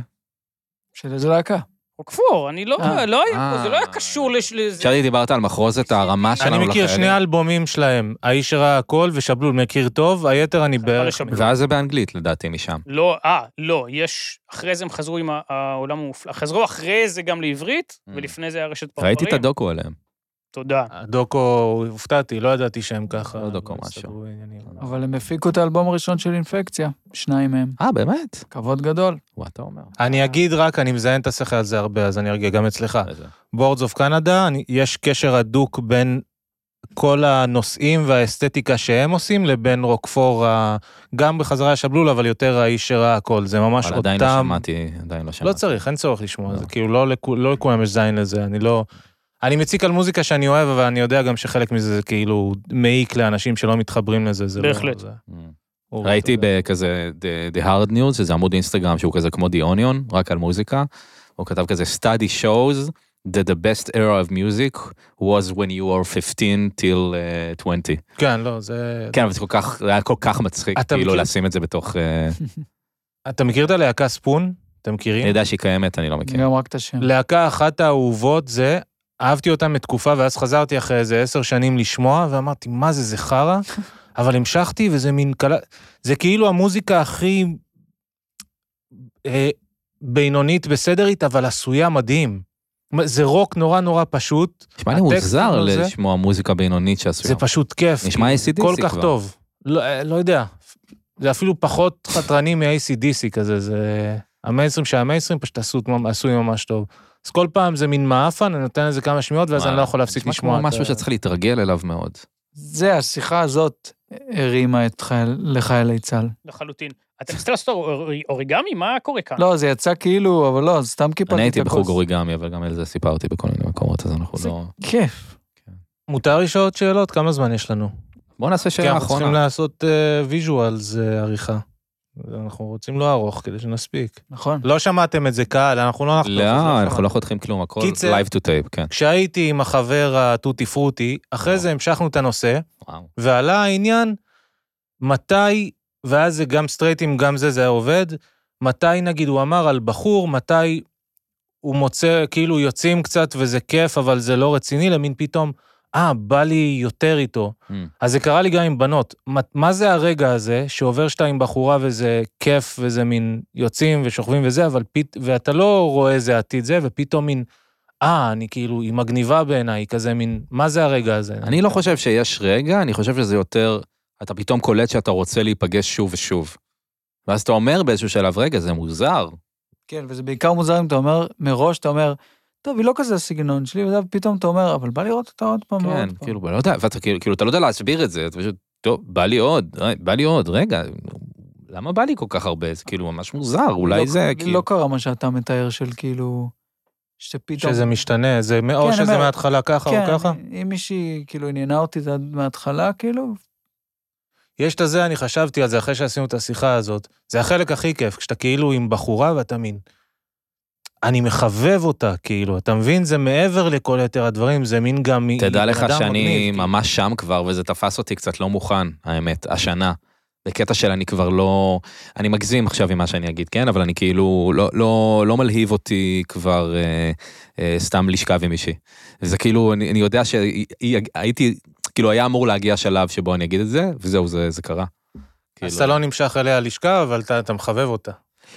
Speaker 2: של איזו להקה.
Speaker 3: כפור, אני לא,
Speaker 2: אה.
Speaker 3: לא היה פה, זה לא היה
Speaker 1: אה.
Speaker 3: קשור לש- לזה.
Speaker 1: שרי, דיברת על מחרוזת הרמה שלנו
Speaker 4: אני
Speaker 1: לחיילים.
Speaker 4: מכיר שני אלבומים שלהם, האיש הרע הכל ושבלול מכיר טוב, היתר אני בערך...
Speaker 3: לשבלול.
Speaker 1: ואז זה באנגלית, לדעתי, משם.
Speaker 3: לא, אה, לא, יש, אחרי זה הם חזרו עם ה- העולם המופלא. חזרו אחרי זה גם לעברית,
Speaker 1: Mm.
Speaker 3: ולפני זה היה רשת
Speaker 4: אוקיי.
Speaker 3: פרפרים.
Speaker 1: ראיתי את הדוקו עליהם.
Speaker 3: תודה.
Speaker 4: הדוקו, הופתעתי, לא ידעתי שהם ככה.
Speaker 1: לא דוקו,
Speaker 4: אבל
Speaker 1: משהו. כן.
Speaker 4: הסתדרו עניינים.
Speaker 2: אבל הם הפיקו את האלבום הראשון של אינפקציה, שניים מהם.
Speaker 1: אה, באמת?
Speaker 2: כבוד גדול.
Speaker 1: וואו, אתה אומר.
Speaker 4: אני אגיד רק, אני מזיין את השכל על זה הרבה, אז אני ארגיע גם אצלך.
Speaker 1: איזה-
Speaker 4: בורדס אוף קנדה, יש קשר הדוק בין כל הנושאים והאסתטיקה שהם עושים לבין רוקפור, ה- גם בחזרה לשבלול, אבל יותר האיש שראה הכל. זה ממש
Speaker 1: אבל
Speaker 4: אותם...
Speaker 1: עדיין לא שמעתי, עדיין לא
Speaker 4: לא
Speaker 1: שמעתי.
Speaker 4: צריך, אין צורך לשמוע,
Speaker 1: לא.
Speaker 4: זה כאילו לא לכו- לא לכולם יש זין לזה, אני לא... אני מציק על מוזיקה שאני אוהב, אבל אני יודע גם שחלק מזה זה כאילו מעיק לאנשים שלא מתחברים לזה, זה לא...
Speaker 3: בהחלט.
Speaker 4: זה-
Speaker 1: Mm.
Speaker 4: אורי,
Speaker 1: ראיתי
Speaker 4: אתה יודע.
Speaker 1: בכזה The- The Hard News, שזה עמוד אינסטגרם שהוא כזה כמו The Onion, רק על מוזיקה. הוא כתב כזה study shows that the best era of music was when you were 15 till uh, 20.
Speaker 4: כן, לא, זה...
Speaker 1: כן, אבל זה כל כך, זה היה כל כך מצחיק,
Speaker 4: אתה
Speaker 1: כאילו
Speaker 4: מכיר? כן.
Speaker 1: לשים את זה בתוך... אה,
Speaker 4: אתה מכיר את הלהקה ספון? אתם מכירים?
Speaker 1: אני יודע שהיא קיימת, אני לא מכיר.
Speaker 2: גם רק את השם.
Speaker 4: להקה אחת האהובות זה, אהבתי אותם לתקופה, ואז חזרתי אחרי איזה עשר שנים לשמוע, ואמרתי, מה זה, זה חרא? אבל המשכתי, וזה מין קלה... זה כאילו המוזיקה הכי אה, בינונית בסדר איתה, אבל עשויה מדהים. מה, זה רוק נורא נורא פשוט,
Speaker 1: נשמע לי
Speaker 4: הטקסט
Speaker 1: מוזר
Speaker 4: על זה-
Speaker 1: לשמוע מוזיקה בינונית שעשויה.
Speaker 4: זה פשוט כיף.
Speaker 1: נשמע ACDC
Speaker 4: כל
Speaker 1: כבר.
Speaker 4: כך טוב. לא, אה, לא יודע, זה אפילו פחות חתרני מ-ACDC כזה, זה... המיינסטרים שהמיינסטרים פשוט עשו, עשוי ממש טוב. אז כל פעם זה מין מעפן, אני נותן לזה כמה שמיעות, ואז
Speaker 1: מה,
Speaker 4: אני לא יכול להפסיק
Speaker 1: נשמע
Speaker 4: לשמוע.
Speaker 1: כמו משהו
Speaker 4: את ה-
Speaker 1: שצריך להתרגל אליו מאוד.
Speaker 2: זה, השיחה הזאת הרימה את חייל, לחיילי צה"ל.
Speaker 3: לחלוטין. אתה מסתכל לעשות אור- אוריגמי? מה קורה כאן?
Speaker 2: לא, זה יצא כאילו, אבל לא, סתם קיפלתי את הכוס.
Speaker 1: אני הייתי בחוג אוריגמי, אבל גם על זה סיפרתי בכל מיני מקומות, אז אנחנו
Speaker 2: זה-
Speaker 1: לא...
Speaker 2: כיף.
Speaker 4: מותר לשאול עוד שאלות? כמה זמן יש לנו?
Speaker 1: בוא נעשה
Speaker 4: כי
Speaker 1: שאלה
Speaker 4: אנחנו צריכים
Speaker 1: אחרונה.
Speaker 4: לעשות ויז'ואלס עריכה. אנחנו רוצים לא ארוך כדי שנספיק.
Speaker 2: נכון.
Speaker 4: לא שמעתם את זה קהל, אנחנו לא נחתוך. אז
Speaker 1: לא,
Speaker 4: שמעתם.
Speaker 1: אנחנו לא חותכים כלום, הכל
Speaker 4: קיצר-
Speaker 1: live to tape, כן.
Speaker 4: כשהייתי עם החבר התותי פרוטי,
Speaker 1: לא.
Speaker 4: אחרי זה המשכנו את הנושא,
Speaker 1: וואו.
Speaker 4: ועלה העניין מתי, ואז זה גם סטרייטים, גם זה, זה היה עובד, מתי נגיד הוא אמר על בחור, מתי הוא מוצא, כאילו יוצאים קצת וזה כיף, אבל זה לא רציני, למין פתאום, אה, בא לי יותר איתו.
Speaker 1: Mm.
Speaker 4: אז זה קרה לי גם עם בנות. מה, מה זה הרגע הזה שעובר שאתה עם בחורה וזה כיף וזה מין יוצאים ושוכבים וזה, אבל פת... ואתה לא רואה איזה עתיד זה, ופתאום מין, אה, אני כאילו, היא מגניבה בעיניי, היא כזה מין, מה זה הרגע הזה?
Speaker 1: אני לא חושב שיש רגע, אני חושב שזה יותר, אתה פתאום קולט שאתה רוצה להיפגש שוב ושוב. ואז אתה אומר באיזשהו שלב, רגע, זה מוזר.
Speaker 2: כן, וזה בעיקר מוזר אם אתה אומר, מראש אתה אומר, טוב, היא לא כזה הסגנון שלי, וזה, ופתאום אתה אומר, אבל בא לראות אותה עוד פעם. ועוד
Speaker 1: כן,
Speaker 2: פעם."
Speaker 1: כאילו, לא יודע, ואתה כאילו, כאילו, אתה לא יודע להסביר את זה, אתה פשוט, טוב, בא לי עוד, אה, בא לי עוד, רגע, למה בא לי כל כך הרבה? זה כאילו ממש מוזר,
Speaker 2: לא-
Speaker 1: אולי זה,
Speaker 2: לי לא
Speaker 1: כאילו,
Speaker 2: קרה מה שאתה מתאר של כאילו, שפתאום...
Speaker 4: שזה משתנה, זה מא- או
Speaker 2: כן,
Speaker 4: שזה
Speaker 2: אבל-
Speaker 4: מההתחלה ככה או
Speaker 2: כן,
Speaker 4: ככה.
Speaker 2: אם מישהי כאילו עניינה אותי זה עד מההתחלה, כאילו,
Speaker 4: יש את הזה, אני חשבתי על זה אחרי שעשינו את השיחה הזאת. זה החלק הכי כיף, כשאתה כאילו עם בחורה ואתה מין... אני מחבב אותה, כאילו, אתה מבין? זה מעבר לכל יתר הדברים, זה מין גם... היא
Speaker 1: תדע
Speaker 4: בן
Speaker 1: לך
Speaker 4: אדם
Speaker 1: שאני
Speaker 4: מגניב, כאילו.
Speaker 1: ממש שם כבר, וזה תפס אותי קצת לא מוכן, האמת, השנה. בקטע של אני כבר לא, אני מגזים עכשיו עם מה שאני אגיד, כן? אבל אני כאילו, לא, לא, לא מלהיב אותי כבר אה, אה, סתם לשכב עם מישהי. זה כאילו, אני, אני יודע שהייתי, כאילו היה אמור להגיע שלב שבו אני אגיד את זה, וזהו, זה, זה קרה.
Speaker 4: כאילו. אז אתה לא נמשך אליה לשכב, אבל אתה, אתה מחבב אותה.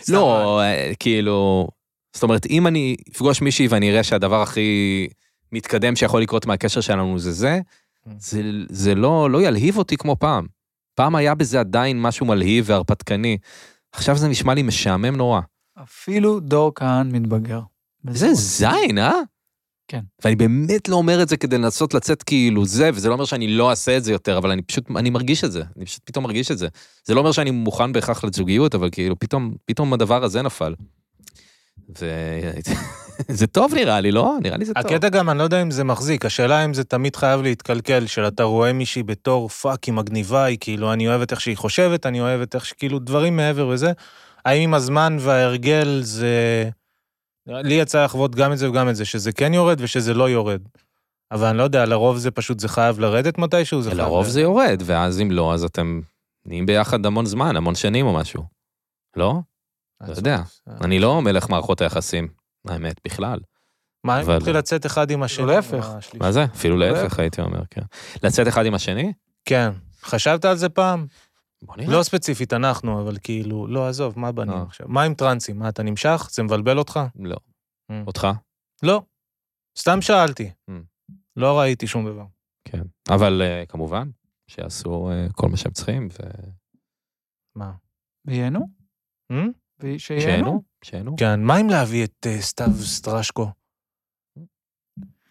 Speaker 1: לא, אה, כאילו, זאת אומרת, אם אני אפגוש מישהי ואני אראה שהדבר הכי מתקדם שיכול לקרות מהקשר שלנו זה זה,
Speaker 4: Mm.
Speaker 1: זה, זה לא, לא ילהיב אותי כמו פעם. פעם היה בזה עדיין משהו מלהיב והרפתקני. עכשיו זה נשמע לי משעמם נורא.
Speaker 2: אפילו דור כהן מתבגר.
Speaker 1: זה זין, אה?
Speaker 2: נכון. כן.
Speaker 1: ואני באמת לא אומר את זה כדי לנסות לצאת כאילו זה, וזה לא אומר שאני לא אעשה את זה יותר, אבל אני פשוט, אני מרגיש את זה. אני פשוט פתאום מרגיש את זה. זה לא אומר שאני מוכן בהכרח לזוגיות, אבל כאילו פתאום, פתאום הדבר הזה נפל. ו... זה טוב נראה לי, לא? נראה לי זה טוב.
Speaker 4: הקטע גם, אני לא יודע אם זה מחזיק, השאלה אם זה תמיד חייב להתקלקל, של אתה רואה מישהי בתור פאק, היא מגניבה, היא כאילו, אני אוהבת איך שהיא חושבת, אני אוהבת איך ש... כאילו, דברים מעבר וזה. האם עם הזמן וההרגל זה... לי יצא לחוות גם את זה וגם את זה, שזה כן יורד ושזה לא יורד. אבל אני לא יודע, לרוב זה פשוט, זה חייב לרדת מתישהו, זה חייב...
Speaker 1: לרוב זה יורד, ואז אם לא, אז אתם נהיים ביחד המון זמן, המון שנים או משהו. לא? אתה יודע. אני לא מלך מערכות היחסים, האמת, בכלל.
Speaker 4: מה אם
Speaker 1: אבל-
Speaker 4: נתחיל לצאת אחד עם השני?
Speaker 2: להפך.
Speaker 4: השלישי?
Speaker 1: מה זה? אפילו
Speaker 2: לא.
Speaker 1: להפך, הייתי אומר, כן. לצאת אחד עם השני?
Speaker 4: כן. חשבת על זה פעם?
Speaker 1: בוא נראה.
Speaker 4: לא ספציפית אנחנו, אבל כאילו, לא, עזוב, מה בנים
Speaker 1: אה.
Speaker 4: עכשיו? מה עם טרנסים? מה, אתה נמשך? זה מבלבל אותך?
Speaker 1: לא.
Speaker 4: Mm.
Speaker 1: אותך?
Speaker 4: לא. סתם שאלתי.
Speaker 1: Mm.
Speaker 4: לא ראיתי שום דבר.
Speaker 1: כן. אבל אה, כמובן, שיעשו אה, כל מה שהם צריכים, ו-
Speaker 4: מה?
Speaker 2: וייהנו?
Speaker 4: Hmm?
Speaker 2: שייהנו?
Speaker 1: שיהנו, שיהנו.
Speaker 4: כן, מה אם להביא את אה, סתיו סטרשקו?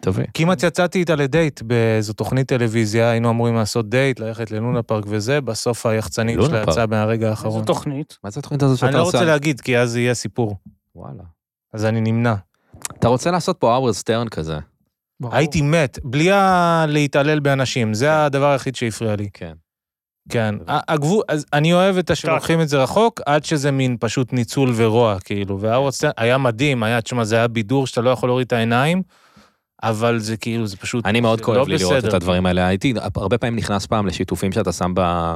Speaker 1: תביא.
Speaker 4: כמעט יצאתי איתה לדייט באיזו תוכנית טלוויזיה, היינו אמורים לעשות דייט, ללכת ללונה פארק וזה, בסוף היחצנית
Speaker 1: לונה
Speaker 4: שלה
Speaker 1: פארק.
Speaker 4: יצאה מהרגע האחרון.
Speaker 3: זו תוכנית.
Speaker 1: מה זה התוכנית הזאת
Speaker 4: אני
Speaker 1: שאתה
Speaker 4: לא
Speaker 1: עושה?
Speaker 4: רוצה להגיד, כי אז יהיה סיפור.
Speaker 1: וואלה.
Speaker 4: אז אני נמנע.
Speaker 1: אתה רוצה לעשות פה האוורד סטרן כזה.
Speaker 2: ברור.
Speaker 4: הייתי מת, בלי ה- להתעלל באנשים, זה הדבר היחיד שהפריע לי.
Speaker 1: כן.
Speaker 4: כן. ה- הגבול, אז אני אוהב את
Speaker 3: שטרק.
Speaker 4: השלוחים את זה רחוק, עד שזה מין פשוט ניצול ורוע, כאילו. והאורסטיין היה מדהים, היה, תשמע, זה היה בידור שאתה לא יכול להוריד את העיניים, אבל זה כאילו, זה פשוט...
Speaker 1: אני מאוד
Speaker 4: זה
Speaker 1: כואב
Speaker 4: לא
Speaker 1: לי לראות
Speaker 4: בסדר.
Speaker 1: את הדברים האלה. הייתי הרבה פעמים נכנס פעם לשיתופים שאתה שם ב...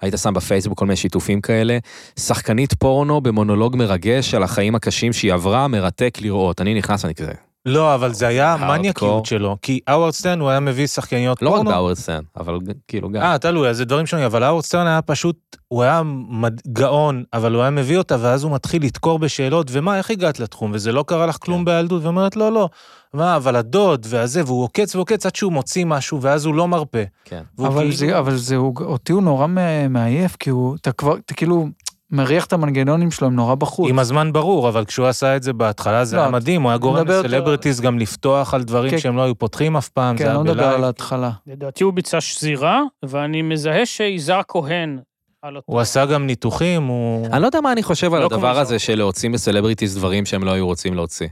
Speaker 1: היית שם בפייסבוק כל מיני שיתופים כאלה. שחקנית פורנו במונולוג מרגש על החיים הקשים שהיא עברה, מרתק לראות. אני נכנס, אני כזה.
Speaker 4: לא, אבל זה היה
Speaker 1: הארדקור.
Speaker 4: המניאקיות שלו, כי האוורדסטיין, הוא היה מביא שחקניות
Speaker 1: לא רק
Speaker 4: פורנו.
Speaker 1: בהאוורד סטרן, אבל ג- כאילו גם.
Speaker 4: אה, תלוי, אז זה דברים שונים, אבל האוורדסטיין היה פשוט, הוא היה מד- גאון, אבל הוא היה מביא אותה, ואז הוא מתחיל לדקור בשאלות, ומה, איך הגעת לתחום, וזה לא קרה לך כלום בילדות, ואומרת, לא, לא. מה, אבל הדוד, והזה, והוא עוקץ ועוקץ עד שהוא מוציא משהו, ואז הוא לא מרפה.
Speaker 1: כן.
Speaker 4: והוא
Speaker 2: אבל
Speaker 4: כאילו-
Speaker 2: זה, אבל זה, הוא- אותי הוא נורא מ- מעייף, כי הוא, אתה כבר, אתה כאילו מריח את המנגנונים שלו, הם נורא בחוץ.
Speaker 4: עם הזמן ברור, אבל כשהוא עשה את זה בהתחלה זה
Speaker 2: לא,
Speaker 4: היה מדהים, הוא היה גורם
Speaker 2: מדבר יותר-
Speaker 4: לסלברטיז גם לפתוח על דברים
Speaker 2: כן.
Speaker 4: שהם לא היו פותחים אף פעם,
Speaker 2: כן,
Speaker 4: זה היה
Speaker 2: לא נדבר על
Speaker 4: בלייב.
Speaker 2: ההתחלה.
Speaker 3: לדעתי הוא ביצע שזירה, ואני מזהה שיזהר כהן על אותו...
Speaker 4: הוא עשה גם ניתוחים, הוא...
Speaker 1: אני לא יודע מה אני חושב על
Speaker 3: לא כמו
Speaker 1: הדבר
Speaker 3: שאר.
Speaker 1: הזה של להוציא מסלבריטיז דברים שהם לא היו רוצים להוציא.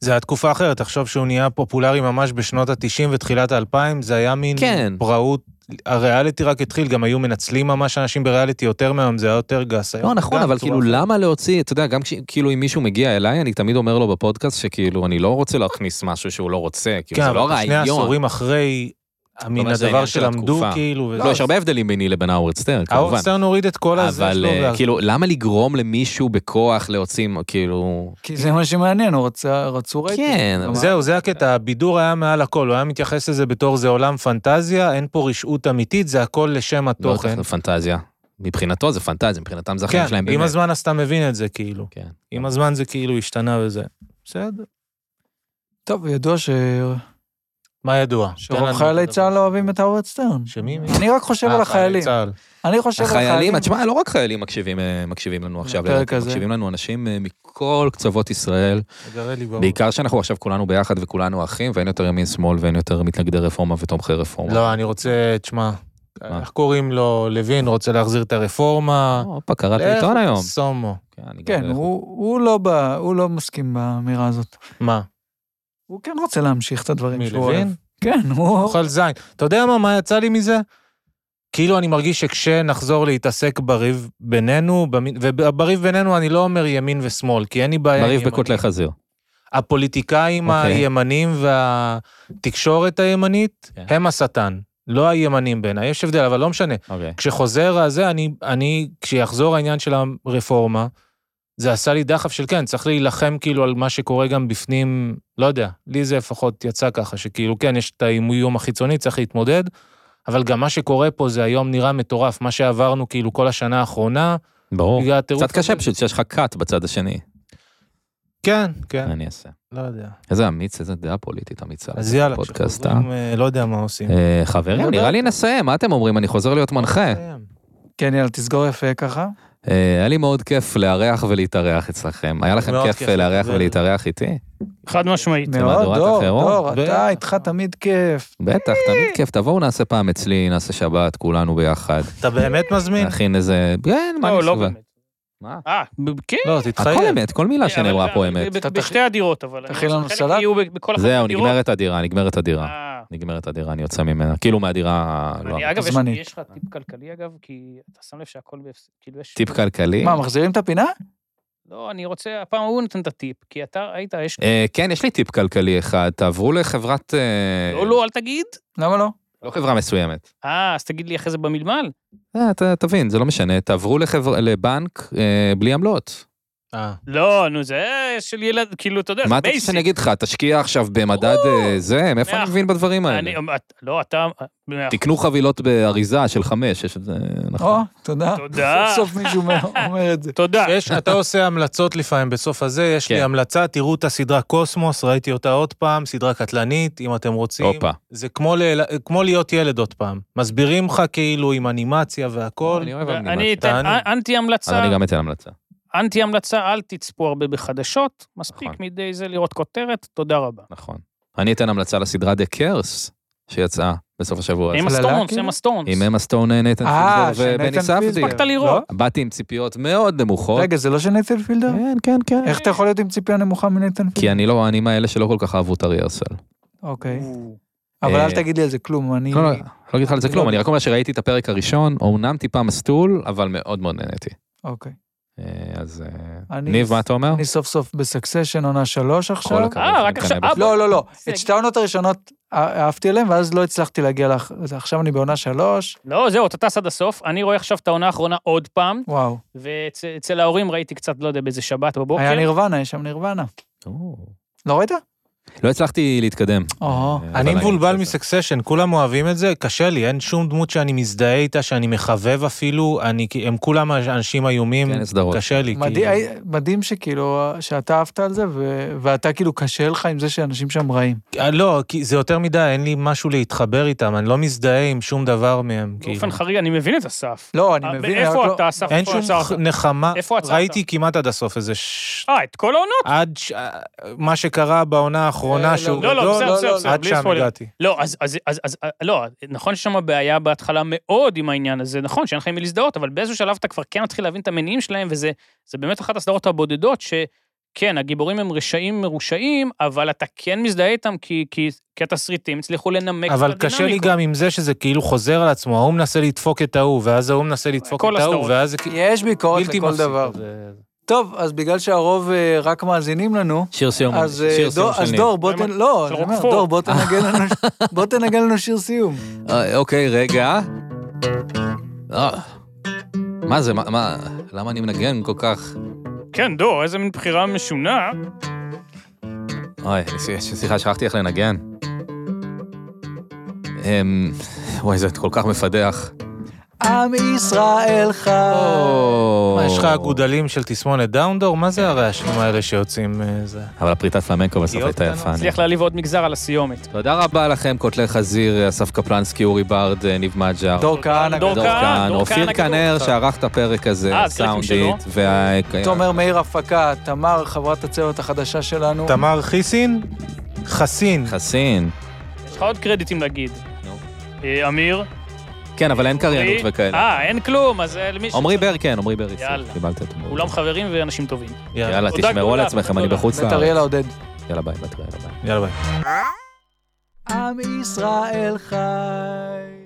Speaker 4: זה היה תקופה אחרת, תחשוב שהוא נהיה פופולרי ממש בשנות ה-90 ותחילת ה-2000, זה היה מין
Speaker 1: כן.
Speaker 4: פראות. הריאליטי רק התחיל, גם היו מנצלים ממש אנשים בריאליטי יותר מהיום, זה היה יותר גס.
Speaker 1: לא
Speaker 4: היום
Speaker 1: נכון,
Speaker 4: גם
Speaker 1: אבל
Speaker 4: צורה
Speaker 1: כאילו
Speaker 4: אחרת.
Speaker 1: למה להוציא, אתה יודע, גם כש- כאילו אם מישהו מגיע אליי, אני תמיד אומר לו בפודקאסט שכאילו אני לא רוצה להכניס משהו שהוא לא רוצה, כאילו
Speaker 4: כן,
Speaker 1: זה לא
Speaker 4: אבל שני
Speaker 1: רעיון.
Speaker 4: עשורים אחרי, מן
Speaker 1: אומרת, זה
Speaker 4: הדבר
Speaker 1: עניין של
Speaker 4: שלמדו,
Speaker 1: התקופה.
Speaker 4: כאילו... וזה-
Speaker 1: לא, יש הרבה הבדלים ביני לבין האוורד סטרן, כמובן.
Speaker 4: האורסטרן הוריד את כל הזה
Speaker 1: אבל
Speaker 4: שלו.
Speaker 1: אה,
Speaker 4: וה-
Speaker 1: כאילו, למה לגרום למישהו בכוח להוציא, כאילו...
Speaker 2: כי זה מה שמעניין, הוא רצה, רצו רייטינג.
Speaker 1: כן,
Speaker 2: כלומר,
Speaker 4: זהו, זה הקטע, הבידור היה מעל הכל, הוא היה מתייחס לזה בתור זה עולם פנטזיה, אין פה רשעות אמיתית, זה הכל לשם
Speaker 1: לא
Speaker 4: התוכן.
Speaker 1: צריך פנטזיה. מבחינתו זה פנטזיה, מבחינתם זה החיים
Speaker 4: כן,
Speaker 1: שלהם
Speaker 4: עם
Speaker 1: באמת.
Speaker 4: הזמן אז אתה מבין את זה, כאילו.
Speaker 1: כן.
Speaker 4: עם הזמן זה כאילו השתנה וזה. בסדר.
Speaker 2: טוב, ידוע ש...
Speaker 4: מה ידוע? תן
Speaker 2: שרוב
Speaker 4: לנו
Speaker 2: חיילי
Speaker 4: את הדבר.
Speaker 2: צה"ל לא אוהבים את האוורד סטרן.
Speaker 4: שמי? מי?
Speaker 2: אני רק חושב על
Speaker 4: אה, חיילי
Speaker 2: החיילים.
Speaker 4: צה"ל.
Speaker 2: אני חושב על
Speaker 1: החיילים, תשמע, לא רק חיילים מקשיבים, אה, מקשיבים לנו עכשיו,
Speaker 2: לפרק
Speaker 1: לדעתי,
Speaker 2: הזה.
Speaker 1: מקשיבים לנו אנשים אה, מכל קצוות ישראל,
Speaker 4: תגרה לי ברור.
Speaker 1: בעיקר שאנחנו עכשיו כולנו ביחד וכולנו אחים, ואין יותר ימין שמאל ואין יותר מתנגדי רפורמה ותומכי רפורמה.
Speaker 4: לא, אני רוצה, תשמע,
Speaker 1: מה?
Speaker 4: איך קוראים לו? לוין רוצה להחזיר את הרפורמה.
Speaker 1: לא, הופה, קראת
Speaker 4: לך,
Speaker 1: לעיתון היום.
Speaker 4: סומו.
Speaker 1: כן, אני גם
Speaker 2: כן,
Speaker 4: אה.
Speaker 1: אלך.
Speaker 2: הוא הוא לא בא- הוא לא מסכים באמירה הזאת.
Speaker 4: מה?
Speaker 2: הוא כן רוצה להמשיך את הדברים
Speaker 4: מי,
Speaker 2: שהוא אוהב.
Speaker 4: לוין?
Speaker 2: כן, הוא...
Speaker 4: אוכל זין. אתה יודע מה, מה יצא לי מזה? כאילו אני מרגיש שכשנחזור להתעסק בריב בינינו, במ- ובריב בינינו אני לא אומר ימין ושמאל, כי אין לי בעיה עם
Speaker 1: מריב
Speaker 4: ימנים.
Speaker 1: בקוטלי חזיר.
Speaker 4: הפוליטיקאים
Speaker 1: אוקיי.
Speaker 4: הימנים והתקשורת הימנית
Speaker 1: כן.
Speaker 4: הם השטן, לא הימנים בעיניי, יש הבדל, אבל לא משנה.
Speaker 1: אוקיי.
Speaker 4: כשחוזר הזה, אני, אני, כשיחזור העניין של הרפורמה, זה עשה לי דחף של כן, צריך להילחם כאילו על מה שקורה גם בפנים, לא יודע, לי זה לפחות יצא ככה, שכאילו כן, יש את האיום החיצוני, צריך להתמודד, אבל גם מה שקורה פה זה היום נראה מטורף, מה שעברנו כאילו כל השנה האחרונה,
Speaker 1: ברור.
Speaker 4: בגלל הטירוף.
Speaker 1: קצת קשה
Speaker 4: הזה.
Speaker 1: פשוט שיש לך cut בצד השני.
Speaker 4: כן, כן,
Speaker 1: מה אני אעשה?
Speaker 4: לא יודע.
Speaker 1: איזה אמיץ, איזה דעה פוליטית אמיצה.
Speaker 4: אז יאללה,
Speaker 1: אה, פודקאסט,
Speaker 4: כשחוזרים, אה, לא יודע מה עושים.
Speaker 1: אה, חברים, נראה לי נסיים, מה אתם אומרים? אני חוזר להיות מנחה.
Speaker 4: נסיים.
Speaker 2: כן, יאללה, תסגור יפה ככה.
Speaker 1: אה, היה לי מאוד כיף לארח ולהתארח אצלכם. היה לכם
Speaker 4: מאוד
Speaker 1: כיף
Speaker 4: כיף
Speaker 1: אה, לארח
Speaker 4: לקבל.
Speaker 1: ולהתארח איתי?
Speaker 3: חד משמעית.
Speaker 1: מהדורת
Speaker 2: מאוד, דור,
Speaker 1: החירום.
Speaker 2: דור,
Speaker 4: בטח.
Speaker 2: אתה איתך תמיד כיף.
Speaker 1: בטח, תמיד כיף. תבואו נעשה פעם אצלי, נעשה שבת, כולנו ביחד.
Speaker 4: אתה באמת מזמין?
Speaker 1: נכין איזה... כן, מה
Speaker 3: לא, לא
Speaker 1: נסתובב?
Speaker 3: באמת.
Speaker 1: מה?
Speaker 3: אה, ב- כן.
Speaker 4: לא,
Speaker 1: הכל
Speaker 4: תתחייב.
Speaker 1: אמת, כל מילה שנאמרה
Speaker 3: אבל-
Speaker 1: פה אמת.
Speaker 3: ב- ב-
Speaker 2: אתה
Speaker 3: בשתי הדירות, אבל...
Speaker 2: תכין לנו
Speaker 3: חלק
Speaker 2: סלט?
Speaker 3: יהיו ב- בכל אה. אחת
Speaker 1: זהו,
Speaker 3: מהדירות.
Speaker 1: נגמרת הדירה, נגמרת הדירה.
Speaker 3: אה,
Speaker 1: נגמרת הדירה, אני יוצא ממנה. כאילו מהדירה... ה- לא,
Speaker 3: אני, אגב, יש-
Speaker 2: זמנית.
Speaker 3: יש לך טיפ כלכלי, אגב, כי אתה שם לב שהכל בהפס... כאילו יש...
Speaker 1: טיפ
Speaker 4: כן.
Speaker 1: כלכלי.
Speaker 2: מה, מחזירים את הפינה?
Speaker 3: לא, אני רוצה, הפעם הוא נותן את הטיפ, כי אתה היית, יש...
Speaker 1: אה, כן, יש לי טיפ כלכלי אחד, תעברו לחברת... אה,
Speaker 3: לא, לא, אל תגיד.
Speaker 2: למה לא?
Speaker 1: לא חברה מסוימת.
Speaker 3: אה, אז תגיד לי אחרי זה במלמל.
Speaker 1: אה, אתה תבין, זה לא משנה. תעברו לחבר- לבנק אה, בלי עמלות.
Speaker 4: אה,
Speaker 3: לא, נו, זה של ילד, כאילו, אתה יודע, זה
Speaker 1: מה אתה רוצה
Speaker 3: basic.
Speaker 1: שאני אגיד לך? תשקיע עכשיו במדד אה, זה? מאיפה אני
Speaker 3: מאה-
Speaker 1: מבין בדברים האלה?
Speaker 3: אני, את- לא, אתה, מאה אחוז.
Speaker 1: תקנו חבילות באריזה של חמש, יש את זה,
Speaker 2: או,
Speaker 1: נכון.
Speaker 2: תודה.
Speaker 3: תודה.
Speaker 2: סוף סוף מישהו אומר- אומר את זה.
Speaker 1: אה,
Speaker 3: תודה.
Speaker 4: יש, אתה עושה המלצות לפעמים בסוף הזה, יש לי
Speaker 1: כן.
Speaker 4: המלצה, תראו את הסדרה קוסמוס, ראיתי אותה עוד פעם, סדרה קטלנית, אם אתם רוצים.
Speaker 1: הופה.
Speaker 4: זה כמו, ל... כמו להיות ילד עוד פעם. מסבירים לך כאילו עם אנימציה והכל.
Speaker 1: אני אוהב
Speaker 3: אני
Speaker 1: אנימציה.
Speaker 3: אתן
Speaker 4: תעני.
Speaker 3: אנטי
Speaker 1: אז
Speaker 3: המלצה,
Speaker 1: אני גם אתן המלצה.
Speaker 3: אנטי המלצה, אל תצפו הרבה בחדשות, מספיק
Speaker 1: נכון.
Speaker 3: מדי זה לראות כותרת, תודה רבה.
Speaker 1: נכון. אני אתן המלצה לסדרה דה קרס, שיצאה בסוף השבוע הזה.
Speaker 3: עם
Speaker 2: הצללה,
Speaker 3: הסטונס,
Speaker 2: כאילו?
Speaker 3: עם הסטונס.
Speaker 1: עם אמה סטון, נתן
Speaker 2: אה,
Speaker 1: פילדר
Speaker 2: של
Speaker 1: ובני
Speaker 2: נתן
Speaker 1: ספדיר.
Speaker 2: פילדר. לא?
Speaker 3: הספקת לראות?
Speaker 1: באתי עם ציפיות מאוד נמוכות.
Speaker 2: רגע, זה לא של נייתן פילדר?
Speaker 1: כן, כן, כן.
Speaker 2: איך אתה יכול להיות עם ציפייה נמוכה מנייתן פילדר?
Speaker 1: כי אני לא, אני מאלה שלא כל כך אהבו את אריה ארסל.
Speaker 2: אוקיי.
Speaker 3: או.
Speaker 2: אבל
Speaker 1: אה,
Speaker 2: אל תגיד לי על זה כלום, אני...
Speaker 1: לא, לא, לא אגיד לך על זה כלום, אני רק אומר שראיתי את הפרק הראשון, אומנם טיפה מסטול, אבל מאוד מאוד נהניתי.
Speaker 2: אוקיי.
Speaker 1: אה, אז אה,
Speaker 2: אני-
Speaker 1: ניב, מה אתה אומר?
Speaker 2: אני סוף סוף בסקסשן עונה שלוש
Speaker 1: כל
Speaker 2: עכשיו.
Speaker 1: הכבוד.
Speaker 3: אה, רק
Speaker 1: אני
Speaker 3: עכשיו,
Speaker 1: מקנא בך.
Speaker 3: אה,
Speaker 2: לא, לא, לא.
Speaker 3: זה-
Speaker 2: את שתי העונות הראשונות אה- אהבתי עליהן, ואז לא הצלחתי להגיע לך. אז עכשיו אני בעונה שלוש.
Speaker 3: לא, זהו, אתה טס עד הסוף. אני רואה עכשיו את העונה האחרונה עוד פעם,
Speaker 2: וואו.
Speaker 3: ואצל ההורים ראיתי קצת, לא יודע, באיזה שבת
Speaker 1: אוקיי.
Speaker 3: בבוקר.
Speaker 2: היה נירוונה, יש שם נירוונה.
Speaker 1: או.
Speaker 2: לא ראית?
Speaker 1: לא הצלחתי להתקדם.
Speaker 2: או.
Speaker 1: אה, אבל
Speaker 4: אני מבולבל
Speaker 1: אעשה את זה.
Speaker 4: מסקסשן, כולם אוהבים את זה, קשה לי, אין שום דמות שאני מזדהה איתה, שאני מחבב אפילו, אני, כי הם כולם אנשים איומים,
Speaker 1: כן, סדרות.
Speaker 4: קשה לי.
Speaker 2: מדהים-
Speaker 4: כאילו.
Speaker 2: הי- מדהים שכאילו, אה, שאתה אהבת על זה, ו- ואתה כאילו קשה לך עם זה שאנשים שם רעים.
Speaker 4: אה, לא, כי זה יותר מדי, אין לי משהו להתחבר איתם, אני לא מזדהה עם שום דבר מהם, כאילו.
Speaker 3: באופן חריג, אני מבין את אסף.
Speaker 2: לא, אני
Speaker 3: אה,
Speaker 2: מבין. רק
Speaker 3: איפה
Speaker 2: לא-
Speaker 3: אתה, אסף?
Speaker 4: אין
Speaker 3: איפה
Speaker 4: שום
Speaker 3: עצרת?
Speaker 4: נחמה,
Speaker 3: איפה עצרת?
Speaker 4: ראיתי כמעט עד הסוף איזה ש...
Speaker 3: אה, את כל העונות?
Speaker 4: עד ש... אה, מה שקרה
Speaker 2: אה,
Speaker 4: בעונה האחרונה שהוא
Speaker 3: לא, לא,
Speaker 4: גדול,
Speaker 3: בסדר, בסדר, בסדר,
Speaker 4: עד
Speaker 3: בלי
Speaker 4: שם
Speaker 3: ספוילר.
Speaker 4: הגעתי.
Speaker 3: לא, אז, אז, אז, אז, אה, לא, נכון שיש שם בעיה בהתחלה מאוד עם העניין הזה, נכון שאין לך עם מי להזדהות, אבל באיזשהו שלב אתה כבר כן מתחיל להבין את המניעים שלהם, וזה זה באמת אחת הסדרות הבודדות שכן, הגיבורים הם רשעים מרושעים, אבל אתה כן מזדהה איתם כי, כי, כי התסריטים הצליחו לנמק את
Speaker 4: אבל קשה לי גם עם זה שזה כאילו חוזר על עצמו, ההוא מנסה לדפוק את ההוא, ואז ההוא מנסה לדפוק
Speaker 3: אה, כל
Speaker 4: את ההוא,
Speaker 3: הסדרות.
Speaker 4: ואז זה כאילו...
Speaker 2: יש ביקורת
Speaker 4: בלתי
Speaker 2: לכל
Speaker 4: מפסיק,
Speaker 2: דבר.
Speaker 4: זה-
Speaker 2: טוב, אז בגלל שהרוב אה, רק מאזינים לנו,
Speaker 1: שיר סיום,
Speaker 2: אז אה,
Speaker 1: לא שיר סיום
Speaker 2: דור- אז
Speaker 1: של
Speaker 2: דור, בוא תן...
Speaker 3: למה?
Speaker 2: לא,
Speaker 3: של
Speaker 2: אני אומר,
Speaker 3: רוקפורט.
Speaker 2: דור, בוא תנגן לנו- בוא תנגן לנו שיר סיום.
Speaker 1: ניב. אה, אוקיי, רגע. אה, מה זה, מה- מה, למה אני מנגן כל כך?
Speaker 3: כן, דור, איזה מין בחירה משונה.
Speaker 1: אוי, ס- סליחה, שכחתי איך לנגן. אמ, וואי, זה כל כך מפדח.
Speaker 2: עם ישראל חי.
Speaker 1: או. כן.
Speaker 4: מה, יש לך אגודלים של תסמונת דאונדור? מה זה הרעשים האלה שיוצאים אה, זה?
Speaker 1: אבל הפריטת פלמנקו בסוף
Speaker 4: פגיעות
Speaker 1: הייתה יפה.
Speaker 4: קטנות.
Speaker 1: אני-
Speaker 3: הצליח להעליב עוד מגזר על הסיומת.
Speaker 1: תודה רבה לכם, קוטלי חזיר, אסף קפלנסקי, אורי ברד, אה, ניב מג'ר.
Speaker 2: דור כהנא.
Speaker 3: דור
Speaker 1: דור
Speaker 3: כהן,
Speaker 1: כהן,
Speaker 3: דור
Speaker 1: אופיר
Speaker 3: כהן
Speaker 1: כנר
Speaker 3: הגדול.
Speaker 1: שערך את הפרק הזה,
Speaker 3: אה, הסלפים
Speaker 1: סאונדית, וה...
Speaker 2: תומר מאיר הפקה, תמר חברת הצוות החדשה שלנו.
Speaker 4: תמר חיסין? חסין.
Speaker 1: חסין.
Speaker 3: יש לך עוד קרדיטים להגיד.
Speaker 1: נו.
Speaker 3: אה, אמיר?
Speaker 1: כן, אבל אין קריינות
Speaker 3: עמרי?
Speaker 1: וכאלה.
Speaker 3: אה, אין כלום, אז אה, למי ש...
Speaker 1: עמרי בר כן, עמרי בר יסיר.
Speaker 3: יאללה.
Speaker 1: קיבלתם. את עמרי
Speaker 3: כולם
Speaker 1: בר.
Speaker 3: חברים ואנשים טובים.
Speaker 1: יאללה,
Speaker 3: תודה
Speaker 1: תשמרו על
Speaker 3: גדולה,
Speaker 1: עצמכם,
Speaker 3: תודה
Speaker 1: אני
Speaker 3: גדולה.
Speaker 1: בחוץ
Speaker 2: בית אריאלה
Speaker 1: לארץ.
Speaker 2: עודד.
Speaker 1: יאללה ביי, ביי, ביי.
Speaker 4: יאללה ביי.
Speaker 2: עם ישראל חי.